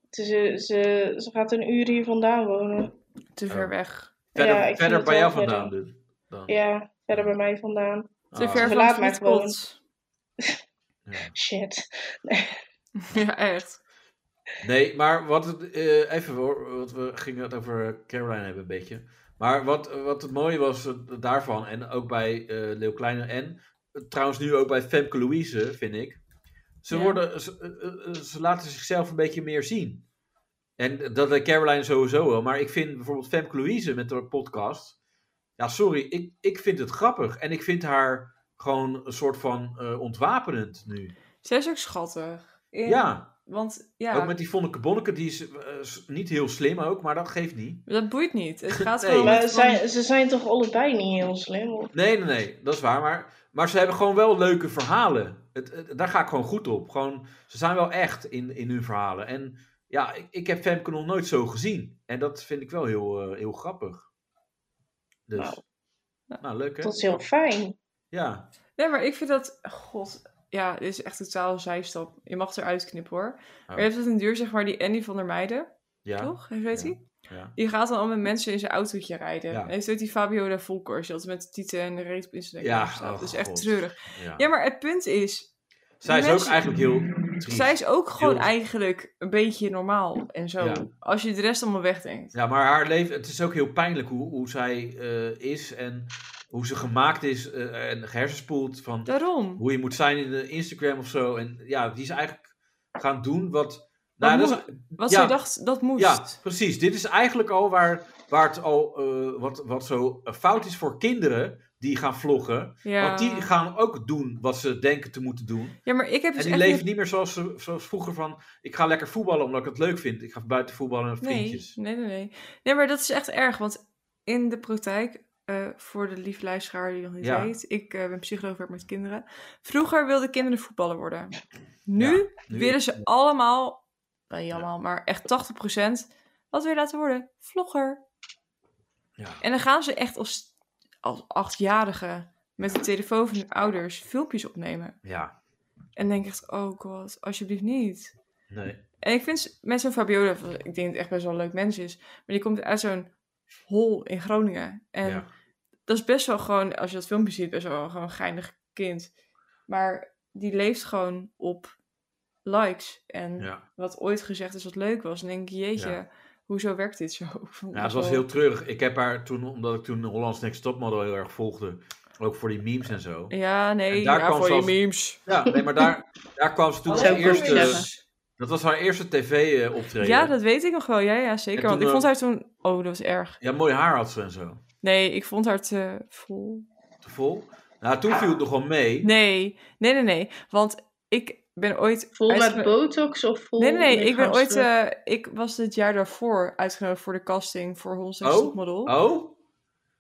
S2: het is, eh, ze, ze gaat een uur hier vandaan wonen.
S4: Te
S3: Oh.
S4: ver weg.
S3: verder
S2: ja, ik vind
S3: verder
S2: het
S3: bij
S2: wel
S3: jou vandaan
S2: verder.
S3: dus. Dan.
S2: Ja, verder bij mij vandaan.
S4: Te
S3: Ah,
S4: ver van
S2: Verlaat
S4: het
S2: mij gewoon.
S4: voetpad.
S3: ja.
S2: Shit.
S4: Ja, echt.
S3: Nee, maar wat het, eh, even hoor, want we gingen het over Caroline hebben een beetje. Maar wat, wat het mooie was eh, daarvan, en ook bij eh Leeuw Kleine en eh, trouwens nu ook bij Femke Louise, vind ik. Ze,
S4: Ja.
S3: worden, ze, eh, eh, ze laten zichzelf een beetje meer zien. En dat deed Caroline sowieso wel. Maar ik vind bijvoorbeeld Femke Louise met haar podcast. Ja, sorry, ik, ik vind het grappig. En ik vind haar gewoon een soort van eh, ontwapenend nu.
S4: Zij is ook schattig. In-
S3: ja.
S4: Want ja,
S3: Ook met die Vonneke Bonneke, die is eh, s- niet heel slim ook, maar dat geeft niet.
S4: dat boeit niet. Het gaat
S3: Nee.
S4: gewoon
S2: Maar
S4: om
S2: ze
S4: het van-
S2: zijn, ze zijn toch allebei niet heel slim? of?
S3: Nee, nee, nee, dat is waar. Maar, maar ze hebben gewoon wel leuke verhalen. Het, het- daar ga ik gewoon goed op. Gewoon, ze zijn wel echt in, in hun verhalen. En ja, ik, ik heb Femke nog nooit zo gezien. En dat vind ik wel heel, eh, heel grappig. Dus
S2: Nou.
S3: Nou, leuk hè?
S2: Dat is heel fijn.
S3: Ja,
S4: Nee, maar ik vind dat... God, ja, dit is echt totaal een zijstap. Je mag het eruit knippen, hoor. Maar je hebt het een duur, zeg maar, die Andy van der Meijden,
S3: Oh. ja.
S4: toch? Weet
S3: Ja.
S4: hij?
S3: ja.
S4: Die gaat dan al met mensen in zijn autootje rijden.
S3: Ja.
S4: En heeft ook die Fabiola Volkers, die altijd met de tieten en de reet op Instagram
S3: Ja,
S4: staat.
S3: oh
S4: dat is echt
S3: God.
S4: treurig.
S3: ja.
S4: Ja, maar het punt is,
S3: Zij is
S4: mensen-
S3: ook eigenlijk heel triest.
S4: zij is ook gewoon
S3: Heel-
S4: eigenlijk een beetje normaal en zo.
S3: Ja.
S4: Als je de rest allemaal wegdenkt.
S3: Ja, maar haar leven, het is ook heel pijnlijk hoe, hoe zij eh, is en hoe ze gemaakt is eh, en gehersenspoeld van
S4: Daarom.
S3: hoe je moet zijn in de Instagram of zo. En ja, die is eigenlijk gaan doen wat... Nou,
S4: Wat
S3: dat is,
S4: Wat
S3: Ja.
S4: zij dacht, dat moest.
S3: ja, precies. Dit is eigenlijk al waar, waar het al eh, wat, wat zo fout is voor kinderen die gaan vloggen.
S4: Ja.
S3: Want die gaan ook doen wat ze denken te moeten doen.
S4: Ja, maar ik heb dus
S3: en die
S4: echt...
S3: leven niet meer zoals, ze- zoals vroeger van... Ik ga lekker voetballen omdat ik het leuk vind. Ik ga buiten voetballen met
S4: Nee,
S3: vriendjes.
S4: nee, nee, nee. Nee, maar dat is echt erg, want in de praktijk, eh, voor de lieve luisteraar die nog niet
S3: Ja.
S4: weet, ik eh, ben psycholoog, werk met kinderen. Vroeger wilden kinderen voetballer worden. Nu
S3: nu-
S4: willen ze allemaal, nou niet allemaal, maar echt 80%, wat wil je laten worden? Vlogger.
S3: Ja.
S4: En dan gaan ze echt als, als achtjarige met de telefoon van hun ouders filmpjes opnemen.
S3: Ja,
S4: En denk ik echt, oh god, alsjeblieft niet.
S3: nee.
S4: En ik vind s- met zo'n Fabiola, ik denk dat het echt best wel een leuk mens is. Maar die komt uit zo'n hol in Groningen. En
S3: ja.
S4: dat is best wel gewoon, als je dat filmpje ziet, best wel gewoon een geinig kind. Maar die leeft gewoon op likes. En
S3: ja.
S4: wat ooit gezegd is wat leuk was. En dan denk ik, jeetje,
S3: Ja.
S4: hoezo werkt dit zo?
S3: Ja, ze Nou,
S4: Oh.
S3: was heel treurig. Ik heb haar toen, omdat ik toen Hollands Next Topmodel heel erg volgde, ook voor die memes en zo.
S4: Ja, nee,
S3: En daar
S4: ja,
S3: kwam
S4: voor
S3: ze
S4: die
S3: als-
S4: memes.
S3: Ja, nee, maar daar, daar kwam ze toen als
S2: Zou ik ook
S3: eerste.
S2: zeggen.
S3: Dat was haar eerste eh, tv-optreden.
S4: Ja, dat weet ik nog wel. Ja, ja zeker.
S3: En
S4: Want
S3: toen, eh,
S4: ik vond haar toen... Oh, dat was erg.
S3: ja, mooi haar had ze en zo.
S4: Nee, ik vond haar te vol.
S3: Te vol. Nou, toen viel het nog wel mee.
S4: Nee, nee, nee, nee. Want ik ben ooit.
S2: Vol
S4: uitgeno-
S2: met botox of vol
S4: Nee, nee, nee.
S2: met
S4: Ik ben ooit.
S2: gasten?
S4: eh, ik was het jaar daarvoor uitgenodigd voor de casting voor Hollandse
S3: Oh?
S4: Topmodel.
S3: Oh?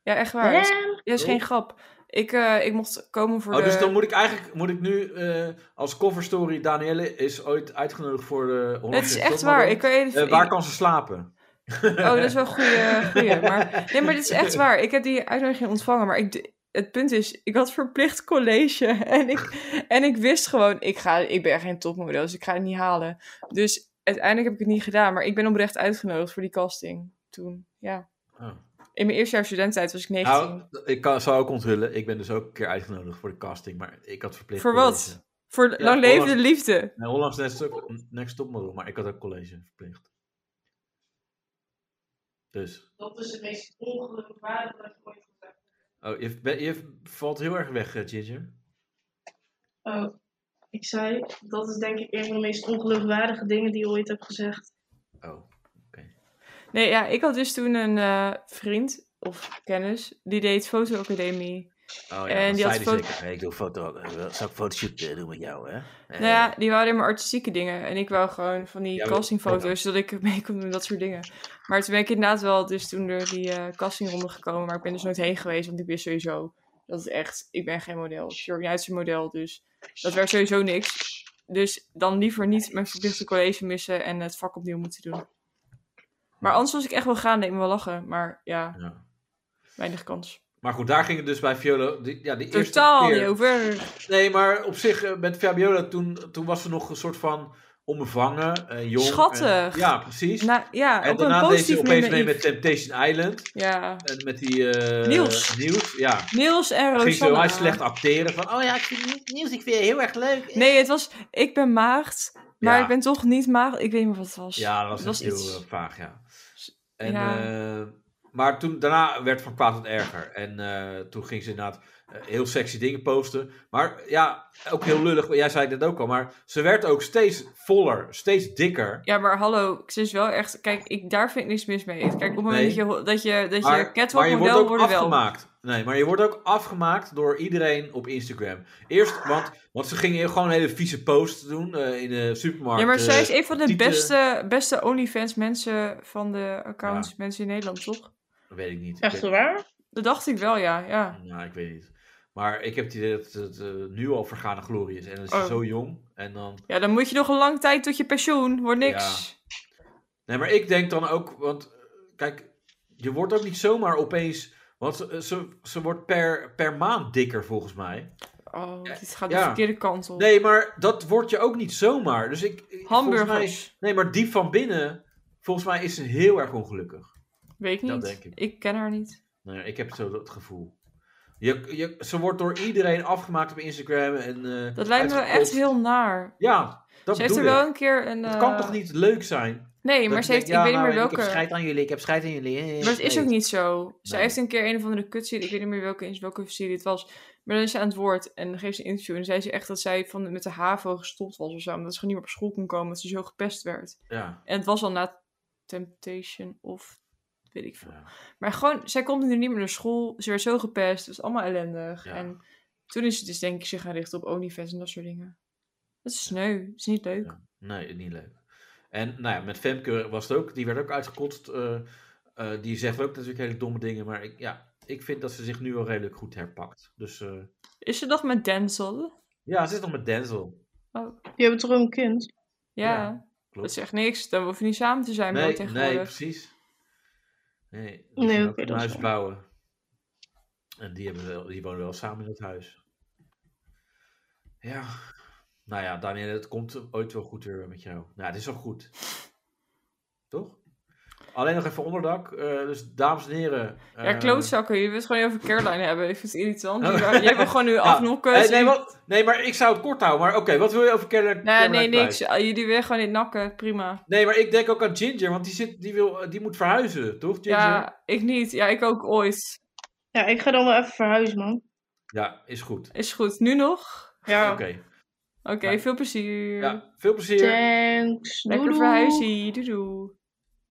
S4: Ja, echt waar. Dat is-
S2: Ja.
S4: dat is geen grap. Ik, eh, ik mocht komen voor
S3: oh,
S4: de.
S3: dus dan moet ik eigenlijk moet ik nu eh, als coverstory... Danielle is ooit uitgenodigd voor de
S4: het
S3: Hollands
S4: is
S3: Next
S4: echt
S3: Topmodel.
S4: waar. Ik kan je even-
S3: Eh, waar
S4: ik-
S3: kan ze slapen?
S4: Oh, dat is wel een goede. goeie. Maar, nee, maar dit is echt waar. Ik heb die uitnodiging ontvangen. Maar ik, d- het punt is, ik had verplicht college. En ik, en ik wist gewoon, ik, ga, ik ben geen topmodel, dus ik ga het niet halen. Dus uiteindelijk heb ik het niet gedaan. Maar ik ben oprecht uitgenodigd voor die casting toen. Ja.
S3: Oh.
S4: In mijn eerste jaar studententijd was ik 19.
S3: Nou, ik kan, zou ook onthullen. Ik ben dus ook een keer uitgenodigd voor de casting, maar ik had verplicht...
S4: Voor wat?
S3: college.
S4: voor
S3: ja,
S4: lang leven de
S3: Holland-
S4: liefde.
S3: Nee, Hollands Next, Top- Next Topmodel, maar ik had ook college verplicht. Dus.
S2: Dat is het meest ongeloofwaardige wat ik ooit gezegd heb.
S3: Oh, je, ben- je valt heel erg weg, eh, Ginger.
S2: Oh, ik zei, dat is denk ik een van de meest ongeloofwaardige dingen die je ooit hebt gezegd.
S3: Oh.
S4: Nee, ja, ik had dus toen een eh, vriend of kennis. Die deed fotoacademie.
S3: Oh ja,
S4: En
S3: dat
S4: die had
S3: zei hij
S4: foto-
S3: zeker. Nee, ik doe foto, eh, wel- zou ik fotoshoot eh, doen met jou, hè? Eh,
S4: Nou ja, die wou alleen maar artistieke dingen. En ik wou gewoon van die
S3: Ja, maar-
S4: castingfoto's, zodat ik mee kon doen, dat soort dingen. Maar toen ben ik inderdaad wel dus toen door die eh, castingronde gekomen. Maar ik ben dus nooit heen geweest, want ik wist sowieso dat het echt... Ik ben geen model. Sure, jij is een model, dus dat werd sowieso niks. Dus dan liever niet mijn verplichte college missen en het vak opnieuw moeten doen. Maar anders was ik echt wel gaan, deed me wel lachen. Maar ja,
S3: ja.
S4: weinig kans.
S3: Maar goed, daar ging het dus bij Viola. Die, ja, die
S4: Totaal
S3: eerste
S4: niet
S3: keer.
S4: over.
S3: Nee, maar op zich eh, met Fabiola, toen, toen was ze nog een soort van onbevangen, eh, jong. en-
S4: Schattig.
S3: ja, precies.
S4: Nou, ja,
S3: en
S4: op een
S3: daarna deed ze
S4: positieve manier.
S3: opeens mee met
S4: naïef.
S3: Temptation Island.
S4: Ja.
S3: En met die... eh
S4: Niels. Oh,
S3: Niels, ja.
S4: Niels
S3: Ging
S4: en
S3: ze heel
S4: Rosanna.
S3: erg slecht acteren. Van, oh ja, ik vind het nieuws, ik vind je heel erg leuk.
S4: Nee, het was, ik ben maagd, maar
S3: Ja.
S4: ik ben toch niet maagd. Ik weet niet meer wat het was.
S3: Ja, dat was,
S4: Het was
S3: echt
S4: iets.
S3: heel eh, vaag, ja. En,
S4: Ja.
S3: eh, maar toen, daarna werd van kwaad tot erger. En eh, toen ging ze inderdaad eh, heel sexy dingen posten. Maar ja, ook heel lullig. Jij zei dat ook al. Maar ze werd ook steeds voller, steeds dikker.
S4: Ja, maar hallo, ze is wel echt... Kijk, ik, daar vind ik niks mis mee. Kijk, op het moment
S3: Nee.
S4: dat je, dat je, dat je
S3: Maar,
S4: catwalk
S3: maar je wordt
S4: model
S3: ook
S4: worden wel...
S3: afgemaakt. Nee, maar je wordt ook afgemaakt door iedereen op Instagram. Eerst, want, want ze gingen gewoon hele vieze posts doen eh, in de supermarkt.
S4: Ja, maar zij
S3: eh,
S4: is een van de
S3: tieten.
S4: beste, beste OnlyFans mensen van de accounts,
S3: Ja.
S4: mensen in Nederland, toch?
S3: Weet ik niet. Ik
S2: Echt
S3: weet-
S2: waar?
S4: Dat dacht ik wel, ja. ja.
S3: Nou, ik weet niet. Maar ik heb het idee dat het eh, nu al vergane glorie is. En dan is ze
S4: Oh.
S3: zo jong. En dan...
S4: Ja, dan moet je nog een lang tijd tot je pensioen. Wordt niks.
S3: Nee, maar ik denk dan ook... Want eh, kijk, je wordt ook niet zomaar opeens Want ze, ze, ze wordt per, per maand dikker volgens mij.
S4: Oh, dit gaat
S3: Ja.
S4: de verkeerde kant op.
S3: Nee, maar dat word je ook niet zomaar. Dus ik. ik- volgens
S4: Hamburgers.
S3: Mij, nee, maar diep van binnen, volgens mij is ze heel erg ongelukkig.
S4: Weet ik
S3: Dat
S4: niet.
S3: denk ik.
S4: ik. ken haar niet.
S3: Nou ja, ik heb zo het gevoel. Je, je, ze wordt door iedereen afgemaakt op Instagram. En, eh,
S4: Dat lijkt me
S3: uitgekotst.
S4: echt heel naar.
S3: Ja, dat
S4: Ze heeft er
S3: bedoel
S4: wel
S3: ik.
S4: een keer een...
S3: Het
S4: eh,
S3: kan toch niet leuk zijn?
S4: Nee,
S3: Dat
S4: maar
S3: je
S4: ze heeft...
S3: denkt, ja,
S4: ik weet niet
S3: nou,
S4: meer
S3: Ik heb
S4: welke...
S3: scheid aan jullie, ik heb scheid aan jullie. eh,
S4: Maar het is
S3: nee.
S4: ook niet zo. Ze
S3: Nee.
S4: heeft een keer een of andere kutserie, ik weet niet meer welke, eens welke serie het was. Maar dan is ze aan het woord en dan geeft ze een interview. En dan zei ze echt dat zij van, met de HAVO gestopt was of zo. Omdat ze gewoon niet meer op school kon komen, omdat ze zo gepest werd.
S3: Ja,
S4: En het was al na Temptation of weet ik veel.
S3: Ja.
S4: Maar gewoon, zij kon nu niet meer naar school. Ze werd zo gepest, het was allemaal ellendig.
S3: Ja.
S4: En toen is ze dus denk ik zich gaan richten op OnlyFans en dat soort dingen. Dat is sneu, dat is niet leuk.
S3: Ja. nee, niet leuk. En nou ja, met Femke was het ook, die werd ook uitgekotst. eh, eh, die zegt ook natuurlijk hele domme dingen, maar ik, ja, ik vind dat ze zich nu al redelijk goed herpakt. Dus eh,
S4: Is ze nog met Denzel?
S3: ja, ze is nog met Denzel.
S2: Je hebt toch ook een kind?
S4: Ja,
S3: Ja,
S4: dat
S3: Klopt.
S4: zegt niks. Dan hoef je niet samen te zijn
S3: nee,
S4: nee,
S3: nee,
S4: tegenwoordig.
S3: precies. Nee, die
S2: Nee,
S3: nee,
S2: oké,
S3: ook een
S2: dat is
S3: huis
S2: waar.
S3: bouwen. En die, hebben wel, die wonen wel samen in het huis. Ja, nou ja, Daniel, het komt ooit wel goed weer met jou. Nou, het is wel goed. Toch? Alleen nog even onderdak. eh, dus dames en heren.
S4: Ja,
S3: eh,
S4: klootzakken. Je wilt gewoon over Caroline hebben. Ik vind het irritant.
S3: Oh.
S4: Jij- Jij wil gewoon nu afnokken.
S3: eh,
S4: ze-
S3: nee, wat, nee, maar ik zou het kort houden. Maar oké, wat wil je over Caroline?
S4: Nee, nee,
S3: Caroline kwijt?
S4: niks. Ah, Jullie willen gewoon niet nakken. Prima.
S3: Nee, maar ik denk ook aan Ginger, want die, zit, die, wil, die moet verhuizen, toch? Ginger?
S4: Ja, ik niet. Ja, ik ook ooit.
S2: Ja, ik ga dan wel even verhuizen, man.
S3: ja is goed.
S4: Is goed. Nu nog?
S2: Ja.
S3: Oké.
S4: Oké,
S3: Ja.
S4: veel plezier.
S3: Ja, veel plezier.
S2: Thanks. Doei,
S4: Lekker
S2: doei.
S4: verhuizen. Doei doei.